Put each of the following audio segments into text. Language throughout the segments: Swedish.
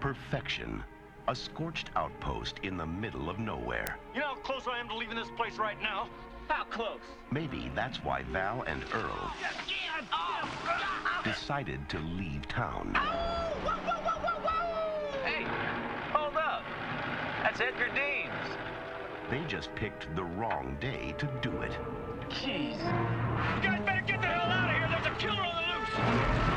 perfection. A scorched outpost in the middle of nowhere. You know how close I am to leaving this place right now? How close? Maybe that's why Val and Earl decided to leave town. Hey, hold up. That's Edgar Deans. They just picked the wrong day to do it. Jeez. You guys better get the hell out of here. There's a killer on the loose.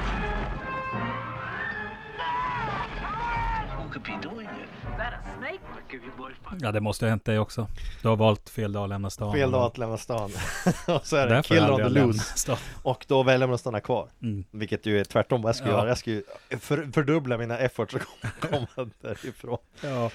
Who could be doing it? Is that a snake? I'll give you boy five. Ja, det måste ha hänt dig också. Du har valt fel dag att lämna stan. Fel dag att lämna stan. och så är det Därför kill on the aldrig jag loose. lämnat stan. Och då väljer man att stanna kvar. Mm. Vilket ju är tvärtom vad jag skulle Ja. göra. Jag skulle ju för, fördubbla mina efforts och komma därifrån. Ja.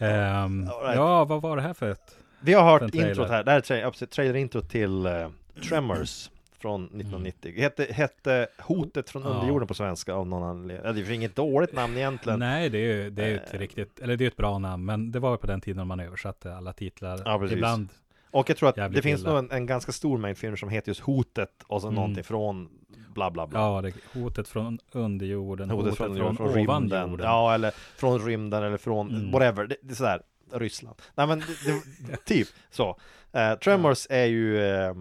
Ehm, All right. ja, vad var det här för ett? Vi har hört Den trailer. introt här. Det här är tra- absolut, trailer-introt till eh, Tremors från 1990. Hette, hette Hotet från Mm. Ja. underjorden på svenska av någon anledning. Ja, Det är ju inget dåligt namn egentligen. Nej, det är ju det är ju ett Eh. riktigt, eller det är ju ett bra namn, men det var ju på den tiden man översatte alla titlar. Ja, precis. Ibland. Och jag tror att Jävligt det finns illa. nog en, en ganska stor mängd filmer som heter just Hotet och sen Mm. någonting från bla bla bla. Ja, det, hotet från underjorden, hotet, från, jorden, ovan jorden. Ja, eller från rymden eller från Mm. whatever. Det, det är sådär, Ryssland. Nej men, det, det, typ så. Eh, Tremors är ju eh,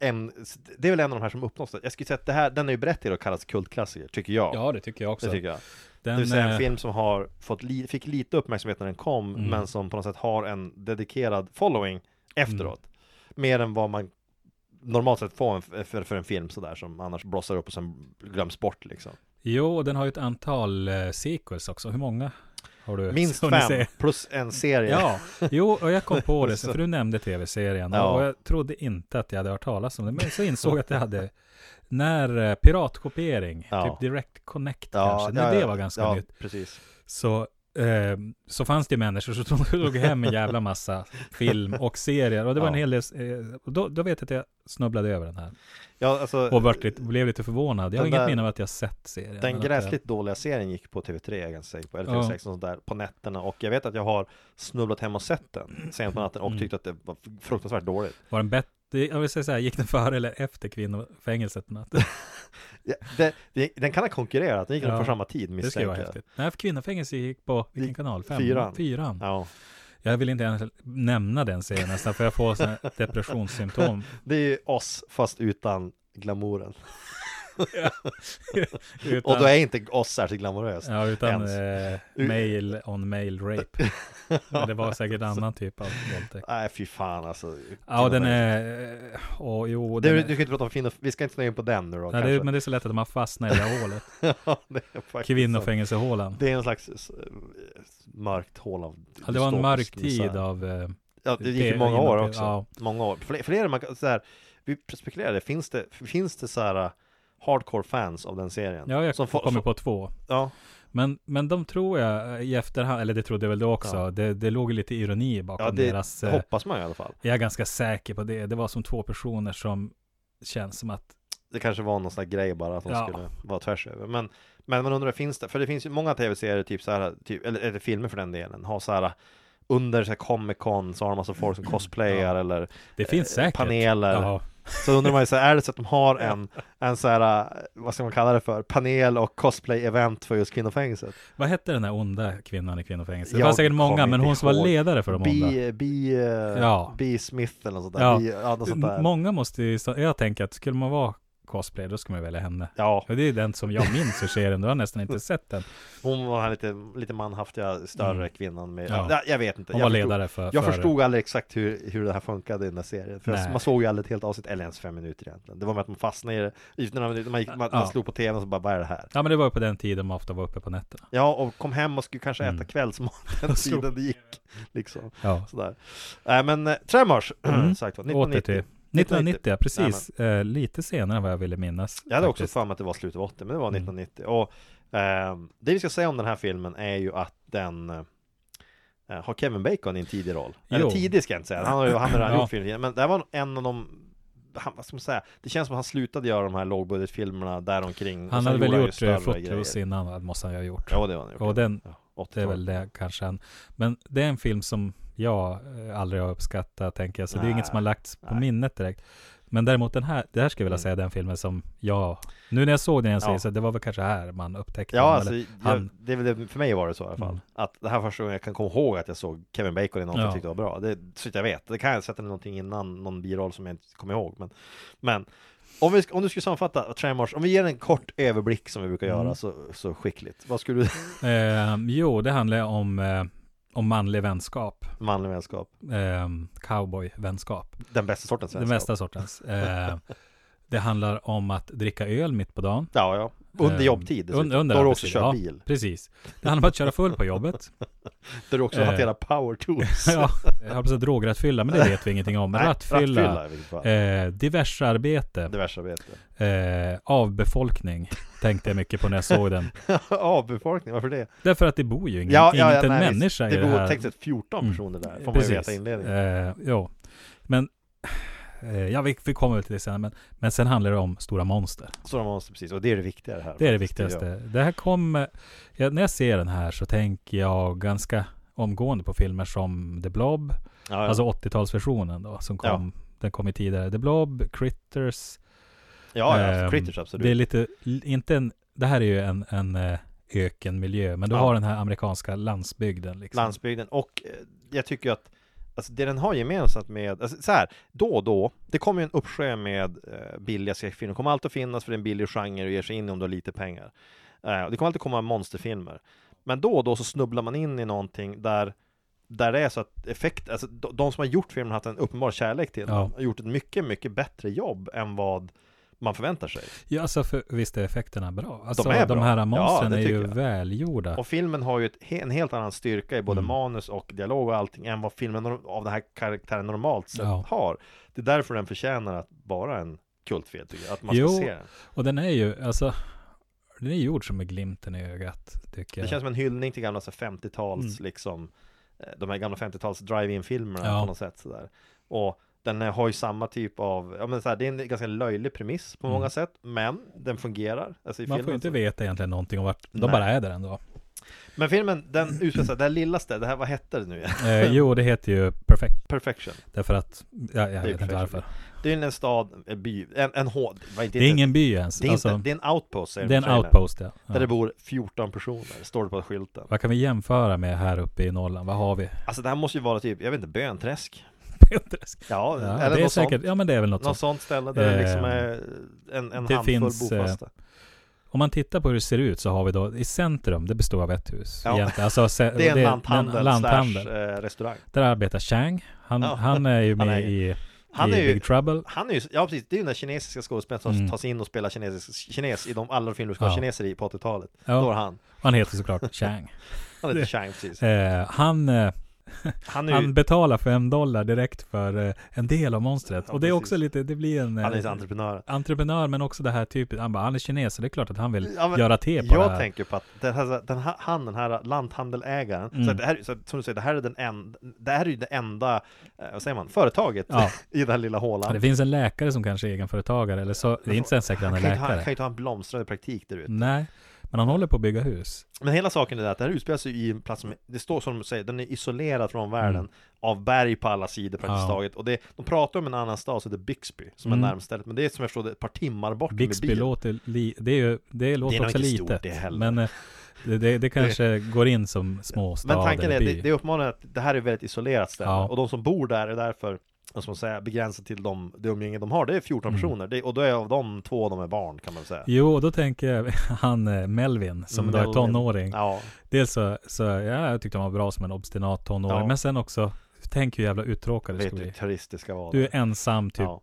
en, det är väl en av de här som uppnås. det. Jag skulle säga att det här, den är ju berättigad att kallas kultklassiker, tycker jag. Ja, det tycker jag också. det tycker jag. Den, det vill säga en eh, film som har fått li, fick lite uppmärksamhet när den kom, Mm. men som på något sätt har en dedikerad following efteråt. Mm. Mer än vad man normalt sett får en, för, för en film sådär som annars blossar upp och sen glöms bort liksom. Jo, och den har ju ett antal eh, sequels också. Hur många har du? Minst hunnit fem se? plus en serie. Ja, jo, och jag kom på det, Så- för du nämnde tv-serien, Ja. och jag trodde inte att jag hade hört talas om det, men så insåg jag att jag hade, när eh, piratkopiering, Ja. typ Direct Connect kanske, när det var ganska ja, nytt, precis. så, eh, så fanns det människor som tog- tog hem en jävla massa film och serier, och det var en Ja. hel del, eh, och då, då vet jag att jag snubblade över den här, Ja, alltså, och vart lite, blev lite förvånad. Jag har Den inget där- minne av att jag sett serien. men den att jag- gräsligt dåliga serien gick på TV3 jag är ganska säker på, eller Ja. TV6 och sånt där, på nätterna och jag vet att jag har snubblat hem och sett den sent på natten och Mm. tyckte att det var fruktansvärt dåligt. Var den bättre? Jag vill säga så här, gick den före eller efter kvinnofängelset på natten? Ja, det, det, den kan ha konkurrerat, den gick nog Ja. på samma tid Det skulle vara misstänker jag. häftigt. Nej, för kvinnofängelse gick på vilken Gick- kanal? Fem? fyran. Fyran. Ja, Jag vill inte ens nämna den serien nästan, för jag får såna här depressionssymptom. det är ju oss fast utan glamouren. Utan, Och då är inte oss särskilt glamoröst. Ja, utan ens. eh, mail on mail rape. Men det var säkert annan typ av våldtäkt. Nej, fy fan alltså. Ja, den är... eh, Åh, jo, den är, Du, du kan ju inte prata om kvinnor, vi ska inte snöa in på den nu då nej, det, kanske. är- men det är så lätt att man fastnar i det här hålet. Ja, det är faktiskt sant. Kvinnofängelsehålan. Det är en slags eh, mörkt hål av Ja, det var en mörk dystopisk tid misär. av... eh, Ja, det gick ju P- många år inom- också ja. Många år Fler, fler man kan, så här, Vi spekulerade, finns det, finns det så här eh, Hardcore fans av den serien? Ja, jag som får- kommer som- på två. Ja, Men, men de tror jag eh, i efterhand, eller det trodde jag väl då också, Ja. det, det låg ju lite ironi bakom ja det deras... det eh, hoppas man ju i alla fall Jag är ganska säker på det. Det var som två personer som känns som att... Det kanske var någon sån här grej bara att de Ja. skulle vara tvärs över Men, men man undrar, finns det? För det finns ju många tv-serier, typ så här, typ, eller, eller filmer för den delen Har så här under så här, Comic Con så har de massa folk som cosplayar eller Det finns eh, säkert. paneler Ja, Så undrar man ju så här, är det så att de har en, en så här, eh, vad ska man kalla det för, panel och cosplay-event för just kvinnofängelset? vad hette den där onda kvinnan i kvinnofängelset? Det Jag var säkert många, kommer men inte hon som var ihåg. ledare för de onda. B, B, Ja. ja. B eh, Smith eller något sånt där. Ja. Ja. B, ja, något sånt där. Många måste ju... så- Jag tänker att skulle man vara cosplayer, då skulle man välja henne. Ja, Och det är den som jag minns ur serien, du har nästan inte sett den. hon var den här lite, lite manhaftiga, större Mm. kvinnan med, Ja. ja. jag vet inte. Hon jag var förstod, ledare för... jag för, förstod aldrig exakt hur, hur det här funkade i den där serien. För Nej. man såg ju aldrig ett helt avsnitt, eller ens fem minuter egentligen. Det var med att man fastnade i det, i några minuter, man, gick, man, Ja. man slog på tvn och så bara, vad är det här? Ja, men det var ju på den tiden man ofta var uppe på nätterna. Ja, och kom hem och skulle kanske äta Mm. kvällsmat den Och slog tiden det gick. Liksom. Ja. Sådär. Nej men eh, Tremors, Mm. sagt var, Åter till 1990. 1990, ja, precis. Eh, lite senare än vad jag ville minnas. Jag hade också faktiskt. för mig att det var slutet av 80, men det var Mm. 1990. Och ehm, det vi ska säga om den här filmen är ju att den eh, har Kevin Bacon i en tidig roll. Jo. Eller tidig ska jag inte säga, han har ju han har redan Ja. gjort filmen tidigare, men det här var en av de han, vad ska man säga? Det känns som att han slutade göra de här lågbudgetfilmerna däromkring och Han sen hade väl gjorde gjort ju eh, större alltså, grejer. Footloose innan, va? måste han ju ha gjort. Ja det var han gjort. Och den, Ja, det är 80-tal. väl det kanske han. Men det är en film som jag eh, aldrig har uppskattat, tänker jag. Så det är Nej. inget som har lagts på Nej. Mm. minnet direkt. Men däremot den här, det här skulle jag vilja säga den filmen som jag, nu när jag såg den jag säger Ja. så det var väl kanske här man upptäckte Ja, honom, alltså, eller jag, han, det, är väl det, för mig var det så i alla fall. Mm. Att det här var första gången jag kan komma ihåg att jag såg Kevin Bacon i något jag Ja. tyckte var bra. Det, så att jag vet. Det kan jag sätta någonting innan, någon biroll som jag inte kommer ihåg. Men, men om, vi, sk- om du skulle sammanfatta Tremors, om vi ger en kort överblick som vi brukar göra Mm. så, så skickligt. Vad skulle du, eh, jo det handlar om, eh, om manlig vänskap, manlig vänskap, eh, cowboy-vänskap, den bästa sortens den vänskap? bästa sortens. Eh, det handlar om att dricka öl mitt på dagen. Ja, ja. Under Eh, jobbtid dessutom. un- under Då har du också arbetstid, kört ja. bil. Precis. Det handlar om att köra full på jobbet. Där du också Eh. hanterar power tools. ja, jag höll på att säga drograttfylla, men det vet vi ingenting om. Nej, Rattfylla, i vilket fall. eh, diversarbete, Diversarbete. eh, avbefolkning tänkte jag mycket på när jag såg den. Avbefolkning, varför det? Därför att det bor ju ingen, inte en visst. människa det i det bor här. tänkt sett 14 Mm. personer där, får man ju Precis. veta i inledningen. Eh, jo. Men, eh, ja, vi, vi kommer väl till det sen. Men, men sen handlar det om stora monster. Så de måste, precis, och det är det viktiga det här. Det är det faktiskt, viktigaste. tycker Det här kom, eh, ja, när jag ser den här så tänker jag ganska omgående på filmer som The Blob, jag. Ja, ja. alltså 80-talsversionen då, som kom, den kom ju tidigare. The Blob, Critters, ja, ja, ehm, critters absolut. det är lite, l- inte en, det här är ju en, en eh, ökenmiljö, men du Ja. har den här amerikanska landsbygden liksom. Landsbygden, och eh, jag tycker ju att Alltså det den har gemensamt med, alltså så här, då och då, det kommer ju en uppsjö med eh, billiga skräckfilmer, det kommer alltid att finnas för det är en billig genre och ger sig in om du har lite pengar. Eh, och det kommer alltid komma monsterfilmer. Men då och då så snubblar man in i någonting där, där det är så att effekt, alltså de, de som har gjort filmen har haft en uppenbar kärlek till Ja. den, och gjort ett mycket, mycket bättre jobb än vad man förväntar sig. Ja, alltså för, visst är effekterna bra. Alltså, är de bra. Ja, här monstren det är tycker ju jag. välgjorda. Och filmen har ju ett, he- en helt annan styrka i både Mm. manus och dialog och allting än vad filmen nor- av den här karaktären normalt sett Ja. har. Det är därför den förtjänar att vara en kultfilm tycker jag, att man Jo, ska se den. Och den är ju, alltså, den är gjord som med glimten i ögat, tycker Det jag. känns som en hyllning till gamla så här 50-tals, Mm. liksom, eh, de här gamla 50-tals drive-in-filmerna Ja. på något sätt sådär. Och den har ju samma typ av, ja men så här, det är en ganska löjlig premiss på Mm. många sätt, men den fungerar. Alltså i Man filmen, får ju inte så. veta egentligen någonting om vart, de Nej. bara är där ändå. Men filmen, den utspelar sig, det här lilla stället, det här, vad hette det nu igen? Eh, jo, det heter ju Perfect, Perfection. därför att, ja, jag Det är vet inte perfection. varför. Det är en stad, en eh, by, en, en hård, det är, Det är ingen by ens. det är, alltså, inte, det är en outpost säger det är de en i trailern, outpost, ja. Där det ja. bor 14 personer, står det på skylten Vad kan vi jämföra med här uppe i Norrland? Vad har vi? Alltså det här måste ju vara typ, jag vet inte, Bönträsk? Petresk. Ja, Ja, eller det är något säkert, sånt ja men det är väl något Något sånt. sånt ställe där det liksom Eh, är en, en det handfull finns, eh, bofasta Om man tittar på hur det ser ut så har vi då, i centrum, det består av ett hus. Ja. egentligen. Alltså, se, Det är en det- lanthandel, den- lanthandel. slash eh, restaurang Där arbetar Chang. Han, Ja. han är ju Han med är- i, han i är ju- Big Trouble. Han är ju, ja precis, det är ju den där kinesiska skådespelaren som Mm. tas in och spelar kinesisk, kines i de alla filmer du ska ha Ja. kineser i på 80-talet Ja. Då var han, Han heter såklart Chang. han heter Det- Chang precis Eh, han, eh, Han är han ju, betalar fem dollar direkt för eh, en del av monstret. Ja, och det är precis. också lite, det blir en... eh, han är ju entreprenören entreprenör men också det här typet, han bara, han är kines så det är klart att han vill Ja, men göra te på det Jag här. tänker på att den här, den här, han, den här lanthandelägaren, så Mm. att det här, så att, som du säger, det här är, den en, det här är ju det enda, eh, vad säger man, företaget Ja. i den här lilla hålan. Det finns en läkare som kanske är egenföretagare eller så, det är inte ens säkert att han är kan ju inte ha- han läkare. Mm. kan ju inte ha en blomstrande praktik där ute. Nej, men han håller på att bygga hus. Men hela saken är det att det här utspelar sig i en plats som, det står som de säger, den är isolerad från världen Mm. av berg på alla sidor praktiskt Ja. taget. Och det, de pratar om en annan stad som heter Bixby, som Mm. är närmast stället. Men det är som jag förstår det, ett par timmar bort Bixby med bil. låter, li, det, är ju, det låter Det är nog också inte stort litet. det heller. men eh, det, det, det kanske går in som småstad Men tanken eller är, by. det, det uppmanar att det här är ett väldigt isolerat ställe Ja. och de som bor där är därför vad ska man säga, begränsat till de, det umgänge de har, det är 14 Mm. personer det, och då är av dem två de är barn kan man säga. Jo, då tänker jag han eh, Melvin som då är Melvin. tonåring. Ja, Dels så, så ja, jag tyckte han var bra som en obstinat tonåring. Ja. Men sen också, tänk hur jävla uttråkad det vet skulle du hur bli. terroristiska var Du är ensam, typ Ja.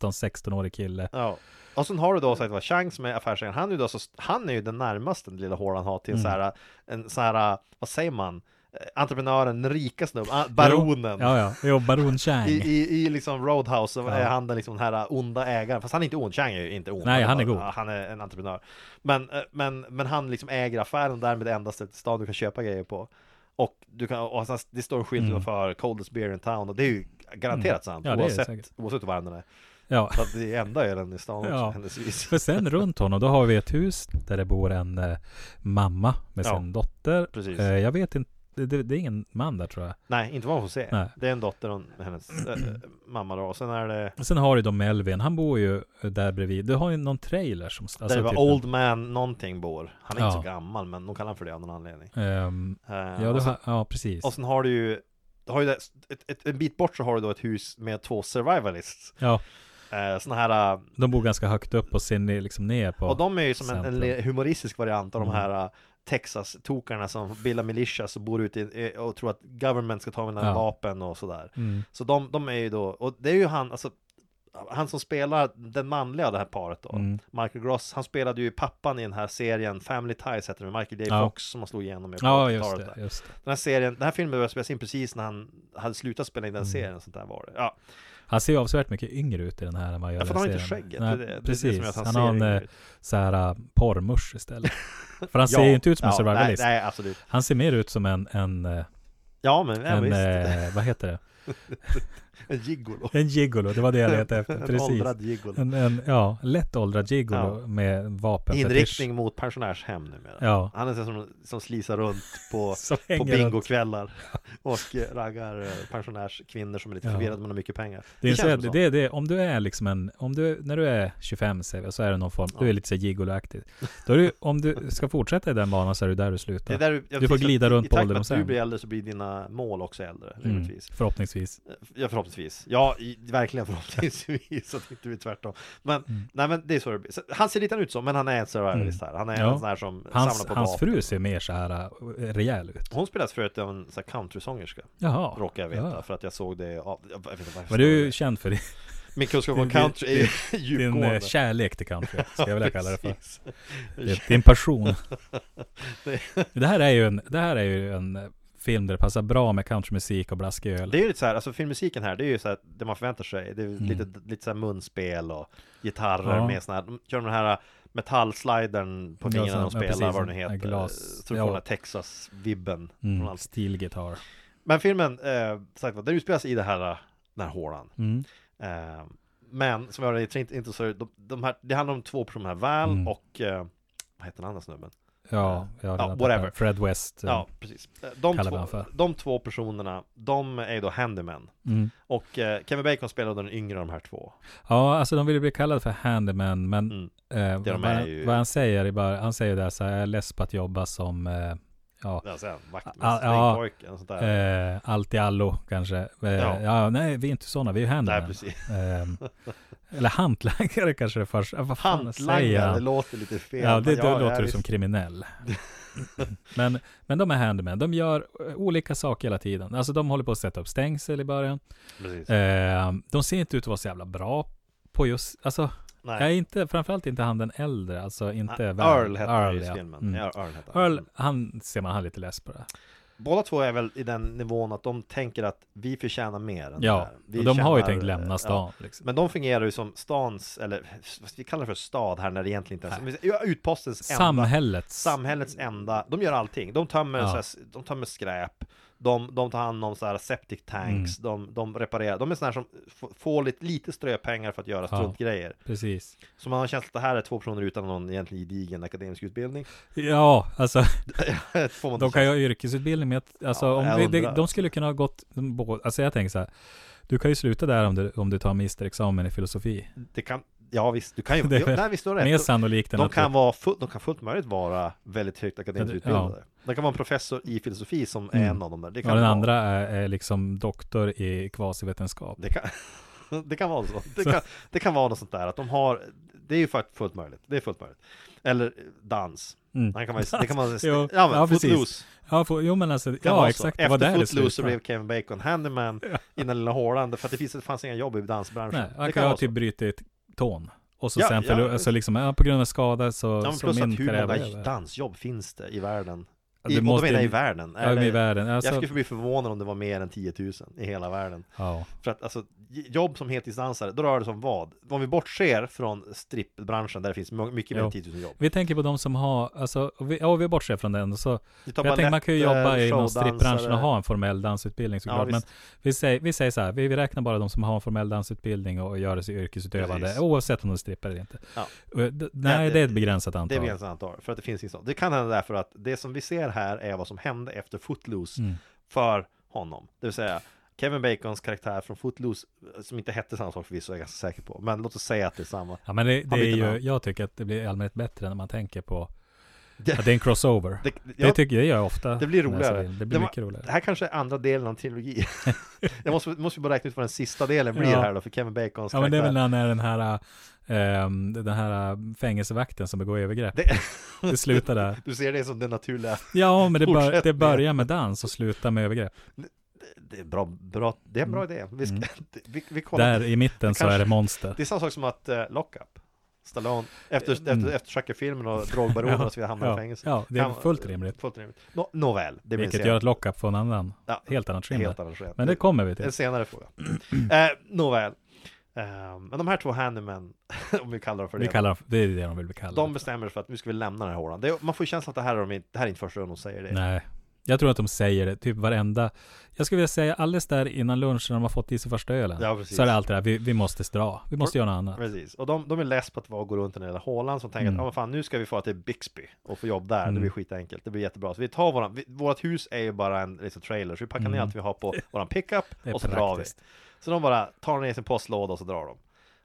15-16-årig kille. Ja. Och sen har du då sagt vad Chang som är affärsägaren, han är ju då så, han är ju den närmaste den lilla hålan har Mm. till en så här, en så här, vad säger man, Eh, entreprenören, den rika snubben, ah, baronen. Jo, ja, ja. Jo, baron Chang. I, i, I liksom Roadhouse så Ja. är han den liksom den här onda ägaren, fast han är inte ond, Chang är ju inte ond Nej, han är bara- god. ja, Han är en entreprenör Men, eh, men, men han liksom äger affären och därmed det enda stället i stan du kan köpa grejer på Och, du kan, och sen, det står en skylt Mm. utanför Coldest Beer in Town och det är ju garanterat sant Ja, det är det oavsett, säkert. oavsett var den är ja. Så att det enda är den i stan också Ja. händelsevis För sen runt honom, då har vi ett hus där det bor en eh, mamma med Ja. sin dotter. Precis. Eh, jag vet inte, det, det, det är ingen man där tror jag. Nej, inte vad man får se. Nej. Det är en dotter och hennes äh, mamma då. Och sen är det... Och Sen har du då Melvin, han bor ju eh, där bredvid. Du har ju någon trailer som... där det var typ Old Man någonting bor. Han är inte så Ja. gammal, men de kallar han för det av någon anledning. en- Ehm, Eh, ja, du och, sen, har, ja, precis. och sen har du ju... Du har ju där, ett, ett, en bit bort så har du då ett hus med två survivalists. Ja, Eh, såna här... eh, de bor ganska högt upp och ser ner- liksom ner på... Och de är ju som en, en centrum. le- humoristisk variant av de Mm. här eh, Texas-tokarna som bildar militias och bor ute i, eh, och tror att government ska ta mina Ja. vapen och sådär. Mm. Så de, de är ju då, och det är ju han, alltså han som spelar den manliga av det här paret då, Mm. Michael Gross, han spelade ju pappan i den här serien Family Ties heter den, med Michael J. Ja. Fox som han slog igenom med på Ja, just 80-talet det. där. Just det. Den här serien, den här filmen började spelas in precis när han hade slutat spela in den Mm. serien, sånt där var det. Ja, Han ser ju avsevärt mycket yngre ut i den här än vad jag ja för han har inte skägget, det, är det, det, är precis. det som gör att han, han ser har en yngre eh, ut. så här äh, porrmusch istället. för han Ja, ser ju inte ut som en ja, survivalist. Nej, nej, absolut. Han ser mer ut som en, en, eh, Ja, men, ja, en, visst. eh, vad heter det? En gigolo. En gigolo, det var det jag letade efter. En Precis. åldrad gigolo. En, en ja, lätt åldrad gigolo Ja. med vapen. Inriktning mot pensionärshem numera. Ja. Han är sån som, som slisar runt på, Som på hänger runt. bingokvällar och eh, raggar eh, pensionärskvinnor som är lite Ja. förvirrade men har mycket pengar. Det är så, känns som det, det, det, om du är liksom en, om du, när du är 25 säger vi, så är du någon form, du är lite så här gigoloaktig. Då är du, om du ska fortsätta i den banan så är du där du slutar. Det är där du, jag Du får precis, glida i- runt i på takt med att ålderdomshem. du blir äldre så blir dina mål också äldre, mm, rimligtvis. förhoppningsvis. Ja, förhoppningsvis. Ja, i, verkligen förhoppningsvis. så att det inte blir tvärtom. Men, Mm. nej, men det är så det blir. Så, han ser lite ut som, men han är en survivalist här. Han är Ja. en sån här som Hans, samlar på hans vapen. fru ser mer så här äh, rejäl ut. Hon spelas förut av en sån här countrysångerska. Jaha. Råkar jag veta, Ja. för att jag såg det av, jag vet inte Men varför jag du är såg ju det. känd för din, Min kunskap om din- country är ju din djupgående eh, kärlek till country, ska jag vilja kalla det för. Precis. Det- Din passion. Det här är ju en, det här är ju en eh, film där det passar bra med countrymusik och blaskig öl. Det är ju lite så här, alltså filmmusiken här, det är ju så här, det man förväntar sig Det är lite, lite så här munspel och gitarrer Mm. Ja. med sån här, de kör den här äh, metallslidern på Ja, fingrarna sån- de ja, spelar, precis, vad det nu sån här heter glas- Så du får ja. den här Texas-vibben från Mm, allt. Stilgitarr. Men filmen, eh, sagt vad, den utspelas i det här, äh, den här hålan Mm. Eh, men som jag redan inte, inte så, de, de här, det handlar om två personer här, Val Mm. och eh, vad heter den andra snubben? Ja, jag har Eh, Ja, redan whatever. tappat. Fred West. eh, Ja, precis. Eh, De kallar vi två, han för. de två personerna, de är ju då handyman. Mm. Och eh, Kevin Bacon spelar den yngre av de här två. Ja, alltså de vill ju bli kallade för handyman, men Mm. eh, de är vad, ju- vad han säger är bara, han säger där så här, jag är less på att jobba som eh, ja, Alltså en Ah, ja. vaktmästare, ja, sånt där. eh, allt i allo kanske. Eh, Ja. ja. nej, vi är inte sådana, vi är ju Nej, handyman. precis. Ehm, eller hantlangare kanske det först. Vad fan säger Hantlangare, han? det låter lite fel. Ja, det, men då ja, ja, låter du visst. som kriminell. men, men de är handyman. De gör eh, olika saker hela tiden. Alltså de håller på att sätta upp stängsel i början. Precis. Eh, de ser inte ut att vara så jävla bra på just, alltså, Nej. jag är inte, framförallt inte han den äldre, alltså inte Ah, väl- Earl hette han ju i ja. filmen. Mm. Ja, Earl, hette han. Earl, han ser man, han är lite less på det. Båda två är väl i den nivån att de tänker att vi förtjänar mer än det Ja, här. Vi och de har ju tjänar, tänkt eh, ja. lämna stan. liksom. Men de fungerar ju som stans, eller vad vi kallar det för stad här när det egentligen inte ens, Ja, utpostens enda, Samhällets. samhällets enda, de gör allting. De tömmer, Ja. så här, de tömmer skräp, de, de tar hand om så här septic tanks, Mm. de, de reparerar, de är sådana som f- får lite, lite ströpengar för att göra Ja. struntgrejer. precis. Så man har en känsla att det här är två personer utan någon egentligen gedigen akademisk utbildning. Ja, alltså Får man De inte kan ju ha yrkesutbildning, men jag- alltså, Ja, jag om vi, de, undrar. de skulle kunna ha gått... de bå- Alltså jag tänker så här, du kan ju sluta där om du, om du tar magisterexamen i filosofi. känsla. det kan, ja visst, du kan ju, Det är jo, väl nej visst du har Mer rätt. sannolikt De, än de, att kan du, vara full, de kan fullt möjligt vara väldigt högt akademiskt Ja, det- ja. utbildade. De kan vara en professor i filosofi som är Mm. en av dem. där. Det kan ja, den vara- andra är, är liksom doktor i kvasivetenskap. Det kan, det kan vara så. Det kan, det kan vara något sånt där att de har, det är ju fakt- fullt möjligt. Det är fullt möjligt. Eller eh, dans. Mm. Han kan man, det kan man, Jo, ja, men, ja, precis. Footloose. Ja, för, jo men alltså, Kan vara ja så. exakt. Det var Efter där det Footloose så slutade. blev Kevin Bacon handyman i den lilla hålan. För att det finns, det fanns inga jobb i dansbranschen. Nej, det han kan kan ha vara typ typ, brutit tån. Och så Ja, sen ja, förlor, visst. så liksom, ja, på grund av skada så, ja, men så plus att min hur karriär var många över. dansjobb finns det i världen? Ja, I, det och då måste menar jag i ju- världen. Ja, Eller- i världen. Alltså, jag skulle bli förvånad om det var mer än 10 000 i hela världen. ja. För att alltså, j- jobb som heltidsdansare, då rör det sig om vad? Om vi bortser från strippbranschen där det finns mo- mycket mer än Jo. 10 000 jobb. Vi tänker på de som har, alltså, vi, ja vi bortser från den, så Vi Jag tänker man kan ju jobba i inom strippbranschen och ha en formell dansutbildning såklart. men vi säger, vi säger så här, vi vi räknar bara de som har en formell dansutbildning och gör det sig yrkesutövande, Precis. oavsett om de strippar eller inte. Ja. Och d- Nej, det- det, är ett begränsat antal. Det är begränsat antal, för att det finns inget sånt. Det kan hända därför att det som vi ser här är vad som hände efter Footloose Mm. för honom. Det vill säga Kevin Bacons karaktär från Footloose, eh, som inte hette samma sak förvisso, är jag ganska säker på. Men låt oss säga att det är samma. Ja men det, det Han byter är ju, namn. jag tycker att det blir i allmänhet bättre när man tänker på Det- att det är en crossover. Det, Det, jag, tycker jag gör ofta. det blir när jag roligare. ser film. Det blir Det var- mycket roligare. det här kanske är andra delen av en trilogi. jag måste, måste bara räkna ut vad den sista delen blir Ja. här då, för Kevin Bacons Ja men karaktär. det är väl när han är den här, ehm, den här eh, fängelsevakten som begår övergrepp. Det- Det slutar där. Du ser det som det naturliga. Ja men det, bör, det Fortsättningen. börjar med dans och slutar med övergrepp. Det är, bra, bra, det är en bra idé. Vi, ska, vi, vi kollar. Mm. Där i mitten så kanske- är det monster. Det är samma sak som att eh, Lockup. Stallone, efter, efter, Mm. efter Chucky-filmen och drogbaronerna och så vidare hamnar i ja, fängelse. ja, det är Kan- fullt rimligt. Fullt rimligt. Nå, nåväl, det blir en Vilket senare- gör ett lockup från en annan, Ja, helt annat skimmer. helt annan skillnad. Men det kommer vi Det är en till. senare fråga. eh, nåväl. Eh, men de här två handymen, om vi kallar dem för Vi det. kallar dem, det är det de vill bli kallade. de bestämmer sig för att nu ska vi lämna den här hålan. Det, är- man får ju känslan att det här, är de, inte- det här är inte första gången de säger det. Nej. Jag tror att de säger det, typ varenda. Jag skulle vilja säga alldeles där innan lunchen när de har fått i sig första ölen. Ja, precis. så är det alltid det här, vi, vi måste dra. Vi måste göra något annat. Precis, och de, de är less på att vara och gå runt i den där hålan som tänker Mm. att ah, men fan, nu ska vi få till Bixby och få jobb där, det Mm. blir skitenkelt, det blir jättebra. Så vi tar våran, vi, vårat hus är ju bara en liten trailer, så vi packar ner Mm. allt vi har på våran pickup Det är och så drar vi. praktiskt. Så de bara tar ner sin postlåda och så drar de.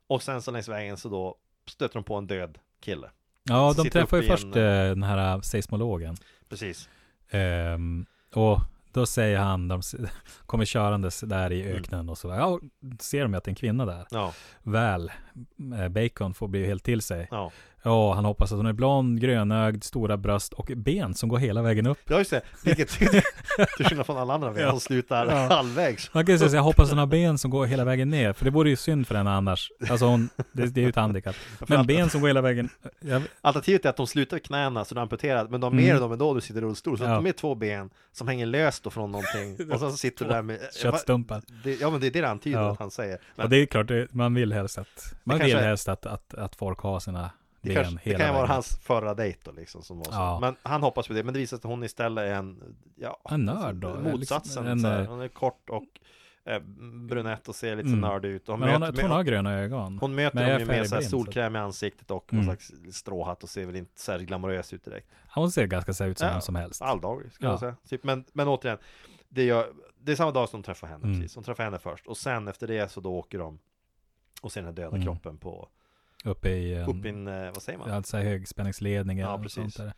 Och sen så längs vägen så då stöter de på en död kille. Ja, Så de sitter träffar ju uppe i en- först eh, den här seismologen. Precis. Ehm, och då säger han, de s- kommer körandes där i Mm. öknen och så där. Ja, ser de ju att det är en kvinna där. Ja, Väl, eh, Bacon får bli helt till sig. ja. Ja, han hoppas att hon är blond, grönögd, stora bröst och ben som går hela vägen upp. Ja just det, vilket till skillnad från alla andra vägar som slutar Ja. halvvägs. Man kan ju säga så, jag hoppas hon har ben som går hela vägen ner, för det vore ju synd för henne annars. Alltså hon, det, det är ju ett handikapp. Men ben som går hela vägen, eh, jag, Alternativet är att de slutar vid knäna så de är amputerade, men de har mer Mm. dem ändå när du sitter i rullstol. Så Ja. att de är två ben som hänger löst då från någonting och sen så sitter du där med... eh, köttstumpar. Det, ja men det är det det antyder Ja. att han säger. Men Och det, det är klart, det, man vill helst att, man vill kanske- helst att, att, att folk har sina ben kanske, det hela kan ju vara vägen. hans förra dejt då liksom som var så. Ja. Men han hoppas på det, men det visar sig att hon istället är en... Ja, En nörd då, eller Motsatsen. liksom en, så här. eh, Hon är kort och eh, brunett och ser lite så Mm. nördig ut. Och Hon Men hon, möter- jag tror hon har gröna ögon. Hon möter Men dem jag är ju med så här färgblind, så att- solkräm i ansiktet och någon Mm. slags stråhatt och ser väl inte särskilt glamorös ut direkt. Hon ser ganska så här ut som Ja. vem som helst. Alldaglig, skulle Ja. jag säga. Typ, men, men återigen, det, gör, det är samma dag som de träffar henne. Mm. Precis. De träffar henne först och sen efter det så då åker de och ser den här döda Mm. kroppen på, Uppe i en, upp i en, eh, vad säger man? alltså högspänningsledning Ja, eller något precis. sånt där.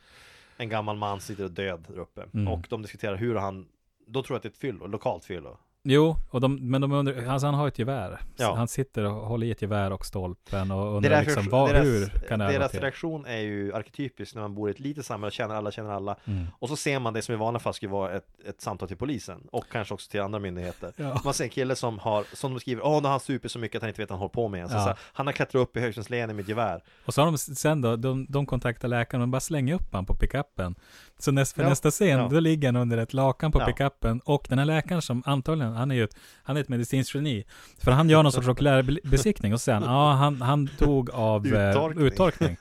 En gammal man sitter och död där uppe. Mm. Och de diskuterar hur han, då tror jag att det är ett fyllo, lokalt fyllo. Jo, och de, men de undrar, alltså han har ett gevär. Ja. Han sitter och håller i ett gevär och stolpen och Det undrar är liksom, därför- vad, deras- hur kan det här gå Deras till? reaktion är ju arketypisk när man bor i ett litet samhälle, känner alla, känner alla. Mm. Och så ser man det som i vanliga fall skulle vara ett, ett samtal till polisen och kanske också till andra myndigheter. Ja. Man ser en kille som har, som de skriver, åh nu har han super så mycket att han inte vet vad han håller på med. Så, Ja. så här, han har klättrat upp i högstensledningen med ett gevär. Och så har de s- sen då, de, de kontaktar läkaren, men bara slänger upp han på pickuppen. Så näst, för Ja, nästa scen, ja. då ligger han under ett lakan på Ja. pickuppen. Och den här läkaren som antagligen, han är ju ett, han är ett medicinskt geni. För han gör någon sorts okulärbesiktning och sen, ja han, han tog av eh, Uttorkning. uttorkning.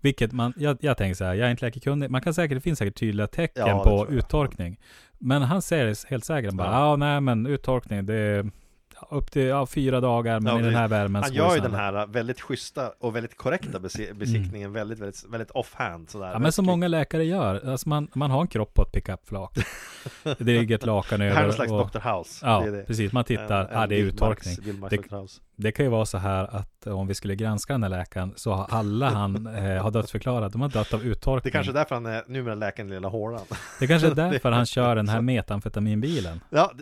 Vilket man, jag, jag tänker så här, jag är inte läkarkunnig, man kan säkert, det finns säkert tydliga tecken Ja, det tror på jag. uttorkning. Men han säger det helt säkert, han bara, Ja. ja nej men uttorkning, det är upp till ja, fyra dagar, men Ja, i den precis. här värmen Han så går det gör ju snabbt." den här äh, väldigt schyssta och väldigt korrekta besi- besiktningen, väldigt, väldigt, väldigt offhand sådär. Ja, men som många läkare gör. Alltså man, man har en kropp på ett pickupflak. Det ligger ett lakan Det över. här är någon slags och, Dr. House. ja, det är det. precis. Man tittar. En- en ja, det är Bill Marx- uttorkning. Bill Marx Det- Dr. House. Det kan ju vara så här att eh, om vi skulle granska den här läkaren så har alla han eh, har dödsförklarat, de har dött av uttorkning. Det är kanske är därför han är numera läkaren i lilla hålan. Det kanske är därför han kör den här metamfetaminbilen. Ja,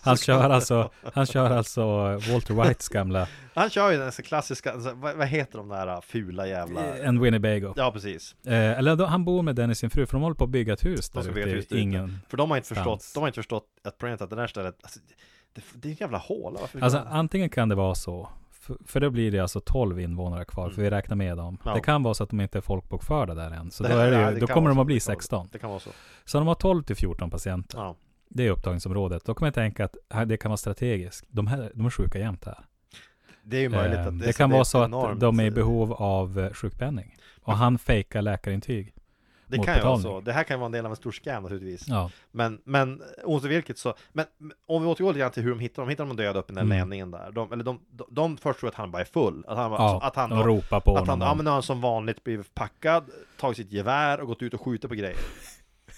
Han kör alltså, han kör alltså Walter Whites gamla, han kör ju den så klassiska, så, vad, vad heter de där äh, fula jävla... en Winnebago. Ja, precis. Eh, eller då, han bor med Dennis sin fru, för de håller på att bygga ett hus De där ska ute. bygga ett hus där ute. Ingen, För de har inte förstått, Stans. de har inte förstått att problemet är att det där stället, alltså, det, det är en jävla håla. Varför Alltså antingen kan det vara så, för, för då blir det alltså 12 invånare kvar, för vi räknar med dem. Mm. Ja. Det kan vara så att de inte är folkbokförda där än, så Det- då, är ja, det det ju, då kan kommer vara de så. att bli 16. det kan vara så. Så de har 12 till 14 patienter, Ja. det är upptagningsområdet. Då kommer jag tänka att här, det kan vara strategiskt. De, här, de är sjuka jämt här. Det är ju möjligt att Ehm, det, det kan vara så enormt- att de är i behov av eh, sjukpenning. Och han fejkar läkarintyg. Det mot kan ju vara betalning. så. Det här kan ju vara en del av en stor scam naturligtvis. Ja. Men, men oavsett vilket så, men men om vi återgår lite grann till hur de hittar dem, hittar de döda upp i den Mm. där ledningen där. De, eller de, de, de först tror att han bara är full. Att han, bara- ja, att han, de ropar på att han, honom. ja men nu har han som vanligt blivit packad, tagit sitt gevär och gått ut och skjutit på grejer.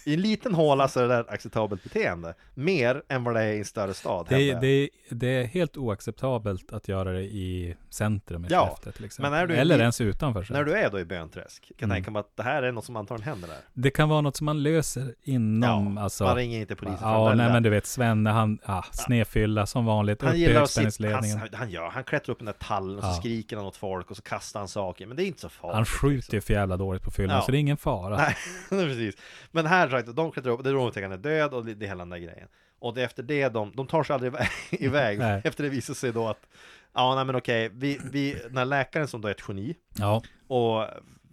I en liten håla så är det där ett acceptabelt beteende. Mer än vad det är i en större stad. Det, hävdar är- jag. det, är- det är helt oacceptabelt att göra det i centrum i Ja, Skellefteå till exempel. men är du- Eller ens utanför. centrum. När du är då i Bönträsk, kan Mm. jag tänka mig att det här är något som antagligen händer där. Det kan vara något som man löser inom, alltså. Man ringer inte polisen Ja, fram nej där. men du vet Svenne, han, ah, snefylla som vanligt, Han upp i gillar att sitta, han, högspänningsledningen. han, gör, han klättrar upp i den där tallen och Ja. så skriker han åt folk och så kastar han saker. Men det är inte så farligt. Han skjuter ju för jävla dåligt på fyllan, Ja. så det är ingen fara. Nej, precis. Men här sagt, de klättrar upp, det är då de tänker att han är död och det det är hela den där grejen. Och det, efter det, de, de tar sig aldrig iväg- iväg. Nej. efter det visar sig då att, ja nej men okej, vi, vi, den här läkaren som då är ett geni Ja, och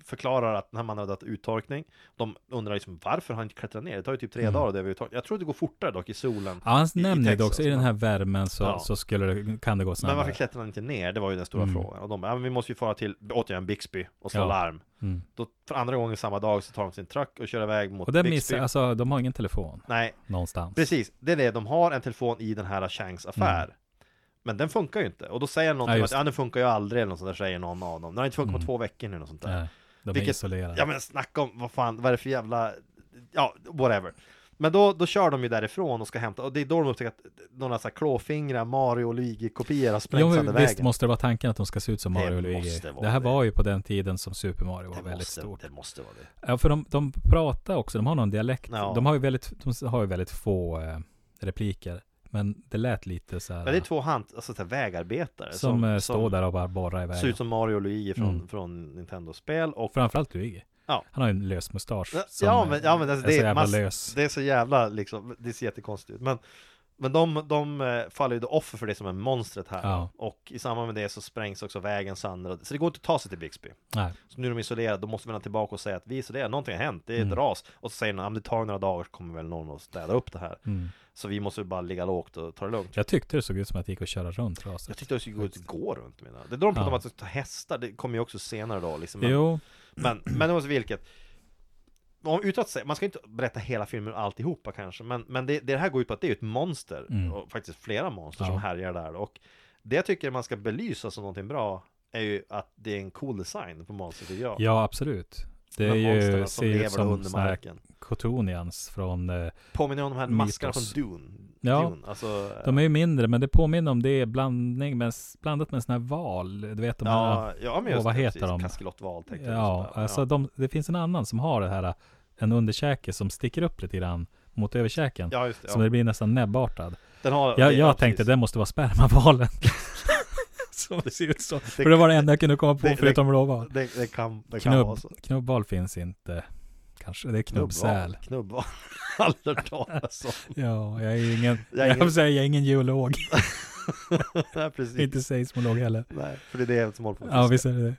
förklarar att den här mannen hade haft uttorkning. De undrar liksom varför han inte klättrar ner, det tar ju typ tre dagar och det är uttorkning. Jag tror att det går fortare dock i solen. Mm. ja han i nämner ju det Texas, också, i den här värmen så, Ja. så skulle det, kan det gå Men varför snabbare. klättrar han inte ner? Det var ju den stora frågan. Och de bara, ja, men vi måste ju fara till, återigen, Bixby och slå Ja. larm. Mm. Då, för andra gången samma dag så tar de sin truck och kör iväg mot Och det Bixby. missar, alltså de har ingen telefon Nej, någonstans. Precis, det är det. De har en telefon i den här Changs affär. Men den funkar ju inte. Och då säger Mm. någon Ja, ja, just Mm. att ja, den funkar ju aldrig, eller något sånt där säger någon av dem. Den har inte funkat på två veckor nu, något sånt där. Nej, de är Vilket- isolerade. Ja men snacka om, vad fan, vad är det för jävla, ja, whatever. Men då, då kör de ju därifrån och ska hämta, och det är då de upptäcker att några så här klåfingrar, Mario och Luigi-kopior har Jo, sprängts men sönder visst vägen. måste det vara tanken att de ska se ut som Det Mario och måste Luigi. vara Det här det. var ju på den tiden som Super Mario var det, väldigt måste, stort. det måste vara det. Ja, för de, de pratar också, de har någon dialekt. Ja. De, har ju väldigt, de har ju väldigt få eh, repliker. Men det lät lite så här. Men det är två hand, alltså, så här, vägarbetare som, eh, står där och bara borrar Ser iväg. ut som Mario och Luigi från, Mm. från Nintendo-spel och Framförallt Luigi. Ja. Han har ju en lös mustasch. Ja, som, ja, men- ja, men eh, alltså, är det så är jävla mass- lös. Det är så jävla liksom, det ser jättekonstigt ut. Men, men de, de eh, faller ju då offer för det som är monstret här. Ja. Och i samband med det så sprängs också vägen sandrad. Så det går inte att ta sig till Bixby. Nej. Så nu är de isolerade, då måste vi vända tillbaka och säga att vi är isolerade, någonting har hänt, det är Mm. ett ras. Och så säger någon, "Ja, men det tar några dagar så kommer väl någon att städa upp det här. Mm. Så vi måste ju bara ligga lågt och ta det lugnt. Jag tyckte det såg ut som att det gick att köra runt Jag raset. tyckte det skulle gå ut och gå runt menar jag. Det är då de pratar om Ja. att ta hästar, det kommer ju också senare då liksom. Men, Jo, men, men det var så vilket. Om, utan att säga, man ska inte berätta hela filmen alltihopa kanske, men, men det, det här går ut på att det är ett monster, Mm. och faktiskt flera monster Ja. som härjar där. Och det jag tycker man ska belysa som någonting bra är ju att det är en cool design på monstret tycker jag. ja absolut. Det är De monsterna ju, som ser ju lever ut som under såna här marken. Cotonians från eh, Påminner om de här Mythos. maskarna från Dune. Ja. Dune. Alltså, De är ju mindre, men det påminner om det är blandning med, blandat med en sån här val. Du vet de här... ja, ja, men åh, just vad det, heter precis. de? Kaskelotval tänkte jag Ja, just där. alltså de, det finns en annan som har det här, en underkäke som sticker upp lite grann mot överkäken. ja, just det. Som ja. det blir nästan näbbartad. Den har, Jag, det- jag ja, tänkte precis. det måste vara spermavalen. som det ser ut som. För det var det enda jag kunde komma på det- förutom råval. Det, det kan, det kan vara Knubb, så. knubbval finns inte. Kanske, det är knubbsäl. Knubbval. Aldrig hört talas om. Ja, jag är ju ingen, Jag är jag, ingen- vill säga, jag är ingen geolog. Nej, precis. inte seismolog heller. Nej, för det är det som håller på med Ja, fiskar. visst är det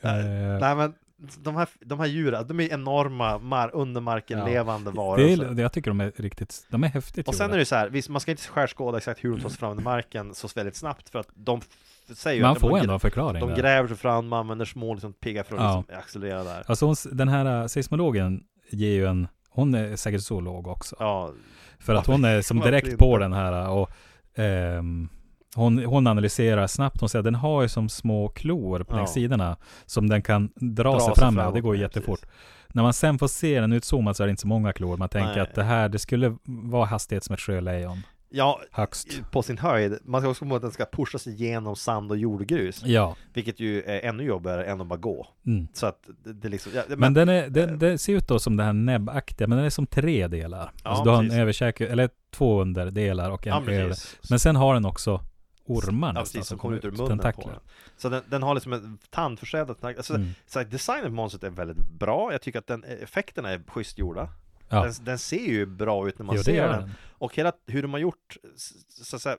det. Eh, Nej, men de här, de här djuren, de är enorma, mar, under marken Ja. levande Det varelser. är, jag tycker de är riktigt, de är häftigt Och sen är gjorda. det så här, visst, man ska inte skärskåda exakt hur de tar sig fram under marken så väldigt snabbt för att de f- säger ju Man att får de, ändå en förklaring. de där. gräver sig fram, man använder små liksom, piggar för att Ja. liksom, accelerera där. Alltså hon, den här äh, seismologen ger ju en, hon är säkert zoolog också. Ja, För att hon är som varför direkt inte? på den här äh, och ehm, hon, hon analyserar snabbt, hon säger att den har ju som små klor på Ja. längs sidorna som den kan dra, dra sig sig fram med och framåt det går med, jättefort. precis. När man sen får se den utzoomad så är det inte så många klor. Man tänker Nej. att det här, det skulle vara hastighet som ett sjölejon. Ja, Högst. på sin höjd. Man ska också komma ihåg att den ska pusha sig igenom sand och jordgrus, Ja. vilket ju är ännu jobbigare än att bara gå. Mm. Så att det, det liksom, ja, Men, den, är, den, den ser ut då som den här näbbaktiga, men den är som tre delar. Ja, alltså du har en precis. överkäke, eller två underdelar och en ja, över. precis. Men sen har den också ormar Ja, nästan precis, som kommer ut ur munnen på tentakler. den. Så den, den har liksom en tandförsedd tentak- alltså, Mm. så att designen på monstret är väldigt bra. Jag tycker att den, effekterna är schysst gjorda. Ja. Den, den ser ju bra ut när man Jo, det ser gör den. den. Och hela, hur de har gjort, så, så, att säga,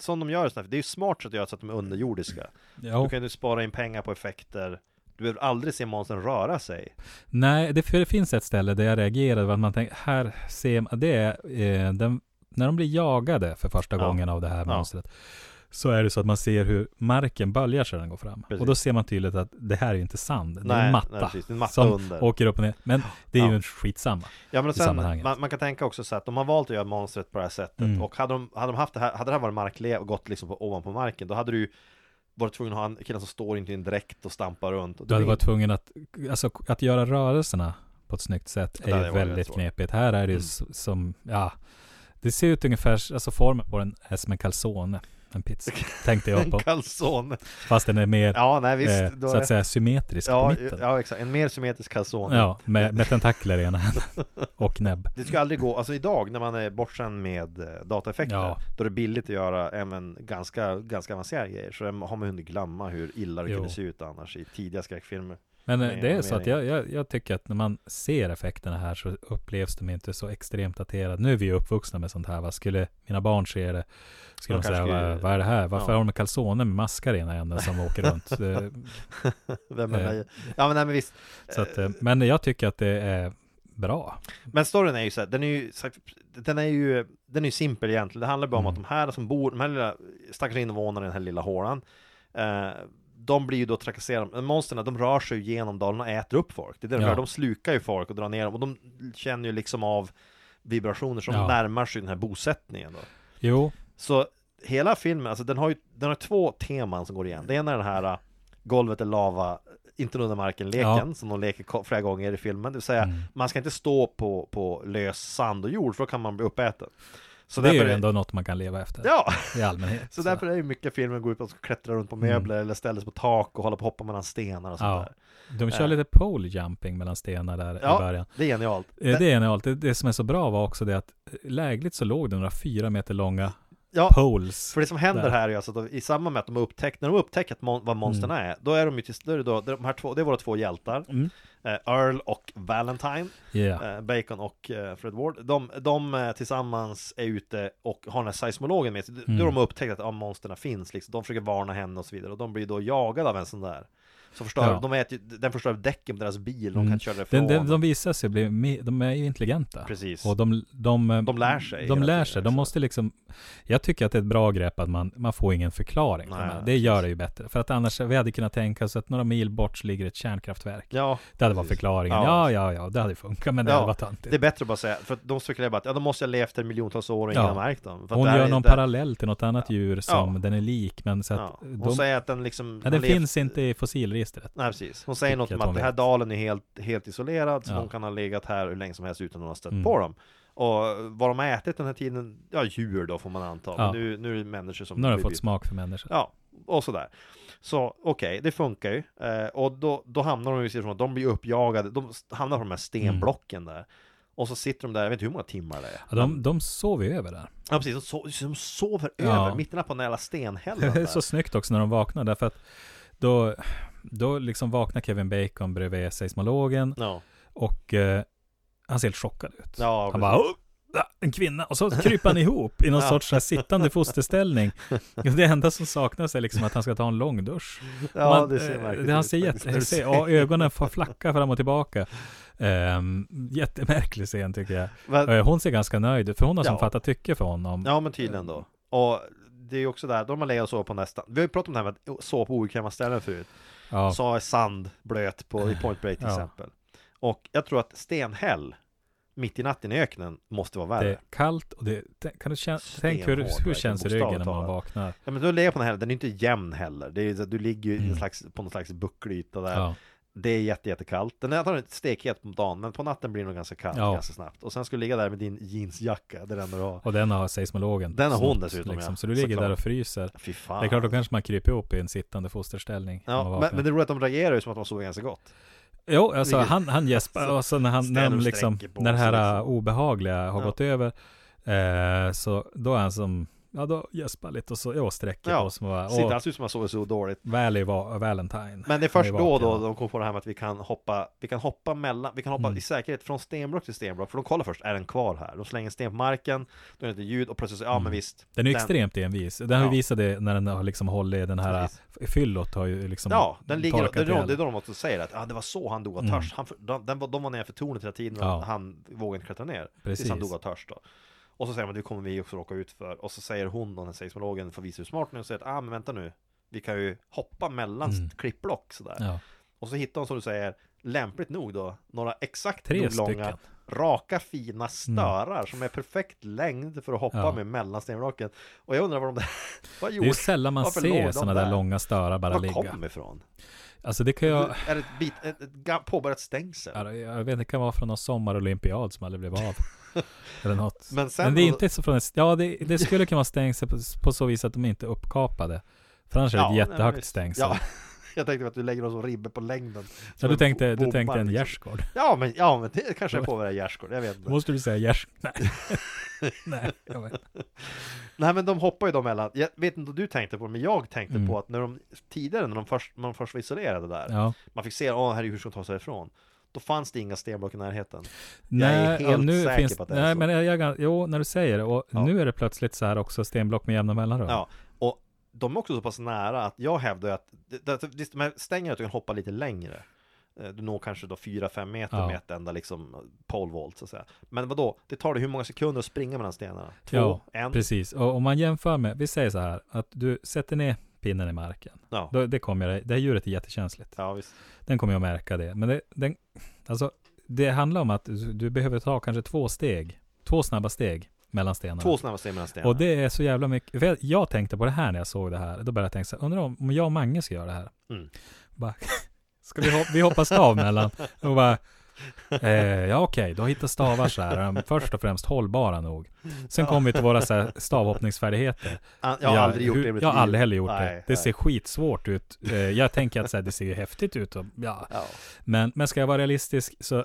som de gör, sådär, det är ju smart att göra så att de är underjordiska. Ja. Du kan ju spara in pengar på effekter. Du behöver aldrig se monstren röra sig. Nej, det, för det finns ett ställe där jag reagerade på att man tänker, här ser man, det är eh, den, när de blir jagade för första Ja. gången av det här Ja. monstret. Så är det så att man ser hur marken böljar sig när den går fram. Precis. Och då ser man tydligt att det här är ju inte sand, det är Nej, en matta. nej, precis, det är en matta som under. åker upp och ner. Men det är Ja. ju skitsamma. Ja, men i sen, sammanhanget. man, man kan tänka också så att de har valt att göra monstret på det här sättet Mm. och hade de, hade de haft det här, hade det här varit markle och gått liksom på, ovanpå marken då hade du ju varit tvungen att ha en kille som står inte i en dräkt och stampar runt. Och Du det hade blir- varit tvungen att, alltså, att göra rörelserna på ett snyggt sätt det är hade ju varit rätt väldigt svårt. Mm. knepigt. Här är det ju s- som, ja, det ser ut ungefär, s- alltså formen på den är som en calzone, en pizza, tänkte jag En på. calzone. Fast den är mer, Ja, nej visst. eh, då så är- att säga, symmetrisk på ja, mitten. Ja, ja, exakt. En mer symmetrisk calzone. med, med tentakler i ena handen och näbb. Det ska aldrig gå, alltså idag när man är bortskämd med eh, dataeffekter, Ja. då är det billigt att göra även ganska, ganska avancerade grejer. Så det har man hunnit glömma hur illa det Jo. kunde se ut annars i tidiga skräckfilmer. Men eh, Nej, det är jag så att menar jag, jag, jag tycker att när man ser effekterna här så upplevs de inte så extremt daterade. Nu är vi ju uppvuxna med sånt här. Va? Skulle mina barn se det, skulle De de säga kanske skulle- "Va- vad är det här? Varför Ja. har de kalsoner med maskar i ena änden som åker runt? Eh, Vem Eh. är det? Ja men nej men visst. så att, eh, men jag tycker att det är bra. Men storyn är ju så här, den är ju, så här- den är ju, den är ju simpel egentligen. Det handlar bara om Mm. att de här som bor, de här lilla stackars invånarna i den här lilla hålan, eh, de blir ju då trakasserade. Men Monsterna, de rör sig ju genom dalen och äter upp folk. Det är det de Ja. gör, de slukar ju folk och drar ner dem. Och de känner ju liksom av vibrationer som Ja. närmar sig den här bosättningen då. Jo, Så hela filmen, alltså den har ju den har två teman som går igen. Det ena är den här eh, golvet är lava, inte under marken-leken som de leker ko- flera gånger i filmen. Det vill mm. säga, man ska inte stå på, på lös sand och jord för då kan man bli uppäten. Så det är därför ju ändå något man kan leva efter Ja, i allmänhet. så därför är ju mycket filmer går ut på att klättra runt på möbler eller ställa sig på tak och hålla på och hoppa mellan stenar och sånt Mm. Ja. där. De kör eh. lite pole jumping mellan stenar där i Ja, början. det är genialt. Eh, Det är genialt. Det, det som är så bra var också det att eh, lägligt så låg det några fyra meter långa Ja, poles. För det som händer Där. Mm. här är ju alltså att de, i samband med att de har upptäckt, när de upptäcker att mon, vad monsterna är, då är de ju till då är det då, de här två, det är våra två hjältar, Mm. eh, Earl och Valentine, Ja. eh, Bacon och eh, Fred Ward. De, de eh, tillsammans är ute och har den här seismologen med sig. Mm. Då Mm. de har upptäckt att ja, monsterna finns, liksom. de försöker varna henne och så vidare, och de blir då jagade av en sån där. Så förstör, Ja. de äter, ju- den förstör däcken på deras bil, de kan Mm. inte köra Den, därifrån. den, de visar sig bli, me- de är ju intelligenta. Precis. Och de, de, eh, De lär sig De hela lär tiden, sig. De liksom. måste liksom, jag tycker att det är ett bra grepp att man, man får ingen förklaring. till Nej, de här. det precis. gör det ju bättre. För att annars, vi hade kunnat tänka oss att några mil bort så ligger ett kärnkraftverk. Ja, Det hade varit precis. förklaringen. Ja, Ja. ja, ja, det hade funkat, men det Ja, hade varit tantigt. det är bättre att bara säga, för att de spekulerar bara att ja, de måste ha levt här i miljontals år och Ja. ingen har märkt dem. För att Hon det här gör är- någon det- parallell till något annat djur som Ja. den är lik, men så att Ja. Hon de, säger att den liksom... nej, har den levt- finns inte i fossilregistret. Nej precis. Hon säger något Tycker om att att hon den här vet. dalen är helt, helt isolerad, så Ja. hon kan ha legat här hur länge som helst utan att ha stött Mm. på dem. Och vad de har ätit den här tiden, ja djur då får man anta. Ja. Men nu, nu är det människor som... Nu har den blir fått bytt. smak för människor. Ja, och sådär. Så okej, det funkar ju. Eh, och då, då hamnar de ju som att de blir uppjagade, de s- hamnar på de här stenblocken där. Och så sitter de där, jag vet inte hur många timmar det är. Mm. Ja, de, de sover ju över där. Ja precis, de, so- de sover Ja. över, mitt i natten på den här jävla stenhällen Det är där. så snyggt också när de vaknar, därför att då, då liksom vaknar Kevin Bacon bredvid seismologen Ja, och eh, han ser helt chockad ut. ja han precis. bara "Åh, ah, en kvinna, och så kryper han ihop i någon Ja. sorts så här sittande fosterställning. Det enda som saknas är liksom att han ska ta en lång dusch. ja, Man, det ser eh, märkligt Han ut ser faktiskt, när jätte, du ser, säger ja, ögonen får flacka fram och tillbaka. Ehm, jättemärklig scen tycker jag. Men- Eh, Hon ser ganska nöjd ut, för hon har som Ja. fattat tycke för honom. Ja men tydligen då. Och det är ju också där, de har legat och sovit på nästan. Vi har ju pratat om det här med att sova på obekväma ställen förut. Ja. Så är sand blöt på, i Point Break till Ja. exempel. Och jag tror att stenhäll mitt i natten i öknen måste vara Det värre. är kallt och det, t- kan du kän, tänk hur, Stenhård, hur känns verkligen, ryggen när man bokstavligt vaknar? Ja men du ligger på den här, den är inte jämn heller. Det är ju så att du ligger ju i en Mm. slags, på någon slags bucklyta där. Ja. Det är jätte, jättekallt. Den är antagligen stekhet på dagen, men på natten blir den nog ganska kall Ja. ganska snabbt. Och sen ska du ligga där med din jeansjacka, det är den du har. Och den har seismologen. Den har hon snott, liksom. dessutom, ja. Så du ligger Såklart. där och fryser. Fy fan. Det är klart, då kanske man kryper ihop i en sittande fosterställning. när man Ja, men, vaknar. men det är roligt att de reagerar ju som att de sover ganska gott. Jo, alltså Vilket- han, han gäspar Alltså, och så när han, när, ställer de och liksom, sträcker på när det sig här liksom. obehagliga har Ja. gått över, eh, så då är han som, ja då gäspar lite och så, jo, sträcker Ja. på sig och bara, Sitter åh, han ser ut som att han sover så dåligt. Valley var Valentine. Men det är Han först då, vaken. då de kom på det här med att vi kan hoppa, vi kan hoppa mellan, vi kan hoppa Mm. i säkerhet från stenblock till stenblock, för de kollar först, är den kvar här? De slänger sten på marken, då är det lite ljud och plötsligt så, ja men visst. Mm. Den är ju extremt envis. Den har Ja. ju visat det när den har liksom hållit den här, fyllot har ju liksom Ja, den ligger, torkat det är, då, ihjäl. det är då de också säger att ah, det var så han dog av Mm. törst. Han, för- de, den var- de var nere för tornet hela tiden och Ja. han vågade inte klättra ner. Tills Precis. han dog av törst då. Och så säger man, det kommer vi också råka ut för. Och så säger hon, den här seismologen, för att visa hur smart hon är, och säger att ah, men vänta nu, vi kan ju hoppa mellan Mm. klippblock sådär. Ja. Och så hittar hon som du säger, lämpligt nog då, några exakt Tre nog långa, stycken. Mm. raka fina störar som är perfekt längd för att hoppa Ja. med mellan stenblocken. Och jag undrar vad de där, vad Det är ju gjorde, sällan man Varför låg ser de sådana där där? långa störar bara var ligga. kom Mm. ifrån? Alltså det kan jag... Är det ett, bit, ett, ett ga- påbörjat stängsel? Ja, Jag vet, det kan vara från någon sommarolympiad som aldrig blev av. Eller något. Men sen Men det är inte så från ett, Ja, det, det skulle kunna vara stängsel på, på så vis att de inte är uppkapade. För annars är det Ja, ett nej, men jättehögt visst. stängsel. Ja, jag tänkte att du lägger oss som ribbe på längden. Ja, Som du, en tänkte, bo- du tänkte en bombar, liksom. gärdsgård. Ja, men, ja, men det kanske är påbörjat gärdsgård, jag vet inte. Då måste du säga gärds... Nej. Nej, jag vet. Nej men de hoppar ju de mellan, jag vet inte om du tänkte på det, men jag tänkte Mm. på att när de tidigare när de först, när de först var isolerade där, Ja. man fick se, åh här är hur ska de ta sig ifrån? Då fanns det inga stenblock i närheten. Nej, är ja, helt nu säker finns, på att det är nej, så. men jag, jag, Jo, när du säger det. Och Ja. nu är det plötsligt så här också stenblock med jämna mellanrum. Ja, och de är också så pass nära att jag hävdar ju att det- det- det- de här stängerna att du kan hoppa lite längre. Eh, Du når kanske då 4-5 meter Ja. med ett enda liksom pole vault så att säga. Men vadå, det tar dig hur många sekunder att springa mellan stenarna? Två? en? precis. Och om man jämför med, vi säger så här, att du sätter ner pinnen i marken. Ja. Då, det kommer det, det här djuret är jättekänsligt. ja, visst. Den kommer jag märka det. Men det, den, alltså, det handlar om att du, du behöver ta kanske två steg, två snabba steg mellan stenarna. Två snabba steg mellan stenarna. och det är så jävla mycket. För jag, jag tänkte på det här när jag såg det här. Då började jag tänka så här, undrar om, om jag och Mange ska göra det här. Mm. Bara, ska vi, hop, vi hoppa stav mellan? Och bara, eh, ja okej, då hittar stavar så här. um, Först och främst hållbara nog. Sen kommer vi till våra så här, stavhoppningsfärdigheter. Ah, Jag har aldrig gjort hur- det i mitt Jag har liv. aldrig heller gjort det. Nej, Det nej. ser skitsvårt ut. Eh, Jag tänker att så här, det ser ju häftigt ut. Och, ja. Ja. Men, men ska jag vara realistisk så eh,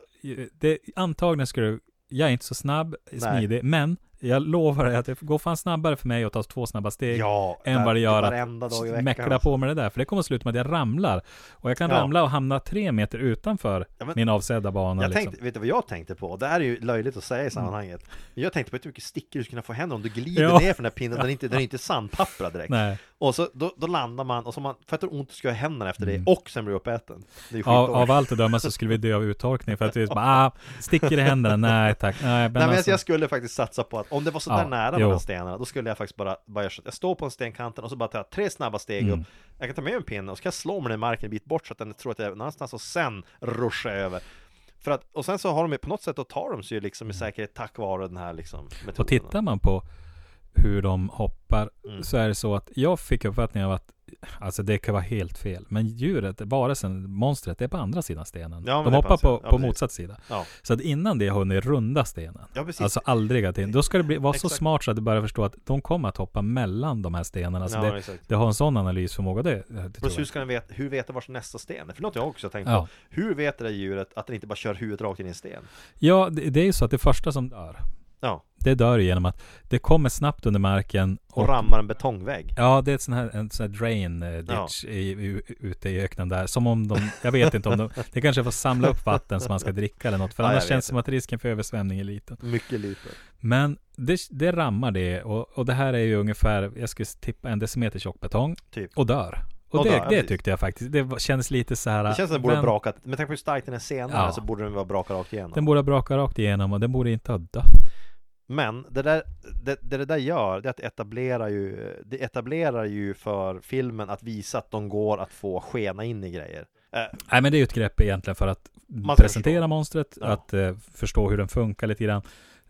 det, antagligen skulle du, jag är inte så snabb, smidig, men jag lovar dig att det går fan snabbare för mig att ta två snabba steg ja, än vad det gör varenda dag i att veckan. alltså. mäckla på med det där. För det kommer att sluta med att jag ramlar. Och jag kan Ja. ramla och hamna tre meter utanför Ja, men- min avsedda bana. Jag liksom. tänkte, vet du vad jag tänkte på? Det här är ju löjligt att säga i sammanhanget. Men jag tänkte på hur mycket stickor du skulle kunna få hända om du glider Mm. Ja. ner för den här pinnen. Den är inte, den är inte sandpapprad direkt. Nej. Och så då, då landar man och så har man fattar ont ska jag i händerna efter Mm. det och sen blir du uppäten. Det är ju Av, skitdåligt. av allt att döma så skulle vi dö av uttorkning för att vi bara, ah, sticker i händerna, nej tack. Nej, men Nej, men alltså, jag, jag skulle faktiskt satsa på att om det var så Ja, där nära jo. mellan stenarna, då skulle jag faktiskt bara, bara göra så att jag står på en stenkanten och så bara ta tre snabba steg Mm. upp. Jag kan ta med en pinne och så kan jag slå med den i marken en bit bort så att den tror att jag är någonstans och sen ruscha över. För att, och sen så har de ju på något sätt, då tar de sig ju liksom i säkerhet tack vare den här liksom metoden. Och tittar man Mm. på hur de hoppar Mm. så är det så att jag fick uppfattningen av att Alltså det kan vara helt fel. Men djuret, varelsen, monstret, det är på andra sidan stenen. Ja, men de det är hoppar på andra på, sidan. Ja, på precis. motsatt sida. Ja. Så att innan det har hunnit runda stenen. Ja, precis. Alltså aldrig att in. Då ska det bli, vara så Exakt. smart så att du börjar förstå att de kommer att hoppa mellan de här stenarna. Alltså Ja, det, exakt. det har en sån analysförmåga. Det, det tror Plus hur jag. ska den veta, hur vet den vars nästa sten är? För något jag också har tänkt Ja. på. Hur vet det där djuret att den inte bara kör huvudet rakt in i en sten? Ja, det, det är ju så att det första som dör, Ja, det dör genom att det kommer snabbt under marken. och, rammar en betongvägg. Ja, det är ett sån här, en sån här drain eh, ditch i, u, ute i öknen där. Som om de, jag vet inte om de, det kanske får samla upp vatten som man ska dricka eller något. För Ja, jag annars vet känns det som att risken för översvämning är liten. Mycket lite. Men det, det rammar det och, och det här är ju ungefär, jag skulle tippa en decimeter tjock betong. Typ. Och dör. Och, Och det, dör, ja, det precis. tyckte jag faktiskt, det var- kändes lite så här. Det känns som den borde ha men- brakat, med tanke på hur stark den är senare Ja. så borde den vara brakat rakt igenom. Den borde ha brakat rakt igenom och den borde inte ha dött. Men det där, det, det, det där gör, det är att etablera ju, det etablerar ju för filmen att visa att de går att få skena in i grejer. Eh, Nej men det är ju ett grepp egentligen för att ska presentera förstå. monstret, Ja. att eh, förstå hur den funkar lite grann.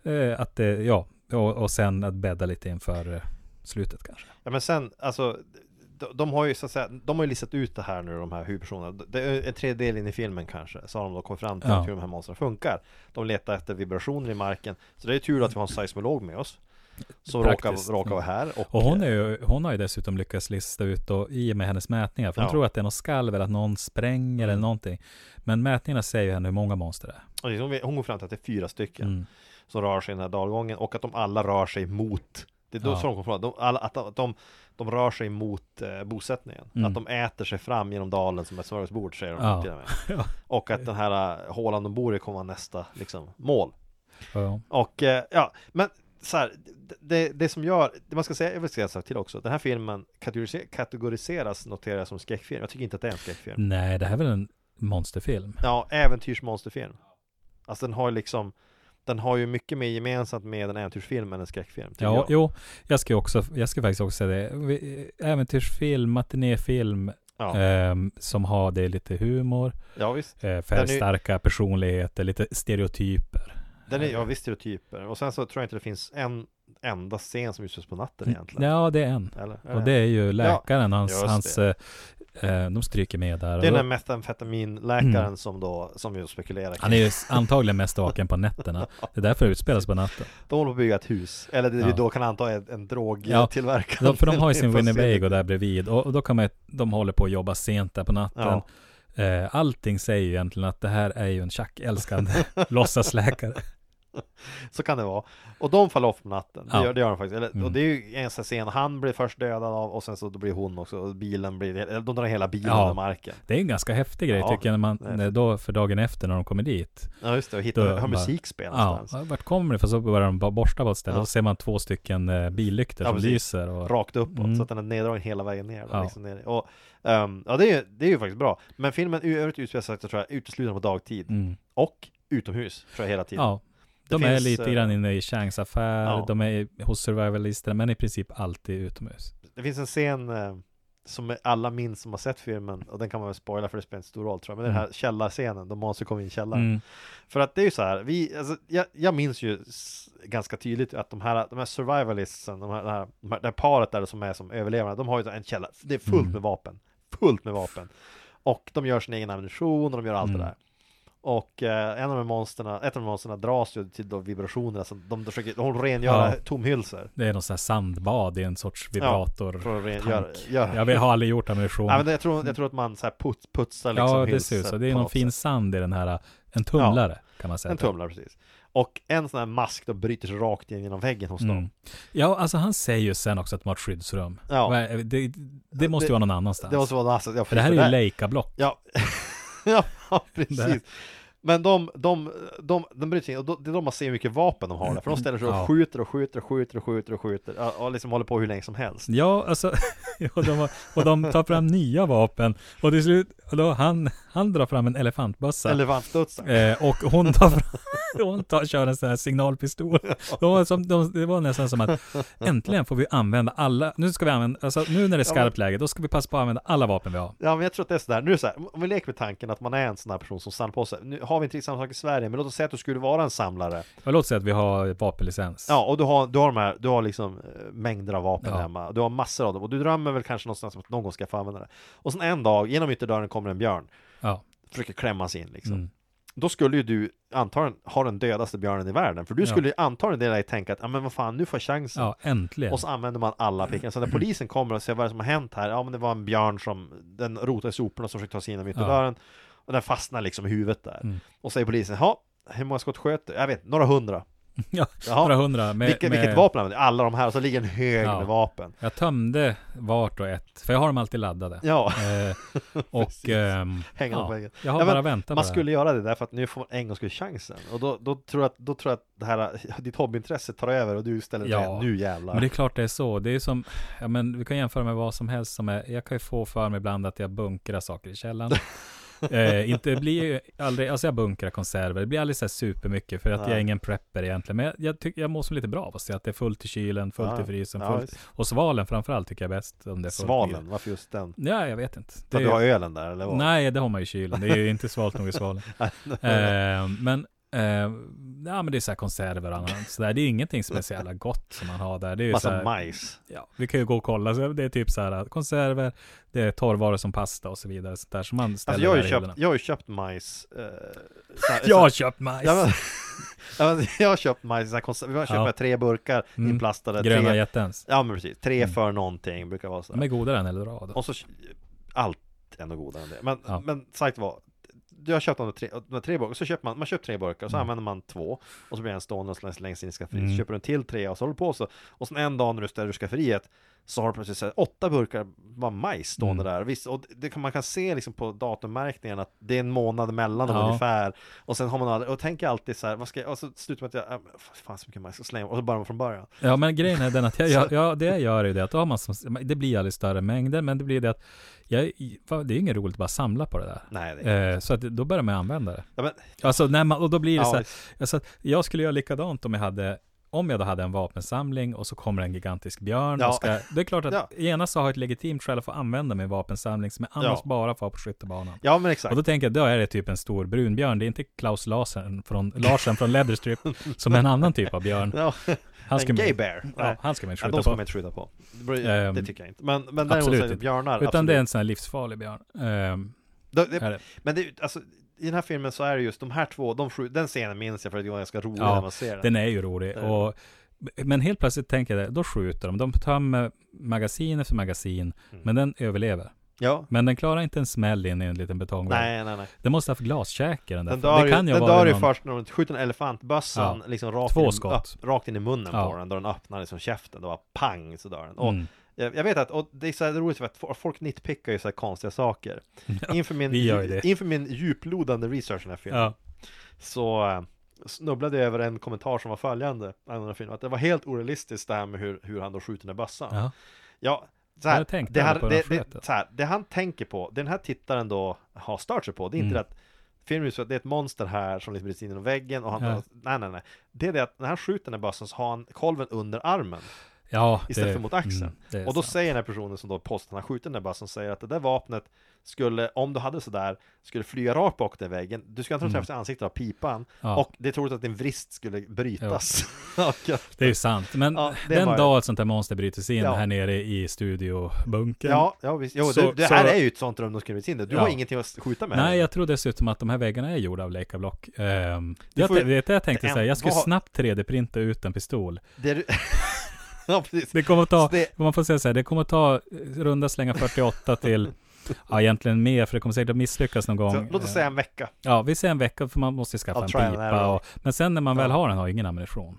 Eh, att, eh, ja, och, och sen att bädda lite inför eh, slutet kanske. Ja men sen, alltså de, de har ju så att säga, de har ju listat ut det här nu de här huvudpersonerna Det är en tredjedel in i filmen kanske Så har de då kommit fram till Ja. hur de här monstren funkar De letar efter vibrationer i marken Så det är tur att vi har en seismolog med oss Som Praktiskt. råkar, råkar vara här och, Och hon, är ju, hon har ju dessutom lyckats lista ut då, i och med hennes mätningar, för hon Ja. Mm. tror att det är något skalv eller att någon spränger eller någonting. Men mätningarna säger ju henne hur många monster det är. och liksom, hon går fram till att det är fyra stycken Mm. Som rör sig i den här dalgången och att de alla rör sig mot Det är då Ja. så de kommer fram de, alla, att, de, att de, de rör sig mot eh, bosättningen Mm. Att de äter sig fram genom dalen som ett smörgåsbord säger de Ja. till och med Ja. Och att den här eh, hålan de bor i kommer vara nästa liksom, mål. Ja. Och eh, ja, men så här, det- det, det som gör, det man ska säga, jag vill säga en sak till också. Den här filmen kategorise- kategoriseras, noterar jag som skräckfilm. Jag tycker inte att det är en skräckfilm. Nej, det här är väl en monsterfilm. Ja, äventyrsmonsterfilm. Alltså den har ju liksom, den har ju mycket mer gemensamt med en äventyrsfilm än en skräckfilm. tycker Ja, jag. jo, jag ska, ju också, jag ska faktiskt också säga det. Vi- eh, Äventyrsfilm, matinéfilm, ja. ehm, som har det lite humor, ja visst. eh, färgstarka personligheter, lite stereotyper. Den är, ja visst stereotyper. Och sen så tror jag inte det finns en enda scen som utspelas på natten egentligen. Ja, det är en. Eller? Och det är ju läkaren, hans, just hans det. eh, Eh, de stryker med där. Det är Och den då- här metamfetaminläkaren som då, som vi spekulerar kring. Han är ju s- antagligen mest vaken på nätterna. Det är därför det utspelas på natten. De håller på att bygga ett hus, eller det vi Ja. då kan anta är en Ja, drogtillverkare. De, för de har ju sin Får se. Winnebago där bredvid och, och då kan man, ju- de håller på att jobba sent där på natten. Eh, allting säger ju egentligen att det här är ju en tjackälskande låtsasläkare. Så kan det vara. Och de faller off på natten, det, Ja. gör, det gör de faktiskt. Eller, Och Mm. det är ju en sån här scen, han blir först dödad av och sen så då blir hon också, och bilen blir, eller de drar hela bilen Ja. under marken. Det är en ganska häftig grej Ja, tycker jag, när man, det är när då, för dagen efter när de kommer dit. Ja just det, och Då hittar, har bara- musik spelat Ja, någonstans. vart kommer det? För så börjar de bara borsta på ett ställe Ja. och så ser man två stycken eh, billyktor Ja, som precis. lyser. Och, Rakt uppåt, Mm. så att den är neddragen hela vägen ner. då, Ja. Liksom ner. Och, ehm, ja det är, ju- det är ju faktiskt bra. Men filmen i övrigt utspelar sig, tror jag, uteslutande på dagtid. mm. Och utomhus, tror jag hela tiden. Ja. De Det är finns, lite eh, grann inne i Changs affär, ja. de är i- hos survivalisterna, men i princip alltid utomhus. Det finns en scen eh, som alla minns som har sett filmen och den kan man väl spoila för det spelar inte stor roll tror jag. Men den här källarscenen, då Monster kommer in i källaren. Mm. För att det är ju så här, vi, alltså, jag, jag minns ju s- ganska tydligt att de här, de här survivalistsen, de här, de här, de här, det här paret där som är som överlevarna, de har ju en källa, det är fullt Mm. med vapen, fullt med vapen. Och de gör sin egen ammunition och de gör allt det Mm. där. Och eh, en av de här monsterna, ett av de här monsterna dras ju till då vibrationerna, så de, de försöker, de rengöra Ja. tomhylsor. Det är någon sån här sandbad i en sorts vibrator. För att rengöra, Tank. göra, Jag vill- har aldrig gjort ammunition. Nej, men jag, tror, jag tror att man så här put, putsar liksom ja, det hylsor ser ut så. Det är på någon något fin sätt. sand i den här, eh, en tumlare kan man säga. En tumlare precis. Och en sån här mask då bryter sig rakt in genom väggen hos Mm. dem. Ja, alltså han säger ju sen också att de har ett skyddsrum. Ja. Vad är- Det, det måste ju Det- vara någon annanstans. Det måste vara alltså, jag För det här förstår är ju Leica-block. Ja, ja Där. precis. Men de, de, de, de bryter sig in och då- det är de man ser hur mycket vapen de har där. För de ställer sig Ja. och skjuter och skjuter och skjuter och skjuter och skjuter. Ja, Och liksom håller på hur länge som helst. Ja, alltså, och de, har- och de tar fram nya vapen. Och till slut, och då han, han drar fram en elefantbössa. Elefantstudsar. Eh, och hon tar fram, hon tar, kör en sån här signalpistol. De var som, de, det var nästan som att äntligen får vi använda alla, nu ska vi använda, alltså nu när det är skarpt läge, då ska vi passa på att använda alla vapen vi har. Ja men jag tror att det är sådär, nu är det så här, om vi leker med tanken att man är en sån här person som samlar på sig. Nu har vi inte riktigt samma sak i Sverige, men låt oss säga att du skulle vara en samlare. Ja, Låt säga att vi har vapenlicens. Ja, och du har, du har de här, du har liksom eh, mängder av vapen Ja. hemma. Du har massor av dem och du drömmer väl kanske någonstans om att någon gång ska få använda det. Och sen en dag, genom ytterdörren kommer en björn, Ja. försöker klämma sig in liksom. Mm. Då skulle ju du antagligen ha den dödaste björnen i världen, för du Ja. skulle ju antagligen dela i tänka att, ja men vad fan, nu får jag chansen. ja, Mm. äntligen. Och så använder man alla pickar. Så när polisen kommer och ser vad det är som har hänt här, ja men det var en björn som, den rotade i soporna som försökte ta sig in genom ytterdörren. Och den fastnar liksom i huvudet där. Mm. Och säger polisen, ja, hur många skott sköt du? Jag vet några hundra. ja, Jaha. några hundra. Med, Vilket, med, vilket vapen använder du? Alla de här, och så ligger en hög Ja. med vapen. Jag tömde vart och ett, för jag har dem alltid laddade. Ja, Eh, och ehm, hänga dem på ja, väggen. jag har Ja, men bara väntat på Man det här. skulle göra det därför att nu får man en gång skulle chansen. Och då, då, tror jag att, då tror jag att det här, ditt hobbyintresse tar över och du ställer Ja. dig nu jävlar. Men det är klart det är så. Det är som, ja men vi kan jämföra med vad som helst som är, jag kan ju få för mig ibland att jag bunkrar saker i källaren. eh, inte det blir ju aldrig, alltså jag bunkrar konserver, det blir aldrig så här supermycket för att jag är Nej. ingen prepper egentligen. Men jag, jag, tycker jag mår som lite bra av att se att det är fullt i kylen, fullt Ja. i frysen, Ja, fullt. visst. Och svalen framförallt tycker jag bäst om det är fullt i kylen. Svalen, varför just den? Ja, jag vet inte. För Det att är du ju- har ölen där eller vad? Nej, det har man ju i kylen. Det är ju inte svalt nog i svalen. eh, men, eh, ja, men det är så här konserver och annat. Så där. Det är ingenting som är så jävla gott som man har där. Det är ju så Massa här, majs. ja, vi kan ju gå och kolla. Så det är typ så här konserver, det är torrvaror som pasta och så vidare. Så där som man ställer Alltså jag har ju där i köpt, hyllorna. jag har ju köpt majs. Eh, såhär- Jag har köpt majs! Ja, men- Ja, men jag har köpt majs, såhär konser- vi har köpt Ja. här tre burkar Mm. inplastade. Gröna Mm. tre, jättens. ja men precis, tre för någonting brukar vara så. De är godare än Eldorado. Och så allt är ändå godare än det. Men, Alltså. Ja. men sagt var, du har köpt de där tre, de där tre burkar, så köper man, man köper tre burkar, så använder man två, och så blir en stående och slängs längst in i skafferiet, Mm. så köper du en till tre och så håller du på så. Och sen en dag när du ställer ur skafferiet, så har du plötsligt så här, åtta burkar bara majs stående Mm. där. Visst, och det kan, man kan se liksom på datummärkningen att det är en månad mellan dem Ja. ungefär. Och sen har man aldrig, och tänker alltid så här, vad ska jag, och så slutar man att jag, äh, fan så mycket majs, och slänger, och så börjar man från början. Ja men grejen är den att jag, jag, ja, det jag gör är ju det att då har man som, det blir aldrig större mängder men det blir det att jag, fan, det är ju inget roligt att bara samla på det där. Nej, det är Eh, så att då börjar man använda det. ja, men, Alltså, när man, och då blir det Ja, så här, alltså, att jag skulle göra likadant om jag hade om jag då hade en vapensamling och så kommer en gigantisk björn Ja. och ska, Det är klart att Ja. genast så har jag ett legitimt skäl att få använda min vapensamling som jag annars Ja. bara får ha på skyttebanan. Ja men exakt. Och då tänker jag, då är det typ en stor brunbjörn. Det är inte Klaus Larsen från, Larsen från Leatherstrip som är en annan typ av björn. Ja, Han ska en gay man, bear. ja, Nej. han ska man inte Ja, skjuta de ska man på. inte skjuta på. Det beror- Ehm, det tycker jag inte. Men, men däremot absolut så är det inte. björnar, Utan absolut. det är en sån här livsfarlig björn. Ehm, Då- det- är det. Men det, är ju- alltså, i den här filmen så är det just de här två, de skjut, den scenen minns jag för att det var ganska rolig Ja, när man ser den. Den är ju rolig. Och, men helt plötsligt tänker jag, det, då skjuter de. De tömmer magasin efter magasin, Mm. men den överlever. Ja. Men den klarar inte en smäll in i en liten betongvägg. Nej, nej, nej. Den måste ha haft glaskäke den där. Den Den dör, det kan ju, ju den vara dör ju någon... först när de skjuter en elefantbössan Ja. liksom rakt, Två in, skott. upp, rakt in i munnen Ja. på den. Då den öppnar liksom käften, då bara pang så dör den. Och Mm. jag, jag vet att, och det är så här roligt för att fo- folk nitpickar ju så här konstiga saker. Inför min, vi gör ju det. inför min djuplodande research i den här filmen Ja. så eh, snubblade jag över en kommentar som var följande angående filmen. Att det var helt orealistiskt det här med hur, hur han då skjuter den där bössan. Ja. Ja, så här, Jag tänkte det, han, aldrig på det, den det, flöten. så här, det han tänker på, det den här tittaren då har stört sig på, det är Mm. inte det att filmen är så att det är ett monster här som liksom bryter sig in genom väggen och han, Ja. nej nej nej. Det är det att när han skjuter den här bössan så har han kolven under armen ja istället det- för mot axeln. mm, det är och då sant. säger den här personen som då påstår att han skjuter den där bössan, säger att det där vapnet skulle, om du hade sådär, skulle flyga rakt bak den väggen. Du skulle antagligen träffas i ansiktet av pipan Mm. Ja. och det är troligt att din vrist skulle brytas. Och- Det är ju sant. Men Ja, det den var det. dag ett sånt här monster bryter sig in Ja. här nere i studiobunkern. Ja, ja visst. Jo, Så- det, det här så- är ju ett sånt rum de skulle bli in i. Du Ja. har ingenting att skjuta med. Nej, jag tror dessutom att de här väggarna är gjorda av lekablock. Um, jag, får tä- ju- vet du, jag tänkte en- säga, jag skulle vad- snabbt 3D-printa ut en pistol. Det är... ja, precis. Det kommer att ta, Så det- man får säga så här, det kommer att ta eh, runda slänga 48 till, ja egentligen mer, för det kommer säkert att misslyckas någon gång. Så, låt oss Eh, säga en vecka. Ja, vi säger en vecka, för man måste ju skaffa Ja, en trial and pipa. error. Och, men sen när man väl Ja. har den har ju ingen ammunition.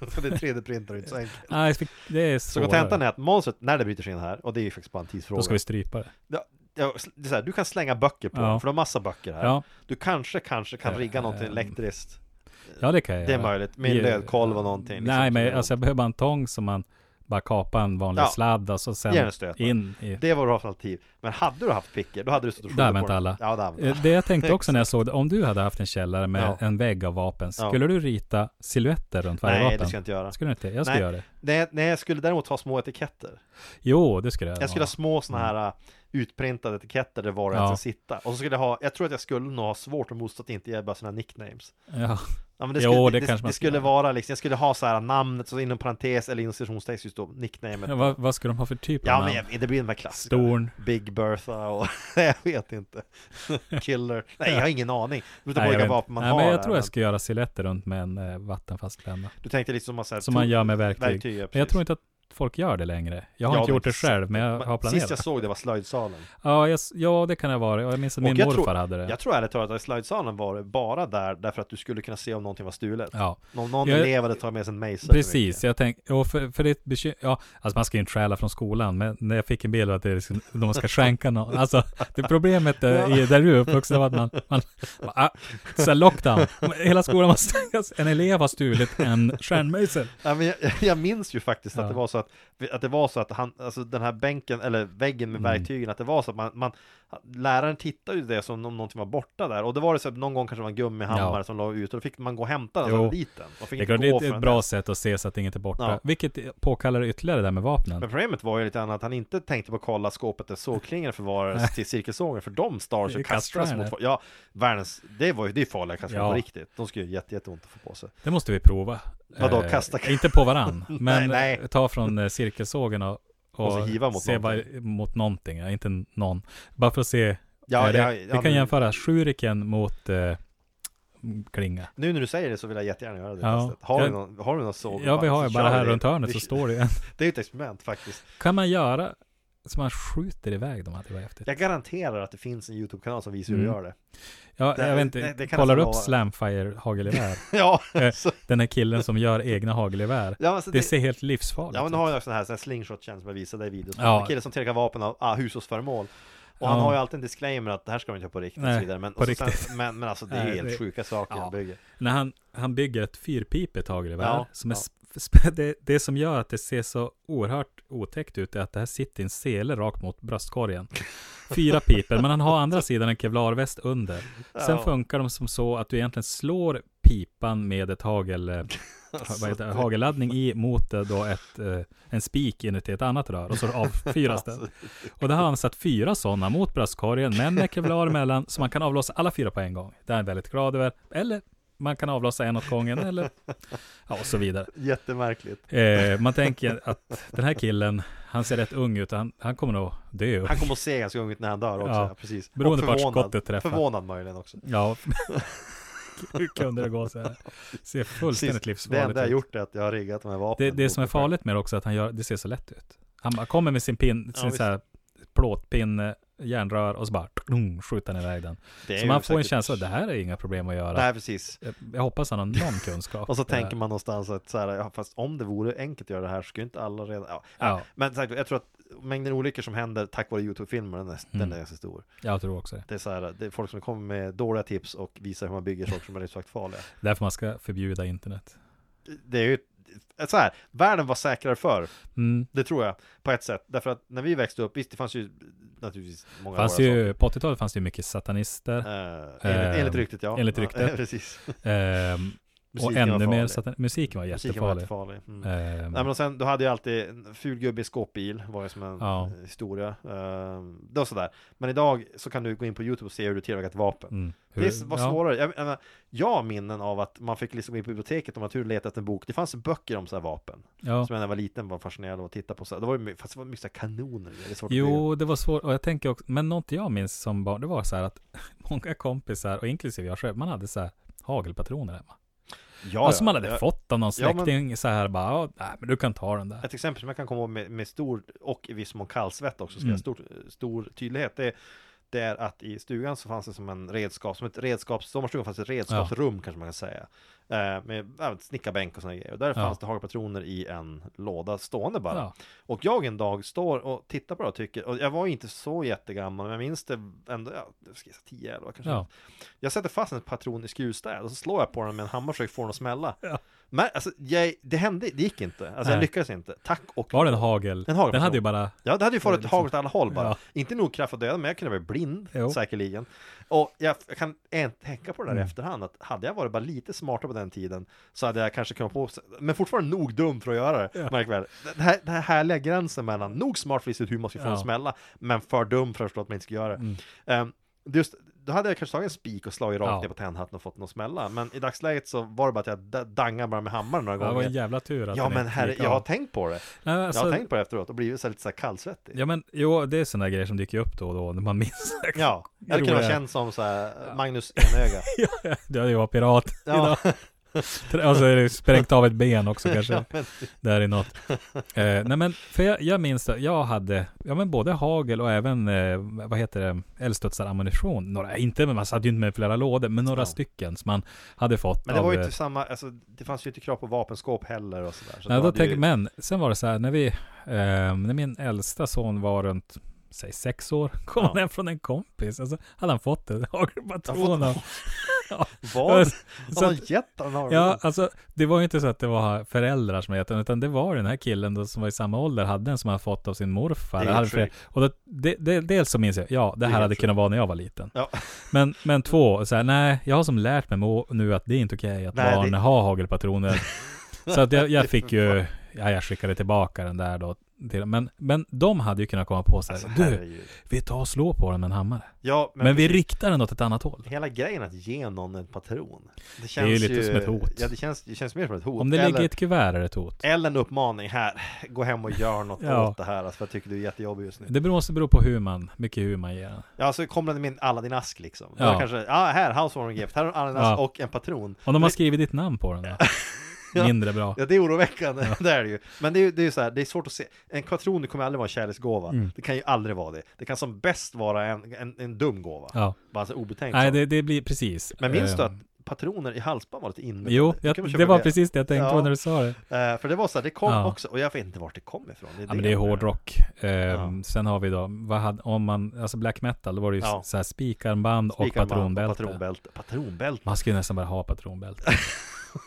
För det är 3D-printer och inte så enkelt. Nej, för- det är Så svårare. kontentan är att monstret, när det bryter sig in här, och det är ju faktiskt bara en tidsfråga. Då ska vi strypa det. Ja, ja, det är så här, du kan slänga böcker på Ja. dem, för de har massa böcker här. Ja, Du kanske, kanske kan rigga Eh, någonting elektriskt. ja det kan jag Det är göra. möjligt, med Vi- en lödkolv och någonting. Nej, liksom. men alltså jag behöver bara en tång som man bara kapar en vanlig Ja. sladd och så sen Ge den en stöt. in i... Det var vad du har för alternativ. Men hade du haft picker, då hade du stått och Där skjutit på väntar den. alla. Ja, där använder Eh, Det jag tänkte också när jag såg det, om du hade haft en källare med Ja. en vägg av vapen, Ja. skulle du rita silhuetter runt varje Nej, vapen? det ska jag inte göra. Skulle du inte? Jag skulle Nej. göra det. Nej, nej, jag skulle däremot ha små etiketter. Jo, det skulle jag. Jag skulle ha små sådana här äh, utprintade etiketter där var och en Mm. Ja. ska sitta. Och så skulle jag ha, jag tror att jag skulle nog ha svårt att motstå att inte ge bara sina nicknames. Ja. Ja, men det Jo, skulle, det det, kanske man det skulle skulle ha. vara liksom, jag skulle ha så här namnet, så inom parentes eller inom citationstext just då, nicknamet. Ja, Vad, vad skulle de ha för typ av Ja, men namn? jag, det blir de här klassikerna. Storn. Big Bertha och jag vet inte. Killer. Nej, jag har ingen aning. Det beror på jag vilka vet vapen man inte. Nej, har. men jag där, tror men jag skulle göra silhuetter runt med en eh, vattenfast penna. Du tänkte liksom man, så här, Som man tog- gör med verktyg. ja, Men jag precis. tror inte att folk gör det längre. Jag har Ja, inte men gjort det exakt. själv, men jag har Men planerat. Sist jag såg det var slöjdsalen. Ja, jag, s- ja, det kan jag vara. Och Jag minns att Och min jag morfar tror- hade det. Jag tror ärligt talat att slöjdsalen var det bara där därför att du skulle kunna se om någonting var stulet. ja, Om någon Jag- elev hade tagit med sig en mejsel. precis. Jag tänkte, och för, för det är ett bekym- ja, alltså man ska ju inte stjäla från skolan, men när jag fick en bild av att det är liksom, de ska skänka någon, alltså det problemet eh, i, där du är uppvuxen var att man, man, man ah, så här lockdown, hela skolan var stängas, en elev har stulit en stjärnmejsel. Ja, men jag, jag minns ju faktiskt att Ja. det var så att, att det var så att han, alltså den här bänken eller väggen Mm. med verktygen, att det var så att man, man läraren tittade ju det som om någonting var borta där och det var det så att någon gång kanske det var en gummihammare Ja. som låg ute och då fick man gå och hämta den Jo. och hade dit den. Man fick Det är, inte klart, det är gå ett- förrän ett bra dess. sätt att se så att inget är borta, Ja. vilket påkallar ytterligare det där med vapnen. Men problemet var ju lite annat att han inte tänkte på att kolla skåpet där sågklingan förvarades till cirkelsågen för de stars Det är och kastades kaststjärnor. mot folk. Ja, världens, det var ju, det är farliga kaststjärnor Ja. på riktigt. De skulle ju jätte, jätteont att få på sig. Det måste vi prova. Eh, Vadå, kasta- Inte på varann, men Nej, nej. ta från eh, cirkelsågen och, Och så hiva mot se vad, mot någonting. Ja, inte någon. Bara för att se. Ja, eh, det, ja, vi ja, kan men- jämföra shuriken mot eh, m- klinga. Nu när du säger det så vill jag jättegärna göra det Ja. testet. Har, Jag- du någon, har du någon såg? Ja, vi har ju Så bara kör här vi. runt hörnet så Vi- står det ju en. Det är ju ett experiment faktiskt. Kan man göra så man skjuter iväg dem? att Det var häftigt. Jag garanterar att det finns en YouTube-kanal som visar hur Mm. du gör det. Ja, det- jag vet det- inte, det kan kollar jag upp lova. Slamfire hagelgevär. Ja, Eh, så, Den här killen som gör egna hagelgevär. ja, men så Det det, ser helt livsfarligt ja men ut. nu har jag sån här, sån här slingshot-tjänst som jag visade i videon. Ja. En kille som tillverkar vapen av ah, hushållsföremål. Och han Ja. har ju alltid en disclaimer att det här ska man inte ha på riktigt och Nej, så vidare. Men, på och så sen- riktigt. men, men alltså det är ju Nej, helt det- sjuka saker Ja. han bygger. När han, han bygger ett fyrpipigt hagelgevär. Ja, som är ja. sp- sp- det, det som gör att det ser så oerhört otäckt ut är att det här sitter i en sele rakt mot bröstkorgen. Fyra piper, men han har å andra sidan en kevlarväst under. Sen Ja. funkar de som så att du egentligen slår pipan med ett hagel... eh, vad heter det, hagelladdning i mot eh, då ett, eh, en spik inuti ett annat rör och så avfyras den. Och där har han satt fyra sådana mot bröstkorgen, men med kevlar emellan, så man kan avlossa alla fyra på en gång. Det är han väldigt glad över. Eller man kan avlossa en åt gången, eller ja, och så vidare. Jättemärkligt. Eh, man tänker att den här killen, han ser rätt ung ut, och han, han kommer nog dö. Han kommer att se ganska ung ut när han dör också. Ja. Ja. Precis. Beroende Och på vart förvånad. skottet träffar. Förvånad möjligen också. Ja. Hur kunde det gå så här? Ser fullständigt Precis. Det livsfarligt enda jag ut. gjort är att jag har riggat de här Det, vapnen. det som är mot mig själv. farligt med det också är att han gör, det ser så lätt ut. Han bara kommer med sin pin, sin visst. så här plåtpinne, järnrör och så bara tung, skjuter han iväg den. Det är Så man ju får en säkert- känsla att det här är inga problem att göra. Nej, precis. Jag, jag hoppas han har någon kunskap. Och så Det här. tänker man någonstans att så här, ja, fast om det vore enkelt att göra det här så skulle inte alla redan... Ja. Ja, Men sagt, jag tror att mängden olyckor som händer tack vare YouTube-filmer, den är, Mm. den är ganska stor. jag tror också det. Det är så här, det är folk som kommer med dåliga tips och visar hur man bygger saker som är livsfarliga. Därför man ska förbjuda internet. Det är ju, så här, världen var säkrare förr. Mm. Det tror jag, på ett sätt. Därför att när vi växte upp, visst det fanns ju naturligtvis många Fanns dåliga ju, på 80-talet fanns det ju mycket satanister. saker. Eh, enligt, enligt Ehm, ryktet ja. enligt Ja, ryktet. precis. Ehm, och Musiken var ännu mer farlig. satan- musiken var Musiken var jättefarlig. jättefarlig. Mm. Ehm, Nej men och sen, du hade ju alltid en ful gubbe i skåpbil, var ju som en Ja. eh, historia. Ehm, det var sådär. Men idag så kan du gå in på YouTube och se hur du tillverkar ett vapen. mm. Hur- Det var ja. svårare. Jag, jag, menar, jag har minnen av att man fick liksom gå in på biblioteket och man tur leta efter en bok. Det fanns böcker om sådana här vapen. Ja. Som jag när jag var liten var fascinerad av att titta på. Så här. Det var ju my- fast det var mycket så här kanoner. Det är svårt att bygga. Jo, det var svårt. Och jag tänker också, men något jag minns som barn, det var så här att många kompisar, och inklusive jag själv, man hade så här hagelpatroner hemma. ja, alltså man ja. hade Jag- fått av någon Ja, men- släkting så här bara, "Ja, nej men du kan ta den där. Ett exempel som jag kan komma ihåg med, med stor och i viss mån kallsvett också, ska Mm. jag stor, stor tydlighet, det är, det är att i stugan så fanns det som en redskap, som ett redskaps, sommarstugan fanns ett redskapsrum kanske man kan säga. Eh, med ja, ett snickarbänk och sådana grejer. Och där Ja. fanns det hagelpatroner i en låda stående bara. Ja. Och jag en dag står och tittar på det och tycker, och jag var ju inte så jättegammal, men jag minns det ändå, ja, jag ska gissa 10 11 kanske. Ja. Jag sätter fast en patron i skruvstäd och så slår jag på den med en hammare och försöker få den att smälla. Ja. Men alltså, jag, det hände, det gick inte. Alltså Nej. jag lyckades inte. Tack och Var det en hagel? En hagelpatron. Den hade ju bara, Ja, det hade ju farit Liksom. hagel åt alla håll bara. Ja. Inte nog kraft att döda, men jag kunde bli blind Jo. Mm. säkerligen. Och jag, jag kan en- tänka på det där i efterhand, att hade jag varit bara lite smartare på den tiden så hade jag kanske kunnat på men fortfarande nog dum för att göra det, Ja. märk väl. Den här, den här härliga gränsen mellan, nog smart för att lista ut hur man ska få Ja. Mm. den att smälla, men för dum för att förstå att man inte ska göra det. Ehm, det är just, då hade jag kanske tagit en spik och slagit rakt Ja. ner på tändhatten och fått den att smälla. Men i dagsläget så var det bara att jag da- dangade bara med hammaren några ja, det var en gånger. jävla tur att Ja den men inte herre, gick jag har av. tänkt på det. Nej, jag alltså, har tänkt på det efteråt och blivit så här lite så här kallsvettig. Ja men jo, det är sådana där grejer som dyker upp då och då när man minns. Ja, eller kunna vara Roliga. känd som så här, eh, Magnus Enöga. det är ju vara pirat Ja, idag. Alltså är det sprängt av ett ben också kanske. ja, men, Där är något. Eh, nej men, för jag, jag minns det, jag hade, ja men både hagel och även, eh, vad heter det, eldstudsarammunition. Några, inte, men man satt ju inte med flera lådor, men några Ja. stycken som man hade fått men det av, var ju eh, inte samma, alltså, det fanns ju inte krav på vapenskåp heller och sådär. Så Nej, det då hade ju- tänker, men sen var det så här, när vi, eh, när min äldsta son var runt, säg sex år, kom Ja. han hem från en kompis. Alltså, hade han fått en hagelpatron av... Vad? Så Har någon att- gett han har Ja, alltså det var ju inte så att det var föräldrar som hette den, utan det var den här killen då som var i samma ålder, hade en som han fått av sin morfar. Det är Det hade helt flera- sjukt. och det, det, det, dels så minns jag, ja, det är här helt hade sjukt. kunnat vara när jag var liten. Ja. Men, men två, så här, nej, jag har som lärt mig må- nu att det är inte okej att Nej, barn det- har hagelpatroner. så att jag, jag fick ju, ja, jag skickade tillbaka den där då. Till, men, men de hade ju kunnat komma på så här, Alltså, du, herregud. vi tar och slår på den med en hammare. Ja, men, Men, vi riktar den åt ett annat håll. hela grejen att ge någon en patron. Det, känns ju lite som ett hot. Ja, det känns, det känns mer som ett hot. Om det eller, ligger i ett kuvert är det ett hot. eller en uppmaning här, gå hem och gör något Ja. åt det här, alltså, för jag tycker du är jättejobbig just nu. Det beror- måste bero på hur man, mycket hur man ger den. Ja, så kommer den med en Aladdin-ask liksom. Ja. Ja. Kanske, ja, här, House of gift här har du en Aladdin-ask Ja. och en patron. Om de har skrivit ditt namn på den då? Mindre bra. Ja, det är oroväckande, det är det ju. Men det är ju det är ju så här, det är svårt att se. En kvadron kommer aldrig vara en kärleksgåva. Mm. Det kan ju aldrig vara det. Det kan som bäst vara en, en, en dum gåva. Ja. Bara så obetänkt. Nej, det, det blir precis. Men minns du Eh, att patroner i halsband var lite inne? Jo, Det jag, kan man köpa det var det. precis det jag tänkte Ja. på när du sa det. Eh, för det var så här, det kom Ja. också, och jag vet inte vart det kom ifrån. Ja, men det är hårdrock. Eh, Ja. Sen har vi då, vad hade, om man, alltså black metal, då var det ju Ja. så här spikarmband och Spikarmband patronbälte. Patronbälte. patronbälte. Man skulle nästan bara ha patronbälte.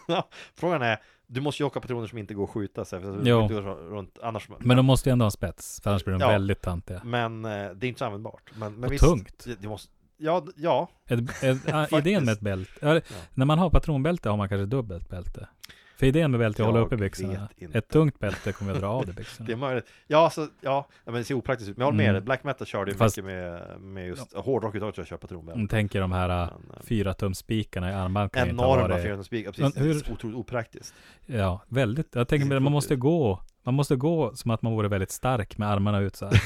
Ja, Frågan är, du måste ju åka patroner som inte går att skjuta sig. För Jo. jo. Runt, annars, Men de måste ju ändå ha en spets, för annars blir de Ja. väldigt tantiga. Men eh, det är inte så användbart. Men, men Och visst, tungt. Det, det måste, ja, d- ja, Ett, ett, idén med ett bälte, ja. när man har patronbälte har man kanske dubbelt bälte. För idén med bälte är att hålla Jag uppe byxorna. vet inte. Ett tungt bälte kommer att dra av dig byxorna. Det är möjligt. Ja, alltså, ja, ja, men det ser opraktiskt ut. Men jag håller med Mm. dig. Black metal körde ju Fast- mycket med, med just hårdrock uttaget jag köper trummor. Mm, Tänk er de här äh, Men, eh, fyra tumspikarna i armband kan ju inte ha Enorma varit, 400 spikar, precis. Men hur- Det är Otroligt opraktiskt. Ja, väldigt. Jag tänker mig Det ser att man klokt måste ut. gå. Man måste gå som att man vore väldigt stark med armarna ut så här. Mm.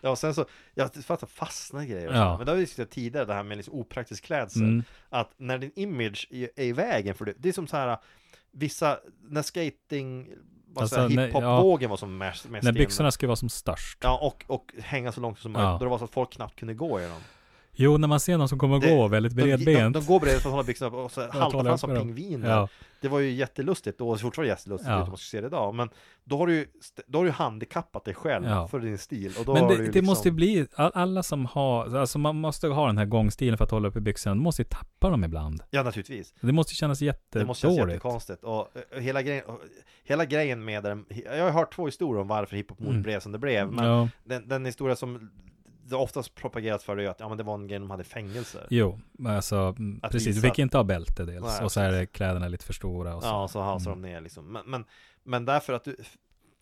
Ja, och sen så, jag fattar fastna grejer. och Ja. så. Men det har vi diskuterat tidigare, det här med liksom opraktisk klädsel. Mm. Att när din image är är i vägen för det, det är som så här, vissa, när skating, vad Alltså, säger när- jag, hiphop-vågen var som mest, mest När in. byxorna skulle vara som störst. Ja, och, och hänga så långt som Ja. möjligt. Då det var så att folk knappt kunde gå i dem. Jo, när man ser någon som kommer att Det- gå väldigt De, de, bredbent. de går bredvid för att hålla byxorna på och så haltar håller fram jag som med dem. pingviner. Ja, Det var ju jättelustigt och fortfarande jättelustigt Ja. ja. om man ska se det idag. Men då har du ju st- då har du handikappat dig själv Ja. för din stil. Och då men har det, du ju det liksom... måste ju bli, all- alla som har, alltså man måste ha den här gångstilen för att hålla uppe byxorna, de måste ju tappa dem ibland. Ja, naturligtvis. Det måste ju kännas Det måste kännas jättedåligt. jättekonstigt. Och, och hela, grejen, och, hela grejen med den, jag har hört två historier om varför hiphop-mod Mm. blev som det blev. Men Ja, den, den historia som det oftast propageras för är ju att ja, men det var en grej de hade i fängelser. jo, alltså mm, Att precis, du visa fick att- inte ha bälte dels, Nej, och så är kläderna lite för stora och så. Ja, så halsar Mm. de ner liksom. Men, men, men därför att du,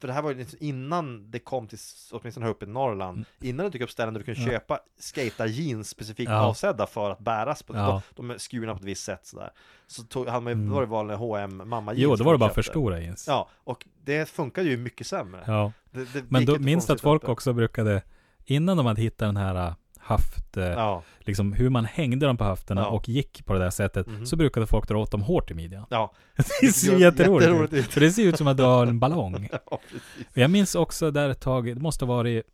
för det här var ju liksom innan det kom till, åtminstone här uppe i Norrland, innan det dök upp ställen där du kunde Mm. Ja. köpa skata jeans specifikt Ja. avsedda för att bäras på, Ja. Mm. de, de är skurna på ett visst sätt sådär. Så tog, hade man ju, då var det vanliga H&M mamma jeans jo, då var det bara för köpte. stora jeans. Ja, och det funkade ju mycket sämre. Ja. Det, det Men gick då inte minns få du dem att folk sitta uppe. också brukade, innan de hade hittat den här äh, höft, äh, Ja, liksom hur man hängde dem på höfterna Ja. Mhm. och gick på det där sättet, så brukade folk dra åt dem hårt i midjan. ja, Det ser gör- jätteroligt jätteroligt ut. ut. För det ser ut som att du har en ballong. ja, precis. Jag minns också där ett tag, det måste ha varit,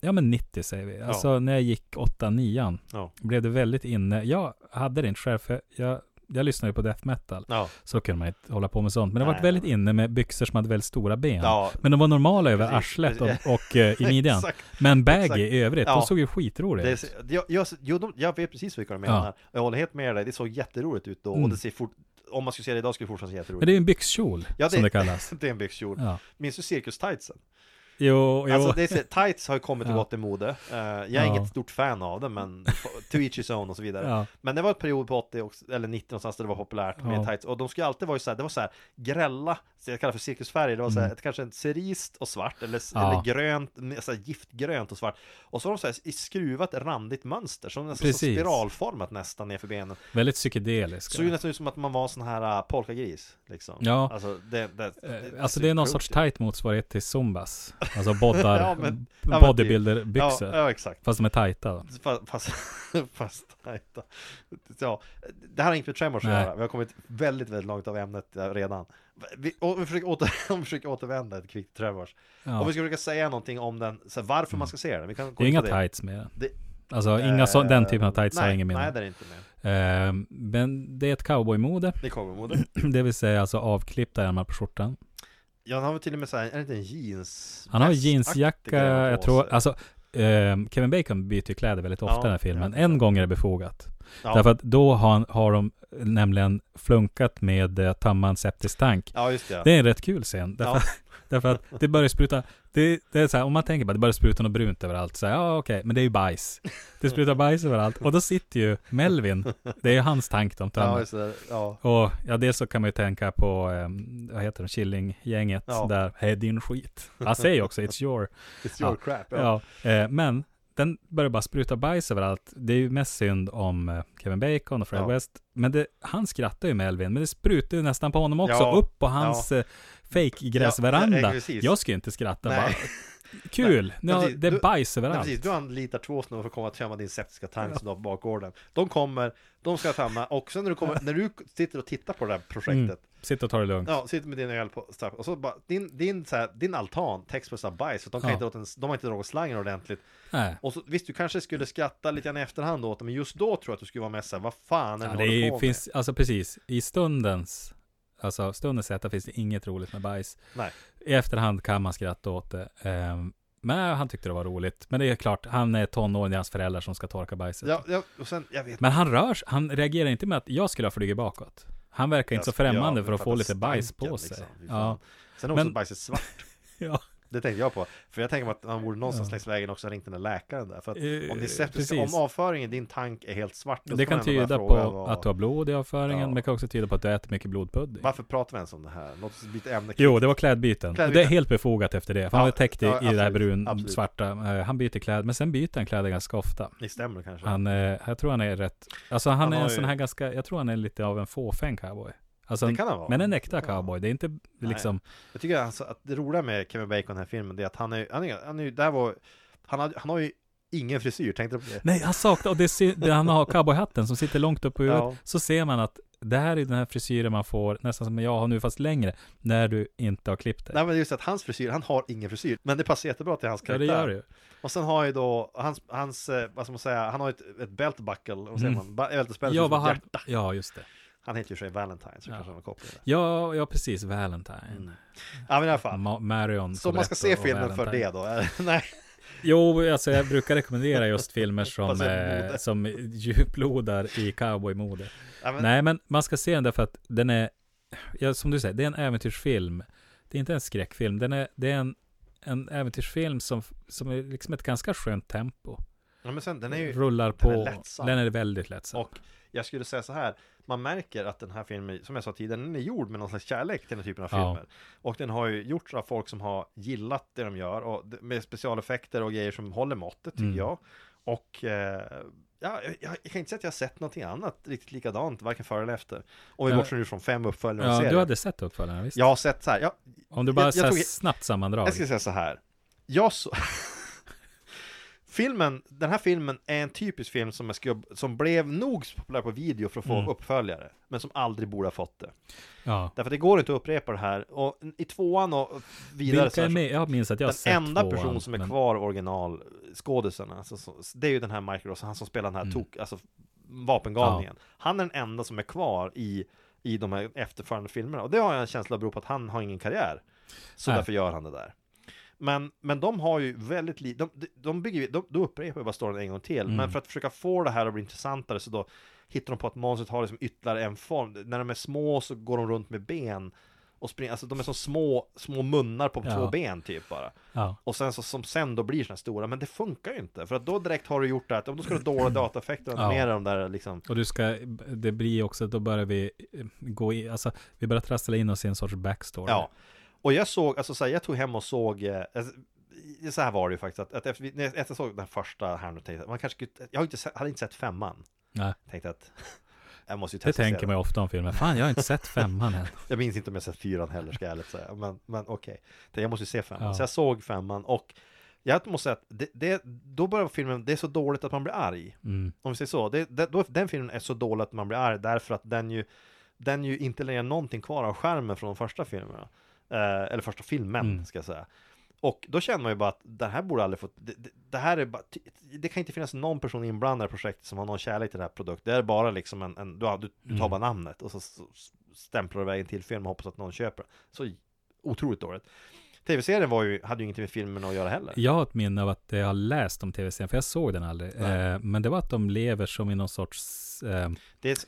ja men 90 säger vi. Alltså när jag gick 8 9 Ja. blev det väldigt inne. Jag hade det inte själv, för jag, jag lyssnade ju på death metal. Ja, Så kunde man inte hålla på med sånt. Men det var Nej. väldigt inne med byxor som hade väldigt stora ben. ja. Men de var normala över Precis, arslet och, precis. och eh, i midjan. Exakt. Men baggy exakt. i övrigt, Ja. de såg ju skitroliga Det ut. ser- jag, jag, jo, de, jag vet precis vilka de menar. Ja. Jag håller helt med dig. Det såg jätteroligt ut då. Mm. Och det ser fort, om man skulle se det idag skulle det fortfarande se jätteroligt Men ut. det är ju en byxkjol, Ja, som det kallas. det är en byxkjol. Ja. Minns du cirkus-tightsen? Jo, jo. Alltså, det är, så- tights har ju kommit och Ja. gått i mode. Eh, jag är Ja. inget stort fan av det, men to each his own och så vidare. Ja. Men det var ett period på 80 och, eller 90 någonstans där det var populärt med Ja. tights. Och de skulle alltid vara ju så här, det var så här grälla, så jag kallar det för cirkusfärger. Det var så här, ett- kanske en cerist och svart, eller, Mm. Ja. eller grönt, med så här giftgrönt och svart. Och så var de så här i skruvat randigt mönster, som nästan som Precis. spiralformat nästan nerför benen. Väldigt psykedeliskt. Såg ju nästan ut som att man var en sån här äh, polkagris, liksom. Ja. Alltså, det, det, det- Alltså det är någon sorts tight motsvarighet till Zumbas. Alltså boddar, Ja, men- ja, men typ. bodybuilderbyxor. Ja, ja, exakt. Fast de är tajta. då. Fast, fast, fast tajta. Ja, det här har inte med Tremors att Nej. göra. Vi har kommit väldigt, väldigt långt av ämnet eh, redan. Vi, och vi försöker, åter, om vi försöker återvända ett kvickt till Tremors. Ja. Mm. Om vi ska försöka säga någonting om den, så här, varför man ska se den. Vi kan Det gå är in inga på tights med den. Det- Alltså inga så, den typen av Eh, tights nej, har jag ingen Nej, minne det är inte med. eh, Men det är ett cowboymode, Det kommer mode. det vill säga alltså avklippta ärmar på skjortan. Ja, han har väl till och med så här, är det inte en jeans? Han har väst- aktig jeansjacka, grej han har jag på tror, sig? alltså eh, Kevin Bacon byter ju kläder väldigt ofta i Ja, den här filmen. ja. En gång är det befogat. ja. Därför att då har, han, har de nämligen flunkat med eh, Tamman septisk tank. ja, just det. Det är en rätt kul scen. Därför, Ja. därför att det börjar spruta, det, det är så här, om man tänker bara det börjar spruta något brunt överallt. Så här, ja okej, men det är ju bajs. Det sprutar bajs överallt. Och då sitter ju Melvin, det är ju hans tank de Ja, tömmer. just det. Ja. och ja, dels så kan man ju tänka på, eh, vad heter de, Killinggänget Ja. där, hej din skit. Han säger ju också, it's your. It's your Ja. crap. Ja. Ja. Eh, men den börjar bara spruta bajs överallt. Det är ju mest synd om eh, Kevin Bacon och Fred Ja. West. Men det, han skrattar ju med Elvin, men det sprutar ju nästan på honom också. Ja. Upp på hans eh, fake-gräsveranda. Ja, ja, precis. jag skulle inte skratta Nej. bara. Kul! Nej, ja, precis. det är Du- bajs Nej, överallt. precis, du anlitar två snubbar för att komma och tömma din septiska tank som du har på bakgården. De kommer, de ska tömma och sen när du, kommer, när du sitter och tittar på det här projektet, Mm. Sitt och ta det lugnt. ja, sitter med din öl på straff och så bara, din, din, så här, din altan täcks med så här bajs, så de, kan Ja. inte åt en, de har inte dragit slangen ordentligt. Nej. Och så, visst, du kanske skulle skratta lite grann i efterhand åt det, men just då tror jag att du skulle vara med så här, vad fan är Ja, det, det ni håller är, på finns, alltså precis, i stundens, alltså stundens sätta finns det inget roligt med bajs. Nej. I efterhand kan man skratta åt det. Ehm, men han tyckte det var roligt. Men det är klart, han är tonåring, det är hans föräldrar som ska torka bajset. med? Ja, ja, och sen, jag vet Men han rör sig- han reagerar inte med att jag skulle ha flugit bakåt. Han verkar inte så jag- främmande jag för att fattar få lite bajs stanken, på sig. liksom. Fy liksom. fan. ja. Sen är också Men- bajset svart. ja. Det tänkte jag på. För jag tänker mig att han borde någonstans längs vägen också ha ringt den där läkaren där. För att Eh, om, det är sepsis, precis. om avföringen i din tank är helt svart. då Det ska kan man ändå tyda bara fråga på vad- att du har blod i avföringen, Ja. men det kan också tyda på att du äter mycket blodpudding. Varför pratar vi ens om det här? Låt oss byta ämne. Jo, det var klädbyten. Typ. Klädbyten. Och det är helt befogat efter det. För han Ja, var täckt i, ja, i det här absolut, brun, absolut. svarta. Eh, Han byter kläder, men sen byter han kläder ganska ofta. Det stämmer kanske. Han, eh, jag tror han är rätt, alltså han, Han är har en ju- sån här ganska, jag tror han är lite av en fåfäng cowboy. Alltså, det kan han vara. men en äkta cowboy, det är inte liksom, Jag tycker alltså att det roliga med Kevin Bacon i den här filmen det är att han är, han är, han är, där var, han, hade, han har ju ingen frisyr, tänkte du på det? nej han saknar, och det, ser- det han har cowboyhatten som sitter långt upp på huvudet, Ja. så ser man att det här är den här frisyren man får, nästan som jag har nu fast längre, när du inte har klippt dig. Nej men just att hans frisyr, han har ingen frisyr, men det passar jättebra till hans Ja karaktär. det gör det ju. Och sen har ju då, hans, hans eh, vad ska man säga, han har ett, ett belt buckle, vad säger man, Ba- bältespänne Mm. Ja, som vad ett har, hjärta. ja just det. Han heter ju i och för sig Valentine, så Ja. kanske han har koppling där. Ja, ja precis, Valentine. Ja men i alla fall. Ma- Marion. Så man Coletto ska se Mm, och filmen för Valentine. det då? Nej. Jo, alltså jag brukar rekommendera just filmer som, Baserat på eh, mode. som djuplodar i cowboymode. Ja, men, Nej, men man ska se den därför att den är, ja, som du säger, det är en äventyrsfilm. Det är inte en skräckfilm, den är, det är en, en äventyrsfilm som, som är liksom ett ganska skönt tempo. Ja, men sen, den är ju, Rullar den på, är den är, lättsam. väldigt lättsam. och jag skulle säga så här, man märker att den här filmen, som jag sa tidigare, den är gjord med någon slags kärlek till den här typen av Ja. filmer. Och den har ju gjorts av folk som har gillat det de gör, och d- med specialeffekter och grejer som håller måttet, tycker Mm. jag. Och eh, ja, jag, jag kan inte säga att jag har sett någonting annat riktigt likadant, varken före eller efter. Om vi Ja. bortser nu från fem uppföljare och ja, serier. du hade sett uppföljarna, visst? Jag har sett så här, jag, Om du bara jag- jag så här tog- snabbt sammandrag. jag ska säga så här. Jag så... Filmen, den här filmen är en typisk film som, jag skulle, som blev nog så populär på video för att få Mm. uppföljare, men som aldrig borde ha fått det. Ja. Därför att det går inte att upprepa det här, och i tvåan och vidare Vilka så här, är så med? Jag minns att jag har sett den enda tvåan, person som är men- kvar originalskådisen, alltså, så- det är ju den här Michael Ross, han som spelar den här Mm. tok, alltså vapengalningen. Han är den enda som är kvar i, i de här efterföljande filmerna. Och det har jag en känsla av beror på att han har ingen karriär. Så Nej. därför gör han det där. Men, men de har ju väldigt lite, de, de bygger ju- de, de upprepar ju bara storyn en gång till. Mm. Men för att försöka få det här att bli intressantare så då hittar de på att monstret har liksom ytterligare en form. När de är små så går de runt med ben. Och springer, alltså de är som små, små munnar på Ja. två ben typ bara. Ja. Och sen så, som sen då blir såna stora, men det funkar ju inte. För att då direkt har du gjort det att, om då ska du ha dåliga dataeffekter och Ja. animera de där liksom. Och du ska, det blir också, då börjar vi eh, gå i, alltså vi börjar trassla in oss i en sorts backstory. Ja. Och jag såg, alltså så här, jag tog hem och såg, eh, alltså, i- så här var det ju faktiskt, att, att efter, vi- när jag- efter jag såg den första här nu tänkte jag, man kanske skulle, jag har inte, sett- hade inte sett femman. Nej, Tänkte att, jag måste ju det testa att se tänker den. man ju ofta om filmen. Fan, jag har inte sett femman än. Jag minns inte om jag sett fyran heller ska jag ärligt säga. Men, men okej, Det- jag måste ju se femman. Ja. Så jag såg femman och jag måste säga att det, det, då börjar filmen, det är så dåligt att man blir arg. Mm. Om vi säger så, det, det, då, den filmen är så dålig att man blir arg därför att den ju, den ju inte lägger någonting kvar av skärmen från de första filmerna. Eh, eller första filmen, Mm. ska jag säga. Och då känner man ju bara att det här borde aldrig fått, det, det, det här är bara, ty- det kan inte finnas någon person inblandad i projektet som har någon kärlek till den här produkten. Det är bara liksom en, en du, har- du, du tar bara namnet och så, så stämplar du vägen till filmen och hoppas att någon köper den. Så otroligt dåligt. Tv-serien var ju, hade ju ingenting med filmen att göra heller. Jag har ett minne av att jag har läst om tv-serien, för jag såg den aldrig. Eh, men det var att de lever som i någon sorts, eh, Det är,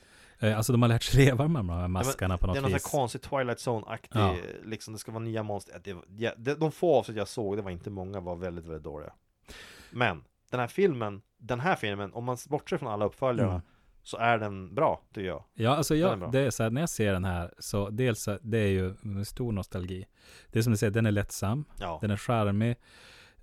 eh, alltså de har lärt sig leva med de här Ja, men maskarna på Det är något någon sån vis. här konstig Twilight Zone-aktig, Ja. liksom det ska vara nya monster. Ja, Det, var- ja, det, de få avsnitt jag såg, det var inte många, var väldigt, väldigt dåliga. Men den här filmen, den här filmen, om man bortser från alla uppföljarna, Mm. så är den bra, tycker jag. Ja, alltså Den är bra. jag, det är så här, när jag ser den här, så dels, så- det är ju en stor nostalgi. Det är som du säger, den är lättsam. Ja, Den är charmig.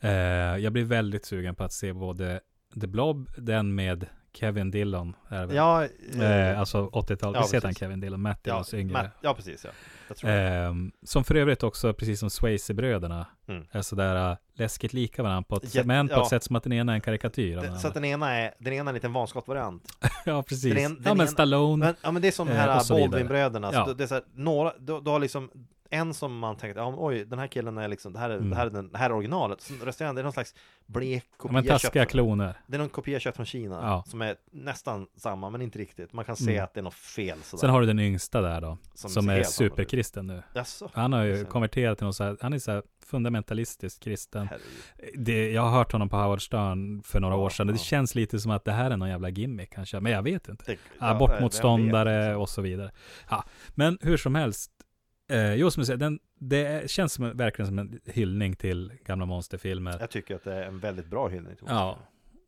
Eh, jag blir väldigt sugen på att se både The Blob, den med Kevin Dillon. Är det väl? ja, eh, Eh, alltså 80-talet. Ja, Visst heter han precis. Kevin Dillon? Matt ja, Dillons yngre. Matt, ja precis ja. Jag tror det. Eh, som för övrigt också, precis som Swayze-bröderna, Mm. är sådär eh, läskigt lika varandra. På ett, Ja, sätt- men på ja. ett sätt som att den ena är en karikatyr. av Det- den Så att andra. den ena är, den ena är en liten vanskott-variant. ja, precis. den en- den ja, men ena- Stallone. Men, ja men det är som de Eh, och här så vidare. Baldwin-bröderna, Ja. så det är så här, några, du, du har liksom en som man tänker, ja, men oj den här killen är liksom, det här är, det här är, den, det här är originalet, Sen resten det är någon slags blek Mm. ja, kopia men köpt taskiga från- kloner. Det är någon kopia köpt från Kina, Ja. som är nästan samma men inte riktigt, man kan se Mm. att det är något fel sådär. Sen har du den yngsta där då, som, Som ser är helt annorlunda ut. superkristen nu. Jaså? Han har Jag ju ser det. konverterat till någon så här, han är så här fundamentalistisk kristen. Herregud. Det, jag har hört honom på Howard Stern för några Ja, år sedan. Det ja. känns lite som att det här är någon jävla gimmick kanske, men jag vet inte. Det- Ja, ja, vem vet? liksom. Abortmotståndare och så vidare. Ja, men hur som helst, Eh, jo, som du säger, den, det är- känns som, verkligen som en hyllning till gamla monsterfilmer. Jag tycker att det är en väldigt bra hyllning till Ja,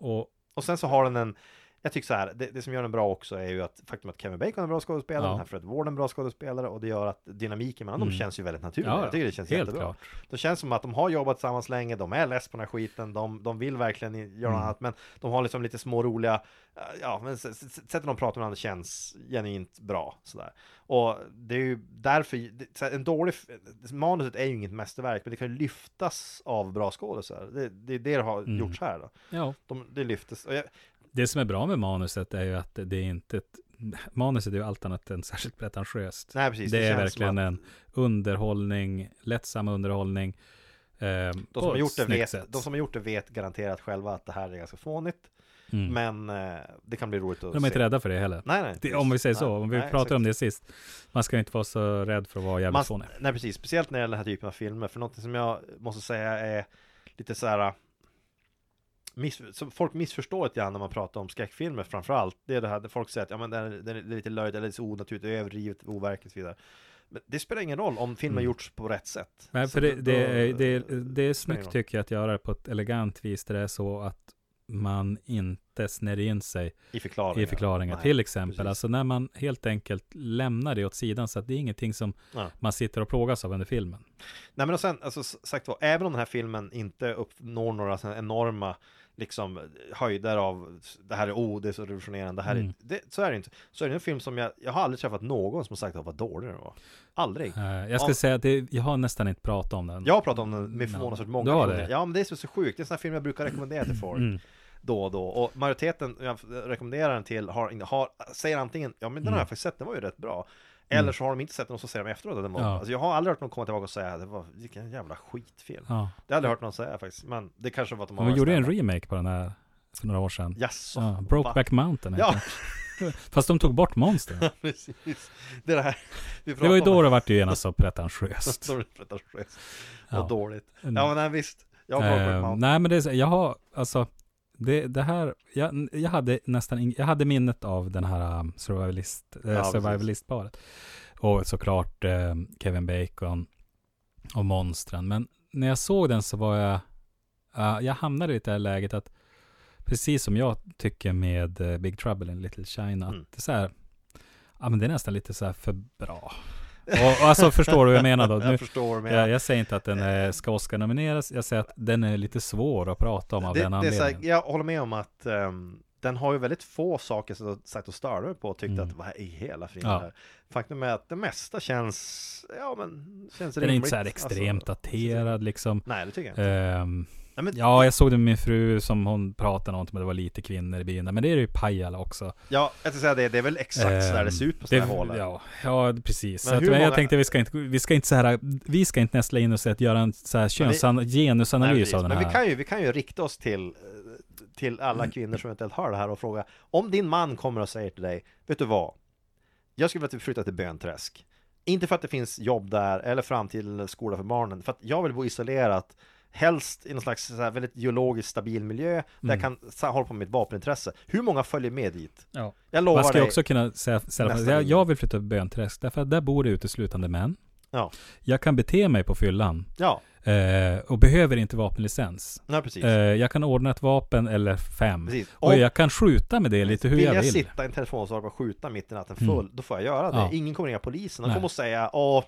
och Och sen så har den en jag tycker så här, det, det som gör den bra också är ju att faktum att Kevin Bacon är en bra skådespelare, Ja. den här Fred Ward är en bra skådespelare och det gör att dynamiken mellan Mm. dem känns ju väldigt naturlig. Ja, jag tycker det känns helt jättebra. klart. Det känns som att de har jobbat tillsammans länge, de är less på den här skiten, de, de vill verkligen i- Mm. göra något annat, men de har liksom lite små roliga, eh, ja, men s- s- sättet de pratar med varandra känns genuint bra sådär. Och det är ju därför, det, så här, en dålig, f- manuset är ju inget mästerverk, men det kan ju lyftas av bra skådisar. Det, det är det det har Mm. gjorts här då. ja, De, det lyftes, och jag, det som är bra med manuset är ju att det är inte ett, manuset är ju allt annat än särskilt pretentiöst. nej precis. det, är känns verkligen som att en underhållning, lättsam underhållning. Eh, de som, har gjort det vet, de som har gjort det vet garanterat själva att det här är ganska fånigt, mm. men men eh, det kan bli roligt att de är se. inte rädda för det heller. Nej, nej. Det, om vi säger så, om vi Nej, pratar om exakt. det sist. Man ska inte vara så rädd för att vara jävligt Man, fånig. nej precis, speciellt när det gäller den här typen av filmer. För någonting som jag måste säga är lite så här eh, miss, som folk missförstår lite grann när man pratar om skräckfilmer framförallt. Det är det här där folk säger att ja, men det, är, det är lite löjligt, eller det är så onaturligt, det är överdrivet, overkligt och så vidare. Men det spelar ingen roll om filmen Mm. gjorts på rätt sätt. Nej, Så för det, då- det, är, det, är, spelar det är ingen snyggt roll. tycker jag att göra det på ett elegant vis där det är så att man inte snärjer in sig I förklaringar. i förklaringar. Nej. till exempel, precis. alltså när man helt enkelt lämnar det åt sidan så att det är ingenting som Ja. man sitter och plågas av under filmen. Nej men och sen, alltså s- sagt var, även om den här filmen inte uppnår några såna enorma liksom höjder av det här är oh, det är så revolutionerande, det här Mm. är, det, så är det inte. Så är det en film som jag, jag har aldrig träffat någon som har sagt att vad dålig den var. Aldrig. Eh, jag ska Ja. säga att det, jag har nästan inte pratat om den. Jag har pratat om den med förvånansvärt många Du har det? personer. Ja men det är så, så sjukt, det är en sån här film jag brukar rekommendera till folk. Mm. Då och då. Och majoriteten jag rekommenderar den till har, har, säger antingen ja men den Mm. har jag faktiskt sett, den var ju rätt bra. Eller så har de inte sett den och så säger de efteråt att den var Ja. alltså, jag har aldrig hört någon komma tillbaka och säga det var vilken jävla skitfilm. Ja. Det har jag aldrig hört någon säga faktiskt, men det kanske var att de har Man varit gjorde en snälla. remake på den här för några år sedan. Jaså? Ja, Va? Brokeback Mountain heter Ja, den. Fast de tog bort monstren. precis. Det, är det, här, vi Det var ju pratar då om det vart ju genast så pretentiöst. Då är det pretentiöst. Ja. Vad dåligt. Ja Mm. men nej, visst. Jag har Brokeback Eh, Mountain. nej men det är så, jag har, alltså, det, det här, jag, jag hade nästan, ing, jag hade minnet av den här um, survivalist, eh, Ja, precis. survivalistparet. Och såklart eh, Kevin Bacon och monstren. Men när jag såg den så var jag, ja, jag hamnade i det här läget att, precis som jag tycker med eh, Big Trouble in Little China, Mm. att det är så här, ja men det är nästan lite så här för bra. Och, och alltså förstår du vad jag menar då? Nu, jag förstår men jag, jag säger inte att den eh, ska Oscar-nomineras, jag säger att den är lite svår att prata om av den det, det är så här, anledningen. jag håller med om att ehm, den har ju väldigt få saker som jag sagt och störde mig på och tyckte Mm. att vad i hela friden Ja. här? Faktum är att det mesta känns, ja men, känns den är rimligt. Alltså, inte så här extremt daterad liksom. Nej det tycker jag inte. Ehm, Nej, men, ja, jag såg det med min fru som hon pratade om att det var lite kvinnor i byn, men det är det ju i Pajala också. ja, jag ska säga det, det är väl exakt så där Ehm, det ser ut på sådana här hål. Ja, ja precis. Men Men, så att, hur men jag många- tänkte vi ska inte, vi ska inte så här, vi ska inte nästla in oss i att göra en så här könsan, Nej, genusanalys precis. av den Men här. Mm. vi kan, ju, vi kan ju rikta oss till, eh, till alla kvinnor som eventuellt hör det här och fråga Om din man kommer och säger till dig Vet du vad? Jag skulle vilja flytta till Bönträsk Inte för att det finns jobb där eller framtid eller skola för barnen För att jag vill bo isolerat Helst i någon slags så här väldigt geologiskt stabil miljö Där Mm. jag kan sa- hålla på med mitt vapenintresse Hur många följer med dit? Ja. Jag Man lovar ska dig ju också kunna säga, säga Nästa jag, linje. jag vill flytta till Bönträsk, därför att där bor det uteslutande män. Ja, Jag kan bete mig på fyllan. ja, Eh, och behöver inte vapenlicens. nej, precis Eh, jag kan ordna ett vapen eller fem. Precis. Och, Och- jag kan skjuta med det lite hur vill jag vill. Mm. sitta i en telefonsvarare och skjuta mitt i natten full, då får jag göra det. Ja. Ingen kommer ringa polisen. De Nej. kommer och säga Åh,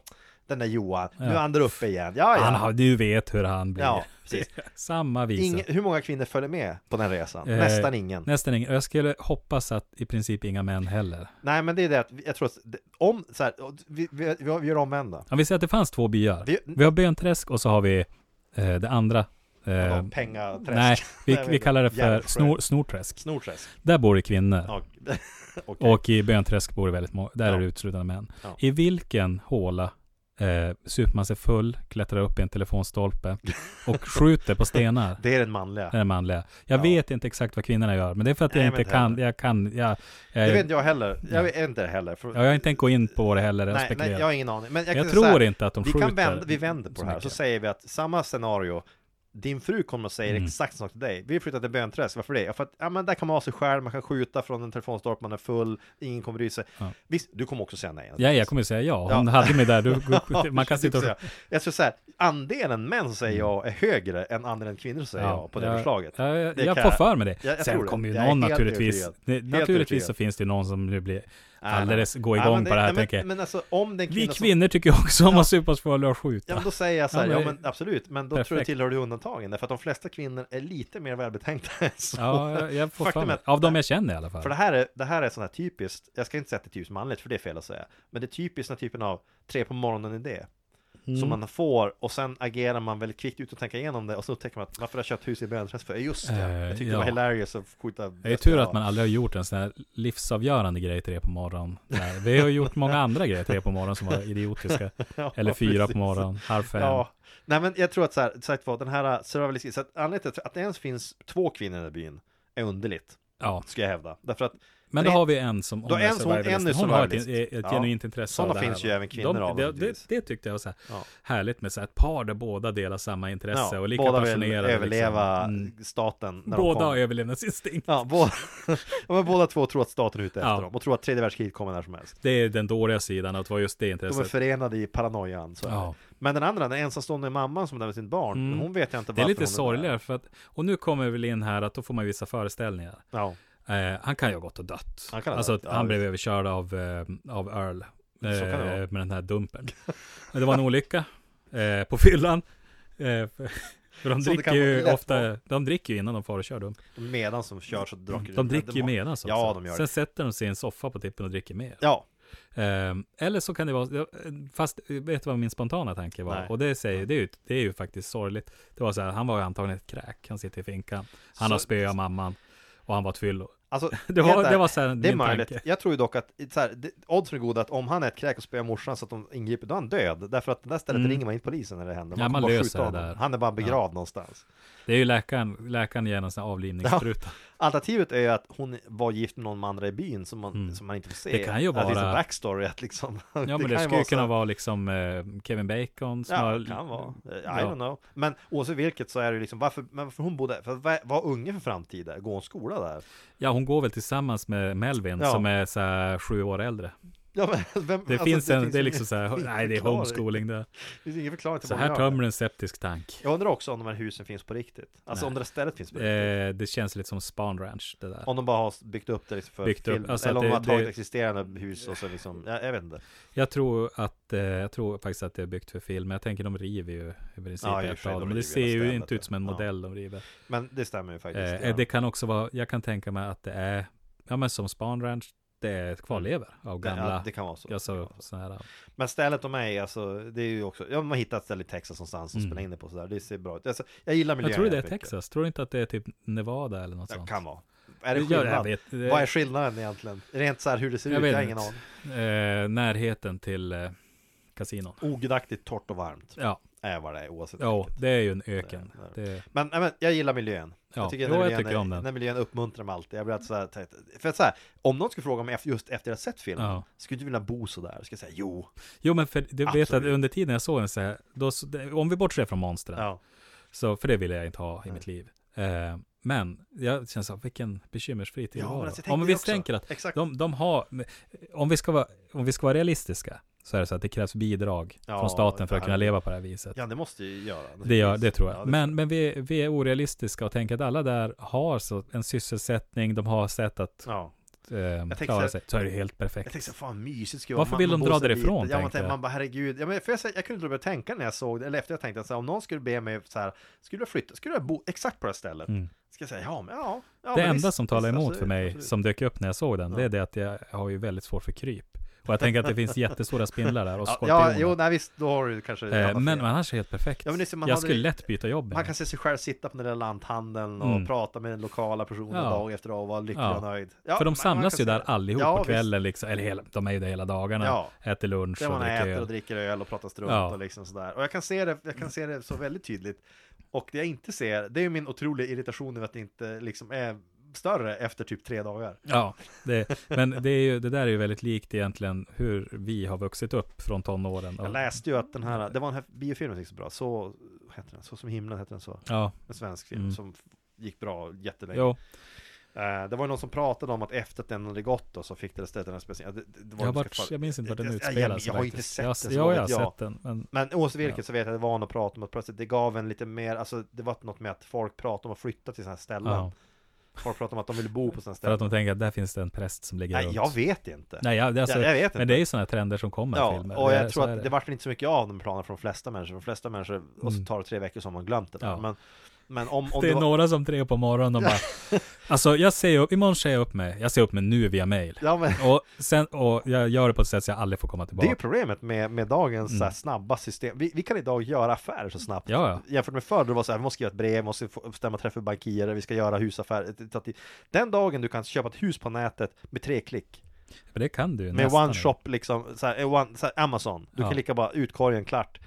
den där Johan, nu är Ja. han där uppe igen. Ja, ja. Han har, du vet hur han blir. ja precis. Samma visa. Ingen, hur många kvinnor följer med på den resan? Eh, Nästan ingen. Nästan ingen. Och jag skulle hoppas att i princip inga män heller. Nej, men det är det att vi- jag tror att det- om så här, vi, vi, vi, vi gör omvända. Om vi säger att det fanns två byar. Vi- Vi, har Bönträsk och så har vi eh, det andra. eh, Äh, Pengaträsk. nej, vi, jag vet vi inte. kallar det för Järvsjö. snor, Snorträsk. Snorträsk. Där bor det kvinnor. Och, okej. Och i Bönträsk bor det väldigt många, där Eh. Ja. är det uteslutande män. Ja. I vilken håla eh, super man sig full, klättrar upp i en telefonstolpe och skjuter på stenar? Det är den manliga. Det är det manliga. Jag Ja. vet inte exakt vad kvinnorna gör, men det är för att Nej, jag men inte det kan, heller. jag kan, jag, eh, Det vet inte jag heller. ja. Jag vet inte det heller. För, ja, jag har inte tänkt gå in på det heller, jag nej, nej, spekulerar. jag har ingen aning. Men jag, jag kan säga så tror här, inte att de vi, skjuter kan vända, vi vänder på så det här, mycket. så säger vi att samma scenario din fru kommer och Mm. säger exakt samma sak till dig. Vi flyttar till Bönträsk, varför det? Ja, för att, ja, men där kan man ha sig själv, man kan skjuta från en telefonstolpe, man är full, ingen kommer bry sig. Visst, du kommer också säga nej. Ja, jag kommer ju säga ja. Hon Ja. hade mig där. Du, man kan Typ sitta och... säga. Jag skulle säga, andelen män säger ja är högre än andelen kvinnor säger ja, på det jag, förslaget. Ja, jag, Det jag kan får för mig det. jag- jag tror Sen det. kommer ju Jag är någon helt naturligtvis. övertygad. Det, Helt naturligtvis så övertygad. finns det ju någon som nu blir Nej, nej. alldeles går Nej, igång men det- på det här nej, men, tänker jag. Men alltså om den Vi kvinna som- kvinnor tycker jag också om att supas på och skjuta. Ja men då säger jag så här, Ja, ja men- men, absolut, men då tror Perfekt. jag tillhör du undantagen, därför att de flesta kvinnor är lite mer välbetänkta än så. Ja, jag, jag får Faktum för är mig. att- Av de jag känner i alla fall. För det här är, det här är sån här typiskt, jag ska inte säga att det är typiskt manligt, för det är fel att säga, men det är typiskt den här typen av tre på morgonen-idé. Mm. Som man får och sen agerar man väldigt kvickt ut och tänker igenom det och så upptäcker man att varför har jag köpt hus i Böneträsk för? Ja, Just det, Eh, jag tyckte ja. det var hilarious att skjuta Det är ju tur att man aldrig har gjort en sån här livsavgörande grej till det på morgonen. Nej, vi har gjort många andra grejer till det på morgonen som var idiotiska. Ja, Eller fyra precis. på morgonen, halv fem. Ja, nej men jag tror att så här, sagt vad, den här survivalistiska, så att anledningen till att det ens finns två kvinnor i den här byn är underligt, Ja. ska jag hävda. Därför att Men då Det- har vi en som Då hon är en som- en är survivalist. Hon har ett, survivalist. ett Ja. genuint intresse Sådana av det här, finns ju va? även kvinnor De, av, det, det, naturligtvis. det tyckte jag var så här Ja. härligt med så här ett par där båda delar samma intresse ja, och lika båda vill passionerade. överleva Liksom. Mm. staten när Båda de har kommer. överlevnadsinstinkt. Ja, båda, ja, men båda två tror att staten är ute efter Ja. dem och tror att tredje världskriget kommer när som helst. Det är den dåliga sidan att vara just det De är intresset. förenade i paranoian. Så är Ja. det. Men den andra, den ensamstående mamman som där med sin barn, Mm. hon vet jag inte Det är varför lite hon där. sorgligare för att, och nu kommer vi väl in här att då får man vissa föreställningar. Ja, Eh, han kan ju ha gått och dött. Han kan ha alltså dött, att ja, han visst. blev överkörd av, eh, av Earl. Eh, det vara. med den här dumpen. Men det var en olycka eh, på fyllan. Eh, för- för de Så det dricker kan vara ju lätt ofta, de dricker ju innan de far och kör. De, medan som kör så dricker de dricker ju medan också. Ja, de gör Sen det. sätter de sig i en soffa på tippen och dricker mer. Ja, Eh, eller så kan det vara, fast vet du vad min spontana tanke var? Nej. Och det, säger, det, är ju, det är ju faktiskt sorgligt. Det var så här, han var ju antagligen ett kräk. Han sitter i finkan. Han Så- har spöat mamman. Och han var ett fyllo. alltså, Det helt var, det ärligt, var så här Det är min möjligt. tanke. Jag tror ju dock att så här, det, oddsen är goda att om han är ett kräk och spöar morsan så att de ingriper, då är han död. Därför att det där stället Mm. ringer man inte polisen när det händer. Ja, kommer man bara löser skjuta det honom. där. Han är bara begravd någonstans. Det är ju läkaren, läkaren ger en sån här avlivningsspruta. Alternativet är ju att hon var gift med någon andra i byn som man, som man inte får se. Mm. Det kan ju Att det är vara- som backstory att liksom. Ja, men kan det, ju skulle ju så- kunna vara liksom eh, Kevin Bacon som Ja, har... det kan vara. I Ja. don't know. Men oavsett vilket så är det ju liksom varför, men varför hon bodde, för vad- vad unge för framtiden? Går hon skola där? Ja, hon går väl tillsammans med Melvin Ja. som är så här sju år äldre. Ja, men, vem, Det alltså, finns en, det är ingen- liksom så här, ingen nej det är förklaring. homeschooling det. Det finns ingen förklaring till Så vad hon här gör. tömmer en septisk tank. Jag undrar också om de här husen finns på riktigt. Alltså Nej. om det där stället finns på riktigt. Eh, det känns lite som Spawn Ranch det där. Om de bara har byggt upp det liksom för Byggt upp, film, alltså eller att om de har det- tagit det- existerande hus och så liksom, jag, jag vet inte. Jag tror att, eh, jag tror faktiskt att det är byggt för film. Jag tänker de river ju i princip Ja, i och för ett sig, av de dem. Men det river ser hela ju stället, inte ut som en ja. modell de river. Men det stämmer ju faktiskt. Eh, ja. det kan också vara, jag kan tänka mig att det är, ja men som Spawn Ranch, det är ett kvarlevor av Mm. Det- gamla, ja, det kan vara så. alltså sådana här, Men stället de är i, alltså, det är ju också, ja man hittat ett ställe i Texas någonstans som Mm. spelar in det på sådär, det ser bra ut. Alltså, jag gillar miljön jag tror det är jävligt mycket. Texas, tror du inte att det är typ Nevada eller något Ja, sånt? kan vara. Är det Ja, jag skillnad? vet, eh, det- Vad är skillnaden egentligen? Rent så här hur det ser Jag ut, vet jag har ingen inte. aning. Eh, närheten till eh, kasinon. Ogudaktigt torrt och varmt Ja, är vad det är oavsett ja vilket. det är ju en öken. Det- Det, Men, nej, men jag gillar miljön. Ja, Jag tycker, jo, när, jag miljön tycker är, om den. när miljön uppmuntrar mig alltid. Jag blir alltid så här, tänkt- för att så här, om någon skulle fråga mig efter- just efter jag sett filmen, Ja. skulle du vilja bo så där? Ska jag säga jo. jo, men för du vet att Absolut. under tiden jag såg den så här, då, så- det- om vi bortser från monstren, Ja. så, för det ville jag inte ha i mitt liv. Eh, men jag känner så här, vilken bekymmersfri Ja, men tillvaro. alltså, jag tänkte om det vi också. tänker att Exakt. de, de har, om vi, ska vara, om vi ska vara realistiska, så är det så att det krävs bidrag Ja, från staten för att det kunna här- leva på det här viset. Ja, det måste ju göra. Det, gör, det tror jag. Ja, men men vi, vi är orealistiska och tänker att alla där har så en sysselsättning, de har sätt att Ja. eh, tänkte klara så här- sig. Så är det helt Jag perfekt. tänkte så fan mysigt skulle Varför vill de bor dra så lite. därifrån, Ja, man, tänkte tänkte, jag. man bara herregud. Ja, men för jag, jag kunde inte börja tänka när jag såg det, eller efter jag tänkte så här, om någon skulle be mig så här, skulle jag flytta, skulle jag bo exakt på det här stället? Mm. Ska jag säga ja, men ja. ja det men enda visst, som talar visst, emot för absolut, mig, absolut. som dök upp när jag såg den, det är det att jag har ju väldigt svårt för kryp. Och jag tänker att det finns jättestora spindlar där och Ja, ja, skorpioner. jo, nej visst, då har du kanske eh, hamnat men, men fel. annars är det helt perfekt. Ja, men det är så man jag hade- skulle lätt byta jobb. Man kan se sig själv sitta på den där lanthandeln och Mm. prata med den lokala personen Ja. dag efter dag och vara lycklig Ja. och nöjd. Ja, för man- de man samlas ju kan se där det. allihop Ja, på visst. kvällen, liksom, eller hela, de är ju där hela dagarna, Ja. äter lunch Där och man dricker äter öl. och dricker öl och pratar strunt Ja. och liksom sådär. Och jag kan, se det, jag kan se det så väldigt tydligt. Och det jag inte ser, det är ju min otroliga irritation över att det inte liksom är större efter typ tre dagar. Ja, det, men det, är ju, det där är ju väldigt likt egentligen hur vi har vuxit upp från tonåren. Jag läste ju att den här, det var den här biofilmen som gick så bra, så vad heter den? Så som himlen heter den så. Ja, En svensk film Mm. som f- gick bra jättelänge. jo. Eh, det var ju någon som pratade om att efter att den hade gått då så fick det istället den här speciella... Det, det, det var Jag, har en varit, speciell- jag minns inte var den Jag- jag- jag- utspelar sig jag har faktiskt. inte sett jag, den, så Jo, vad jag har vet jag. sett den. Men Men oavsett vilket Ja. så vet jag att det var någon att prata om att plötsligt det gav en lite mer, alltså det var något med att folk pratade om att flytta till sådana här ställen. ja, Folk pratade om att de ville bo på sådana för ställen. att de tänker att där finns det en präst som ligger Nej, runt. jag vet inte. Nej, jag, det är alltså, jag, jag vet inte. men det är ju sådana trender som kommer i ja, filmer. och Det jag är- tror så är att det vart inte så mycket av de planerna från de flesta människor. De flesta människor, och så Mm. tar det tre veckor så har man glömt det. där. Ja. Men, men om, om det är var... några som tre på morgonen och bara Alltså jag säger upp, imorgon säger jag upp mig Jag säger upp mig nu via mail Ja, men... Och sen, och jag gör det på ett sätt så jag aldrig får komma Det är ju tillbaka problemet med, med dagens Mm. så här, snabba system. Vi, vi kan idag göra affärer så snabbt. Ja, ja. Jämfört med förr, då var det så här, vi måste skriva ett brev, måste få- stämma träff med bankirer, vi ska göra husaffärer. Det tar tid. Den dagen du kan köpa ett hus på nätet med tre klick, För det kan du ju med nästan one inte. shop liksom, så här, eh, one, så här, Amazon. Du Ja. kan lika bara ut korgen klart.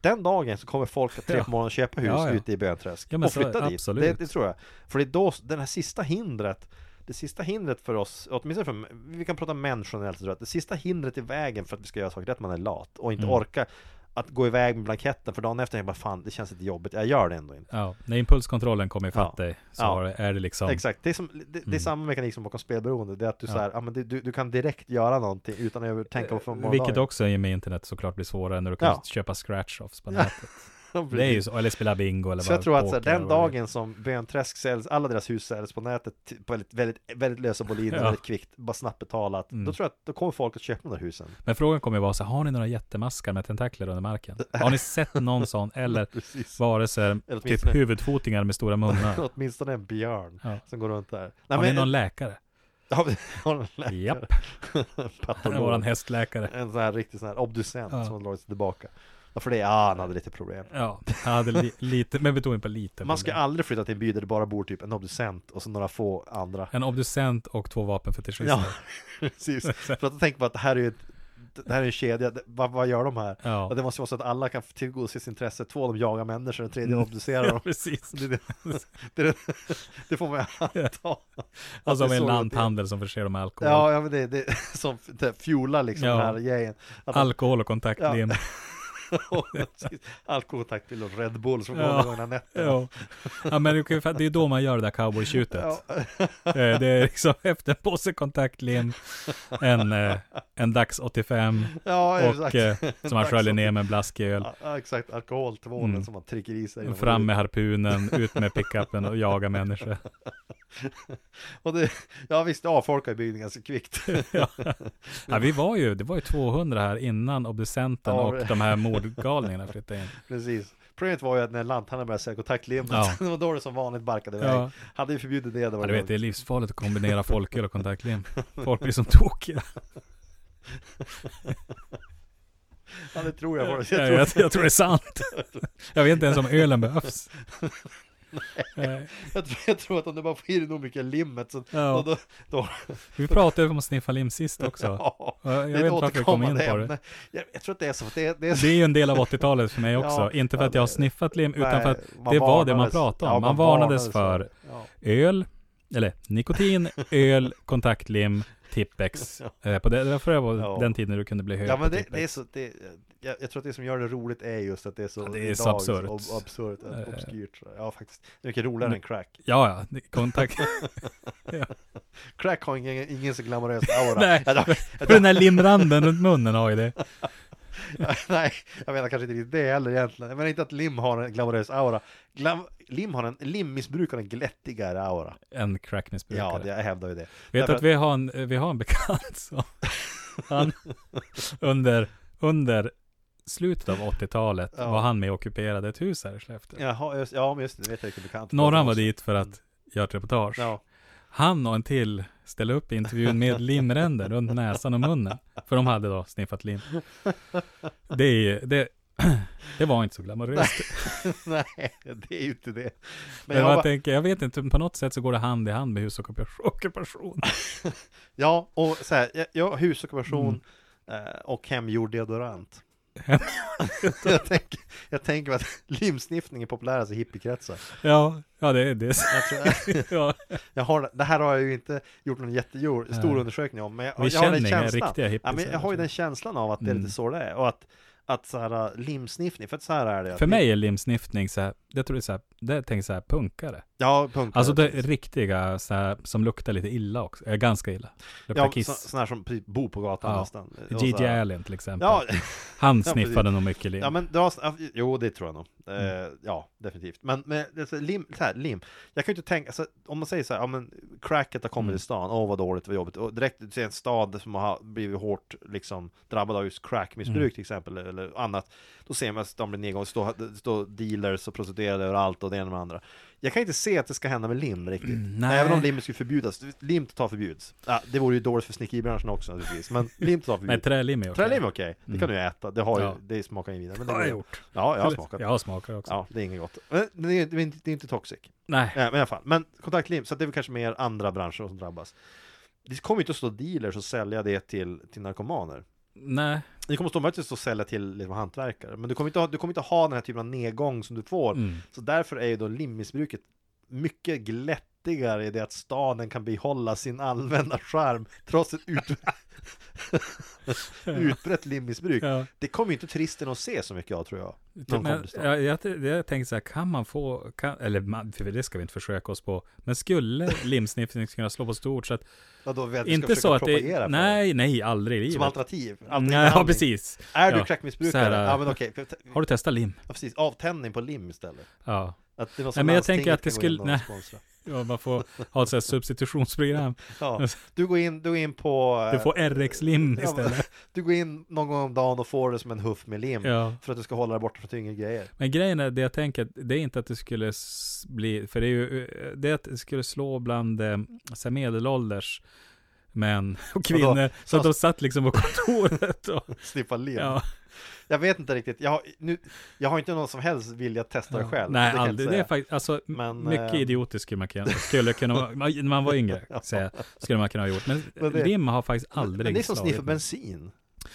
Den dagen så kommer folk att tre Ja. på morgonen och köpa hus Ja, ja. ute i Böntrösk Ja, men och så- flytta dit. absolut. Det, det tror jag. För det är då, den här sista hindret det sista hindret för oss, åtminstone för, vi kan prata män generellt tror jag, det sista hindret i vägen för att vi ska göra saker rätt, man är lat och inte Mm. orkar att gå iväg med blanketten för dagen efter, jag bara fan, det känns lite jobbigt, jag gör det ändå inte. Ja, när impulskontrollen kommer ifatt Ja. dig Så Ja. har- är det liksom Exakt, det är, som, det, det är Mm. samma mekanik som bakom spelberoende, det är att du, Ja. så här, ja, men du, du, du kan direkt göra någonting utan att över- tänka på från Vilket också i och med internet såklart blir svårare när du kan Ja. köpa scratch-offs på Ja, nätet också, Det är ju så, eller spela bingo eller Så jag bara tror att så här, poker den eller vad det är. dagen som Bönträsk säljs, alla deras hus säljs på nätet t- på väldigt, väldigt, väldigt lösa boliner, Ja. väldigt kvickt, bara snabbt betalat, Mm. då tror jag att då kommer folk att köpa de där husen. Men frågan kommer ju vara så här, har ni några jättemaskar med tentakler under marken? Har ni sett någon sån? Eller Precis. varelser, Eller typ åtminstone- huvudfotingar med stora munnar? Åtminstone en björn Ja. som går runt där. Nej, Har ni någon läkare? har vi- har någon läkare? Japp, det är Patolog. våran hästläkare. En sån här riktig sån här obducent Ja. som har dragit sig tillbaka. Ja, för det, ja, han hade lite problem. Ja, han hade li lite, men betoning på lite. Man ska problem. aldrig flytta till en by där det bara bor typ en obducent och så några få andra. En obducent och två vapenfetischister. Ja, Ja. precis. För att tänka på att det här är ju ett, det här är en kedja, Det- vad, vad gör de här? Ja. Och det måste ju vara så att alla kan tillgodose sitt intresse, två de jagar människor, den tredje Mm. obducerar dem. precis. Det, är det, det, är det, det får man ju anta. Och så Att det med är en så det- lanthandel som förser dem med alkohol. Ja, ja men det, det som det fuelar liksom Ja. den här grejen. Att de- alkohol och kontaktlim. Alkoholkontakt till Red Bull som Ja. går igång den nätterna. Ja. ja, men det är ungefär- det är då man gör det där cowboytjutet. Ja. Eh, Det är liksom efter en påse kontaktlim, en, eh, en Dax 85 ja, och exakt. eh, som man Dags sköljer 85. ner med en blaskig öl. Ja, exakt. Alkoholtvålen Mm. som man trycker i sig. Fram med harpunen, ut med pickupen och jaga människor. Och det, ja visst, det avfolkar ju bygden ganska kvickt. Ja. Ja, vi var ju, det var ju 200 här innan obducenten Ja, och det- de här mordgalningarna flyttade in. Precis. Problemet var ju att när lanthandeln började sälja kontaktlimmet, Ja. det var då det som vanligt barkade iväg. Ja. Hade ju förbjudit det, det Ja, var du vet, det är lugnt. livsfarligt att kombinera folköl och kontaktlim. Folk blir som tokiga. ja, det tror jag. var- Jag, Jag tror jag, jag tror det är sant. Jag vet inte ens om ölen behövs. Nej. Jag tror, jag tror att om du bara får i dig nog mycket limmet så Ja. då, då, Vi pratade om att sniffa lim sist också. ja, Jag jag det vet är ett inte varför vi kom in återkommande på det. ämne. Jag, jag tror att det är så, att det, det är så Det är ju en del av 80-talet för mig Ja, också. inte för att jag har det- sniffat lim, utan Nej, för att man det var det man varnades. pratade om. Ja, man, varnades för Ja. öl, eller nikotin, öl, kontaktlim, Tippex. Eh, På det, det var för jag var Ja. den tiden du kunde bli hög Ja men på det, Tippex. det är så, det, jag, jag tror att det som gör det roligt är just att det är så Ja, det är idag, så så absurt. ob- absurt, Eh. obskyrt Ja faktiskt, det är mycket roligare än crack Ja, ja, det- kontakt. Crack har ingen, ingen så glamorös aura Nej. jag, jag, För den där limranden runt munnen har ju det. Nej, jag menar kanske inte riktigt det heller egentligen Jag menar inte att lim har en glamorös aura Glam, Lim har en, limmissbruk har en glättigare aura En Ja, crackmissbrukare. det, jag hävdar ju det Vet därför att vi har en, vi har en bekant som, han, under, under slutet av 80-talet Ja. var han med och ockuperade ett hus här i Skellefteå. Jaha, just, ja men just det, det vet jag inte bekant Norran var dit för att göra ett reportage. Ja, Han och en till ställde upp i intervjun med limränder runt näsan och munnen. För de hade då sniffat lim. Det, är ju- det, det var inte så glamoröst. nej, det är ju inte det Men jag, tänker, jag vet inte, på något sätt så går det hand i hand med husockupation. Ja, och så här, jag, jag har husockupation Mm. eh, och hemgjord deodorant. jag, tänker, jag tänker mig att limsniffning är populärast i hippiekretsar. Ja, ja det är det. Jag, tror, Ja. jag har, det här har jag ju inte gjort någon jättestor Nej. undersökning om, men jag, Vi jag har den känner inga känslan. riktiga Ja, men jag har ju den hippies. känslan av att det är Mm. lite så det är och att att så här limsniffning, för att så här är det att- För mig är limsniftning så här, jag tror det är så här, det tänker så här punkare. Ja, punkare. Alltså det riktiga så här, som luktar lite illa också, äh, ganska illa. Luktar Ja, så, kiss. sån här som precis bor på gatan Ja. nästan. Och så Gigi här- Allen till exempel. Ja, Han precis. sniffade nog mycket lim. Mm. ja, men det var, jo det tror jag nog. Eh, ja, definitivt. Men, men alltså, lim, så här, lim, jag kan ju inte tänka, alltså, om man säger så här, ja men cracket har Mm. kommit till stan, åh vad dåligt, vad jobbigt. Och direkt till en stad som har blivit hårt liksom, drabbad av just crackmissbruk Mm. till exempel, eller annat. Då ser man att de blir nedgång, står står dealers och prostituerade överallt och det ena med det andra. Jag kan inte se att det ska hända med lim riktigt. Mm, nej. Även om lim skulle förbjudas, lim totalt förbjuds. Ja, det vore ju dåligt för snickeribranschen också naturligtvis, men lim totalt Nej, förbjuds. trälim är okej. Mm. Trälim är okej, det kan du ju äta, det, har ju, Ja. det smakar ju vidare. Men det Det har går- jag gjort. Ja, jag har smakat. Jag har smakat också. Ja, det är inget gott. Men det är, det är inte, det är inte toxic. Nej. Nej, men i alla fall. Men kontaktlim, så det är väl kanske mer andra branscher som drabbas. Det kommer ju inte att stå dealers och sälja det till, till narkomaner. Nej. Det kommer stå möjligtvis att sälja till liksom, hantverkare. Men du kommer, inte ha, du kommer inte ha den här typen av nedgång som du får. Mm. Så därför är ju då limmissbruket mycket glättigare i det att staden kan behålla sin allmänna charm trots ett ut... utbrett limmissbruk. Ja. Det kommer ju inte turisterna att se så mycket av tror jag. Någon Typ, kommer Men, till stan. jag, jag, jag tänker så här, kan man få, kan, eller man, för det ska vi inte försöka oss på, men skulle limsniffning kunna slå på stort så att, Vadå, vi ska inte försöka så att propagera det, för nej, nej, aldrig i det? livet. Som alternativ? alternativ Nej, ja, behandling. precis. Är du Ja, crackmissbrukare? så här, ja men okej, Har du testat lim? ja, precis, avtändning på lim istället Ja. att det var Nej, men jag tänker att det skulle- nej. Sponsra. ja man får ha ett så här substitutionsprogram. Ja, du går in, du går in på... Du eh, får RX-lim ja, men- istället. Du går in någon gång om dagen och får det som en huff med lim Ja. För att du ska hålla dig borta från tyngre grejer Men grejen är, det jag tänker, det är inte att det skulle s- bli, för det är ju, eh, det är att det skulle slå bland eh, så här medelålders män och kvinnor. Så att de satt liksom på kontoret och, Sniffa lim ja. Jag vet inte riktigt, jag har, nu, jag har inte någon som helst vilja att testa det själv Nej, kan jag aldrig. inte Det är säga. faktiskt, alltså, m- Men, mycket eh, idiotiskt skulle man kunna, skulle kunna vara- man- när man var yngre, säga, skulle man kunna ha gjort. Men, Men det- lim har faktiskt aldrig Men det är som slagit sniffa mig. bensin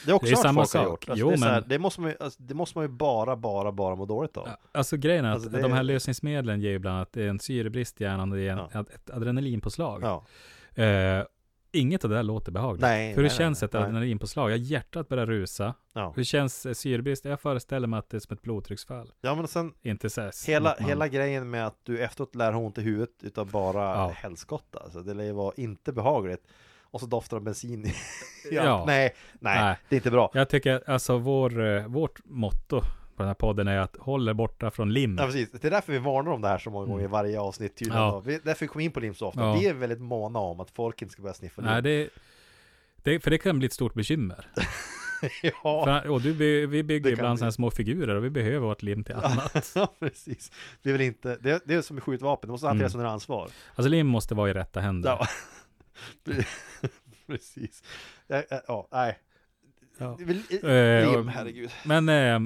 Det är också Det är något samma folk har sak. gjort alltså, Jo, det, är så här, men- det, måste man ju, alltså, det måste man ju bara, bara, bara må dåligt av Ja, Alltså grejen är att Alltså, det- de här lösningsmedlen ger ju bland annat en syrebrist i hjärnan och det ger en, Ja. ett adrenalinpåslag. Ja. Eh, inget av det där låter behagligt. Nej, Hur nej, det känns nej, ett nej. adrenalinpåslag? Ja, hjärtat börjar rusa. Ja. Hur känns eh, syrebrist? Jag föreställer mig att det är som ett blodtrycksfall. ja, men sen Inte så här Hela, att man- hela grejen med att du efteråt lär ha ont i huvudet utav bara Ja. helskotta. Alltså, det lär ju vara inte behagligt. Och så doftar det bensin i i Ja. allt. nej, nej, Nej. det är inte bra. Jag tycker alltså vår, eh, vårt motto på den här podden är att håll er borta från lim. Ja, precis. Det är därför vi varnar om det här så många gånger i varje avsnitt. Tydligen. Mm. Ja. då. Vi, därför vi kommer in på lim så ofta. Ja. Vi är väldigt måna om att folk inte ska börja sniffa Nej, lim. det, det, för det kan bli ett stort bekymmer. Ja, För, och du, by- vi bygger Det kan ibland bli. sådana här små figurer och vi behöver vårt lim till annat. ja, precis. Det är väl inte, det, det är som med skjutvapen, det måste Mm. hanteras under ansvar. Alltså lim måste vara i rätta händer. Ja. precis. Ja, ja, ja, nej. Ja. Det är väl- Eh, Lim, och- herregud. Men eh,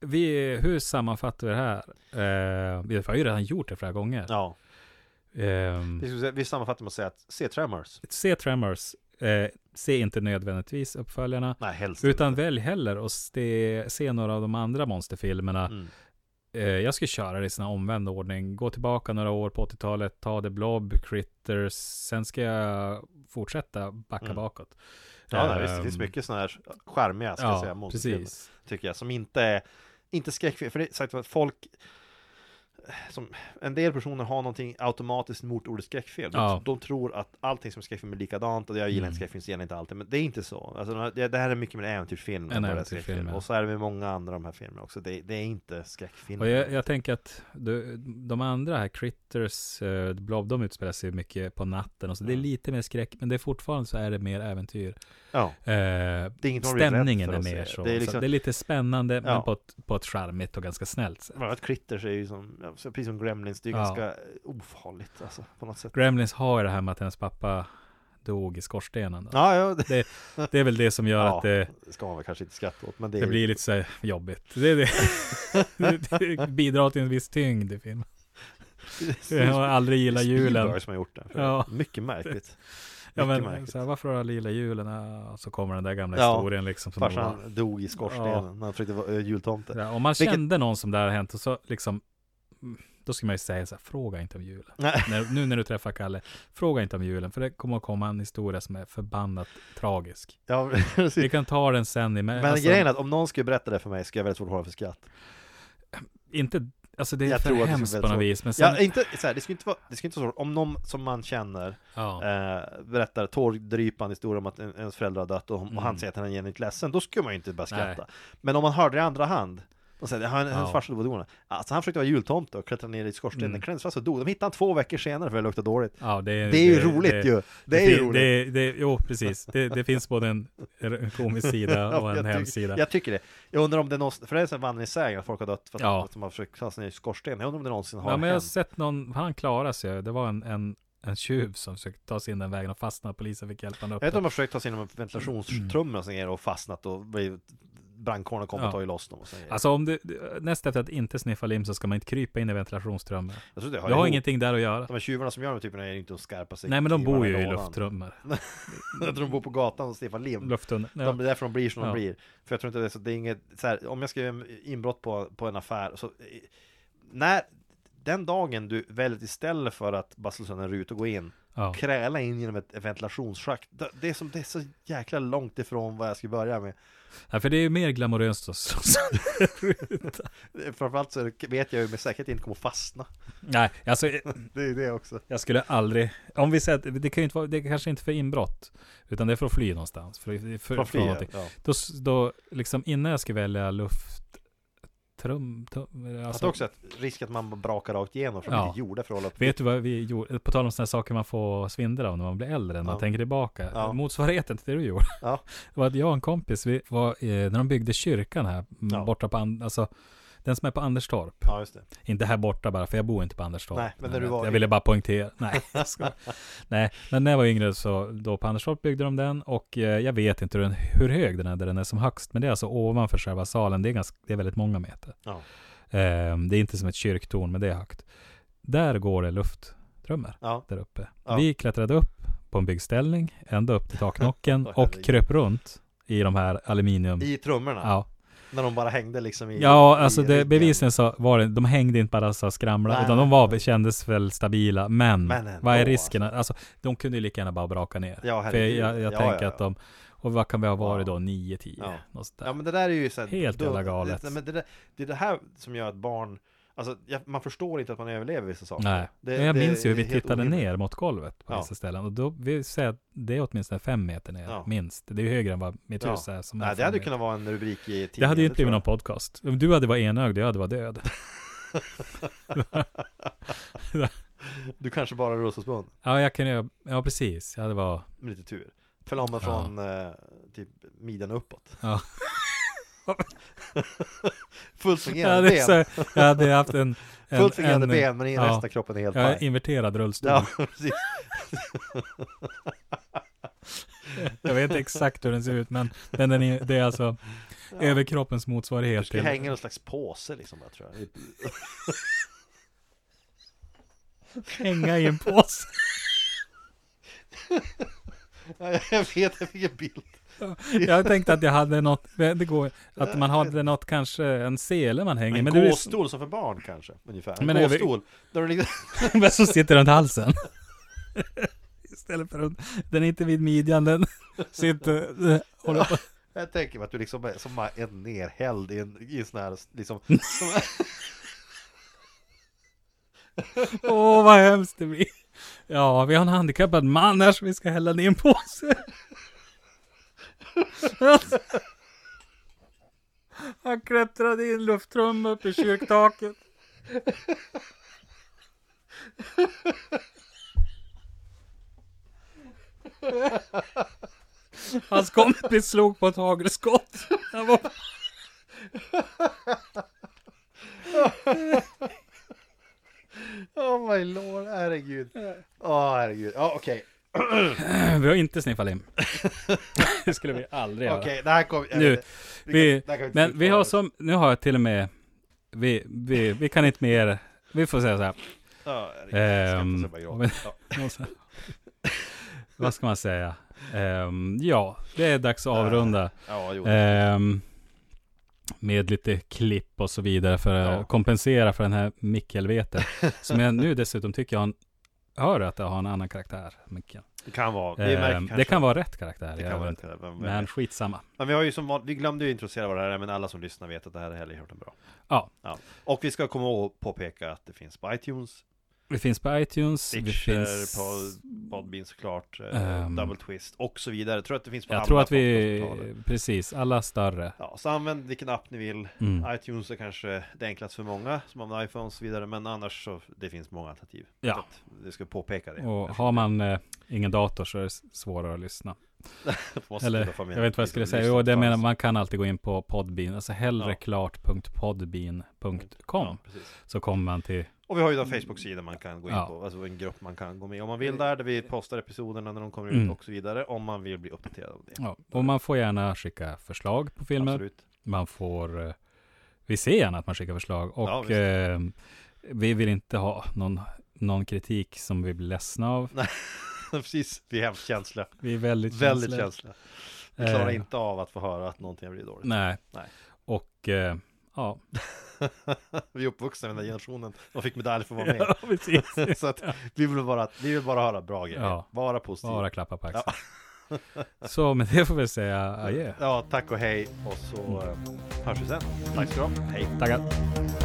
vi, hur sammanfattar vi det här? Eh, vi har ju redan gjort det flera gånger. Ja, Eh, vi, skulle säga- vi sammanfattar med att säga att se Tremors. se Tremors, eh, se inte nödvändigtvis uppföljarna, Nej, helst utan inte. välj heller att se, se några av de andra monsterfilmerna. Mm. Eh, jag skulle köra det i sån här omvänd ordning. Gå tillbaka några år på 80-talet, ta The Blob, Critters, sen ska jag fortsätta backa Mm. bakåt. Ja, nej, visst, det Ehm, finns mycket sådana här charmiga, ska jag säga, Ja, monsterfilmer, precis. tycker jag, som inte är, inte skräckfilm, för det är sagt att folk som, en del personer har någonting automatiskt mot ordet skräckfilm. De- Ja. De tror att allting som är skräckfilm är likadant och jag gillar Mm. inte skräckfilm så gillar jag inte alltid. Men det är inte så. Alltså, den här- det det här är mycket mer äventyrsfilm. En än bara äventyrsfilm, skräckfilm. ja. Och så är det med många andra av de här filmerna också. Det, det är inte skräckfilm. Och jag, jag tänker att du, de andra här, Critters, eh, Blob, de utspelar sig mycket på natten och så. Det är Mm. lite mer skräck, men det är fortfarande så är det mer äventyr. ja. Eh, Det är inget man blir rädd stämningen för är att mer se. så. Det är liksom- så. Det är lite spännande, Ja. men på ett, på ett charmigt och ganska snällt sätt. Bland annat Critters är ju som, ja, så precis som Gremlins, det är ju Ja. ganska ofarligt alltså, på något sätt. Gremlins har ju det här med att hennes pappa dog i skorstenen. Då. Ja, ja, det, Det, det är väl det som gör Ja, att det, ska man väl kanske inte skratta åt, men det, är det ju- blir lite så här jobbigt. Det, är det, det, det bidrar till en viss tyngd i filmen. Jag har aldrig gillat julen. Spielberg som har gjort den. Ja. Mycket märkligt. Ja Mycket men märkligt. så här, varför har alla gillat julen? Ja, så kommer den där gamla Ja, historien liksom. Som Farsan bara- dog i skorstenen Ja. när han försökte vara eh, jultomte. så här, Om man Vilket- kände någon som det här har hänt och så liksom mm, Då ska man ju säga så här, fråga inte om julen. Nej. När, nu när du träffar Kalle, fråga inte om julen, för det kommer att komma en historia som är förbannat tragisk. Ja, Vi precis. kan ta den sen. I, Typ. alltså, Men grejen är att om någon skulle berätta det för mig skulle jag väldigt svårt att hålla för skratt. Inte, alltså det är Jag för tror att det skulle hemskt bli på något så. vis. Men sen, Ja, inte, så här, det skulle inte vara, det skulle inte vara svårt om någon som man känner ja. eh, berättar tårdrypande historia om att en, ens förälder har dött och, hon- och han Mm. säger att han är genuint ledsen, då skulle man ju inte bara Nej. skratta. Men om man hörde det i andra hand, och säger han, hennes Ja. farsa dog på donan. Alltså han försökte vara jultomte och klättra ner i skorstenen, Mm. kläddes fast och dog. De hittade han två veckor senare för det luktade dåligt. Ja, det, är, Det är ju roligt ju! Det, är ju roligt! Det, det, jo, precis. Det, det finns både en en komisk sida och en jag, hemsida. tycker, jag tycker det. Jag undrar om det någonsin, för det är en sån vandringssägen att folk har dött för att Ja. att de har försökt ta sig ner i skorstenen. Jag undrar om det någonsin har Ja, men jag har hänt. sett någon, han klarade sig. Det var en, en, en tjuv som försökte ta sig in den vägen och fastnade. Polisen fick hjälpa honom upp. Jag vet inte om de har försökt ta sig igenom ventilationstrummen och, så ner och fastnat och blivit- brandkåren kom Ja. och tagit loss dem och så ner. Alltså om du, näst efter att inte sniffa lim så ska man inte krypa in i ventilationstrummor. Jag tror det Du har ihop. ingenting där att göra. De här tjuvarna som gör typ, de här typerna är ju inte de skarpaste Nej men de knivarna bor ju i lådan. lufttrummor. Jag tror de bor på gatan och sniffar lim Lufttunnor. de, Ja. Det är därför de blir som de Ja. blir För jag tror inte det är så, det är inget så här, Om jag ska göra inbrott på, på en affär så eh, När Den dagen du väljer istället för att bara slå sönder en ruta och gå in Ja. Kräla in genom ett ventilationsschakt det, det, är som, det är så jäkla långt ifrån vad jag skulle börja med ja, för det är ju mer glamoröst att slå sönder rutan. Framförallt så är det- vet jag ju med säkerhet inte kommer fastna Nej, alltså Det är det också jag skulle aldrig... Om vi säger att det, kan ju inte vara, det är kanske inte för inbrott. Utan det är för att fly någonstans. För, för, för, Från från flyet, någonting. ja. Då, s- då, liksom innan jag ska välja luft... Trum, tum, alltså, Att det också är ett risk att man brakar rakt igenom för de är Ja. inte gjorda för att hålla upp Vet du vad vi gjorde? På tal om sådana saker man får svindel av när man blir äldre, när man Ja. tänker tänker tillbaka. Ja. Motsvarigheten till det du gjorde. Ja. Det var att jag och en kompis, vi var, eh, när de byggde kyrkan här, m, Ja. borta på, An- alltså, den som är på Anderstorp. Ja just det Inte här borta bara, för jag bor inte på Anderstorp. Nej, men när du jag- var Jag ville bara poängtera. Nej, jag skojar. Nej, men när jag var yngre så, då på Anderstorp byggde de den och eh, jag vet inte hur, den, hur hög den är där den är som högst. Men det är alltså ovanför själva salen, det är, ganska, det är väldigt många meter. Ja. Eh, det är inte som ett kyrktorn, men det är högt. Där går det lufttrummor Ja, där uppe. Ja. Vi klättrade upp på en byggställning, ända upp till taknocken Åh, och herregud. kröp runt i de här aluminium... i trummorna Ja, När de bara hängde liksom i ja i alltså det, ryggen. bevisligen så var det, de hängde inte bara så skramla, Nej, utan nej, de var, kändes väl stabila. Men, Men ändå, vad är risken? Alltså, de kunde ju lika gärna bara braka ner. Ja, För jag, herregud. jag, jag Ja, tänker ja, att de, och vad kan vi ha varit Ja. då, 9-10? Ja. Något sånt där. Ja men det där är ju så här, Helt dumt. jävla galet. Det, men det, där, det är det här som gör att barn Alltså jag, man förstår inte att man överlever vissa saker Nej, Det- men jag det minns ju hur är vi helt tittade orimligt. ner mot golvet på Ja. vissa ställen. Och då vill säga att det är åtminstone fem meter ner, Ja. minst. Det är ju högre än vad mitt Ja. hus är. Som är Nej, det fem hade ju meter. kunnat vara en rubrik i tidningen Det hade ju tror inte blivit jag. någon podcast. Om du hade varit enögd, jag hade varit död. Du kanske bara Rosasbund Ja, jag kunde ju- ja precis. Jag hade varit, Med lite tur Förlamad Ja. från eh, typ midjan uppåt Ja. Fullt jag fungerande hade, så, ben jag hade haft en... en Fullt fungerande en, ben men i ja. resten av kroppen är helt Ja, paj inverterad rullstol. Ja, precis Jag vet inte exakt hur den ser ut, men, men den är, det är alltså överkroppens Du motsvarighet skulle till... hänga i någon slags påse liksom bara, tror jag Hänga i en påse. Ja, Jag vet, jag fick en bild Jag tänkte att jag hade något, det går, att man hade något kanske, en sele man hänger En men det är- gåstol som för barn kanske, ungefär. En Men över- gåstol, där du liksom, Men som sitter runt halsen. Istället för runt, den är inte vid midjan, den sitter, eh, håller på. jag tänker mig att du liksom är som bara en nerhälld i en, i en sån här, liksom, Åh vad hemskt det blir. Ja, vi har en handikappad man här som vi ska hälla ner en påse. Han klättrade i en luftrum upp i kyrktaket. Hans kompis slog på ett hagelskott. Han var... oh my lord, herregud. Åh herregud, ja okej, Vi har inte sniffat lim. Det skulle vi aldrig göra. okej, det här kommer, jag Nu, vet inte. Vi kan- vi, det här kan vi inte men vi utföra. har som, nu har jag till och med, vi, vi, vi kan inte mer, vi får säga så här. Ja, herregud, jag skrattar Ehm, så jag bara gråter. Ja. Någon så här. Vad ska man Äh. säga? Ehm, ja, det är dags att avrunda. Ja, jo. Ehm, med lite klipp och så vidare för att kompensera för den här Mickelvetet. som jag nu dessutom tycker jag har en, hör att jag har en annan karaktär. Mickel. Det kan vara. Vi märker Eh, kanske- det kan vara rätt karaktär. Det jag kan vara vet rätt, inte. vem vet. Men skitsamma. Men vi har ju som van- vi glömde ju introducera vad det här är, men alla som lyssnar vet att det här är Helghjorten bra. Ja, Ja. Och vi ska komma ihåg att påpeka att det finns på iTunes, vi finns på iTunes. vi Stitcher, finns... på Podbean såklart, eh, Ehm. Double Twist och så vidare. Jag tror att det finns på Jag alla tror att podcastapparater. vi, precis, alla större. Ja, så använd vilken app ni vill. Mm. iTunes är kanske det enklaste för många som använder iPhone och så vidare, men annars så det finns många alternativ. Ja. Så att Vi ska påpeka det. Och har man eh, ingen dator så är det s- svårare att lyssna. Måste Eller, skaffa mer jag vet inte vad jag skulle tid att säga. lyssna Jo, det på menar alls. man kan alltid gå in på Podbean. Alltså hellre Ja. klart.podbean.com. Precis. Så kommer man till, Och vi har ju en Facebook-sida man kan gå in Ja. på, alltså en grupp man kan gå med om man vill där, där vi postar episoderna när de kommer ut Mm. och så vidare, om man vill bli uppdaterad av det. ja. Och man får gärna skicka förslag på filmer. Absolut. Man får, eh, vi ser gärna att man skickar förslag. Ja, Och visst. eh, vi vill inte ha någon, någon kritik som vi blir ledsna av. Precis, vi är hemskt känsliga. Vi är väldigt, Väldigt känsliga. känsliga. Vi klarar Eh. inte av att få höra att någonting har blivit dåligt. Nej. Typ. Nej. Och eh, ja. vi är uppvuxna med den här generationen och fick medalj för att vara med. precis. så att vi vill bara, vi vill bara höra bra grejer. Ja. Vara positiv. Bara klappa på axeln. Så med det får vi säga adjö. Ja, tack och hej. Och så eh, hörs vi sen. Tack ska du ha. Hej. Tackar.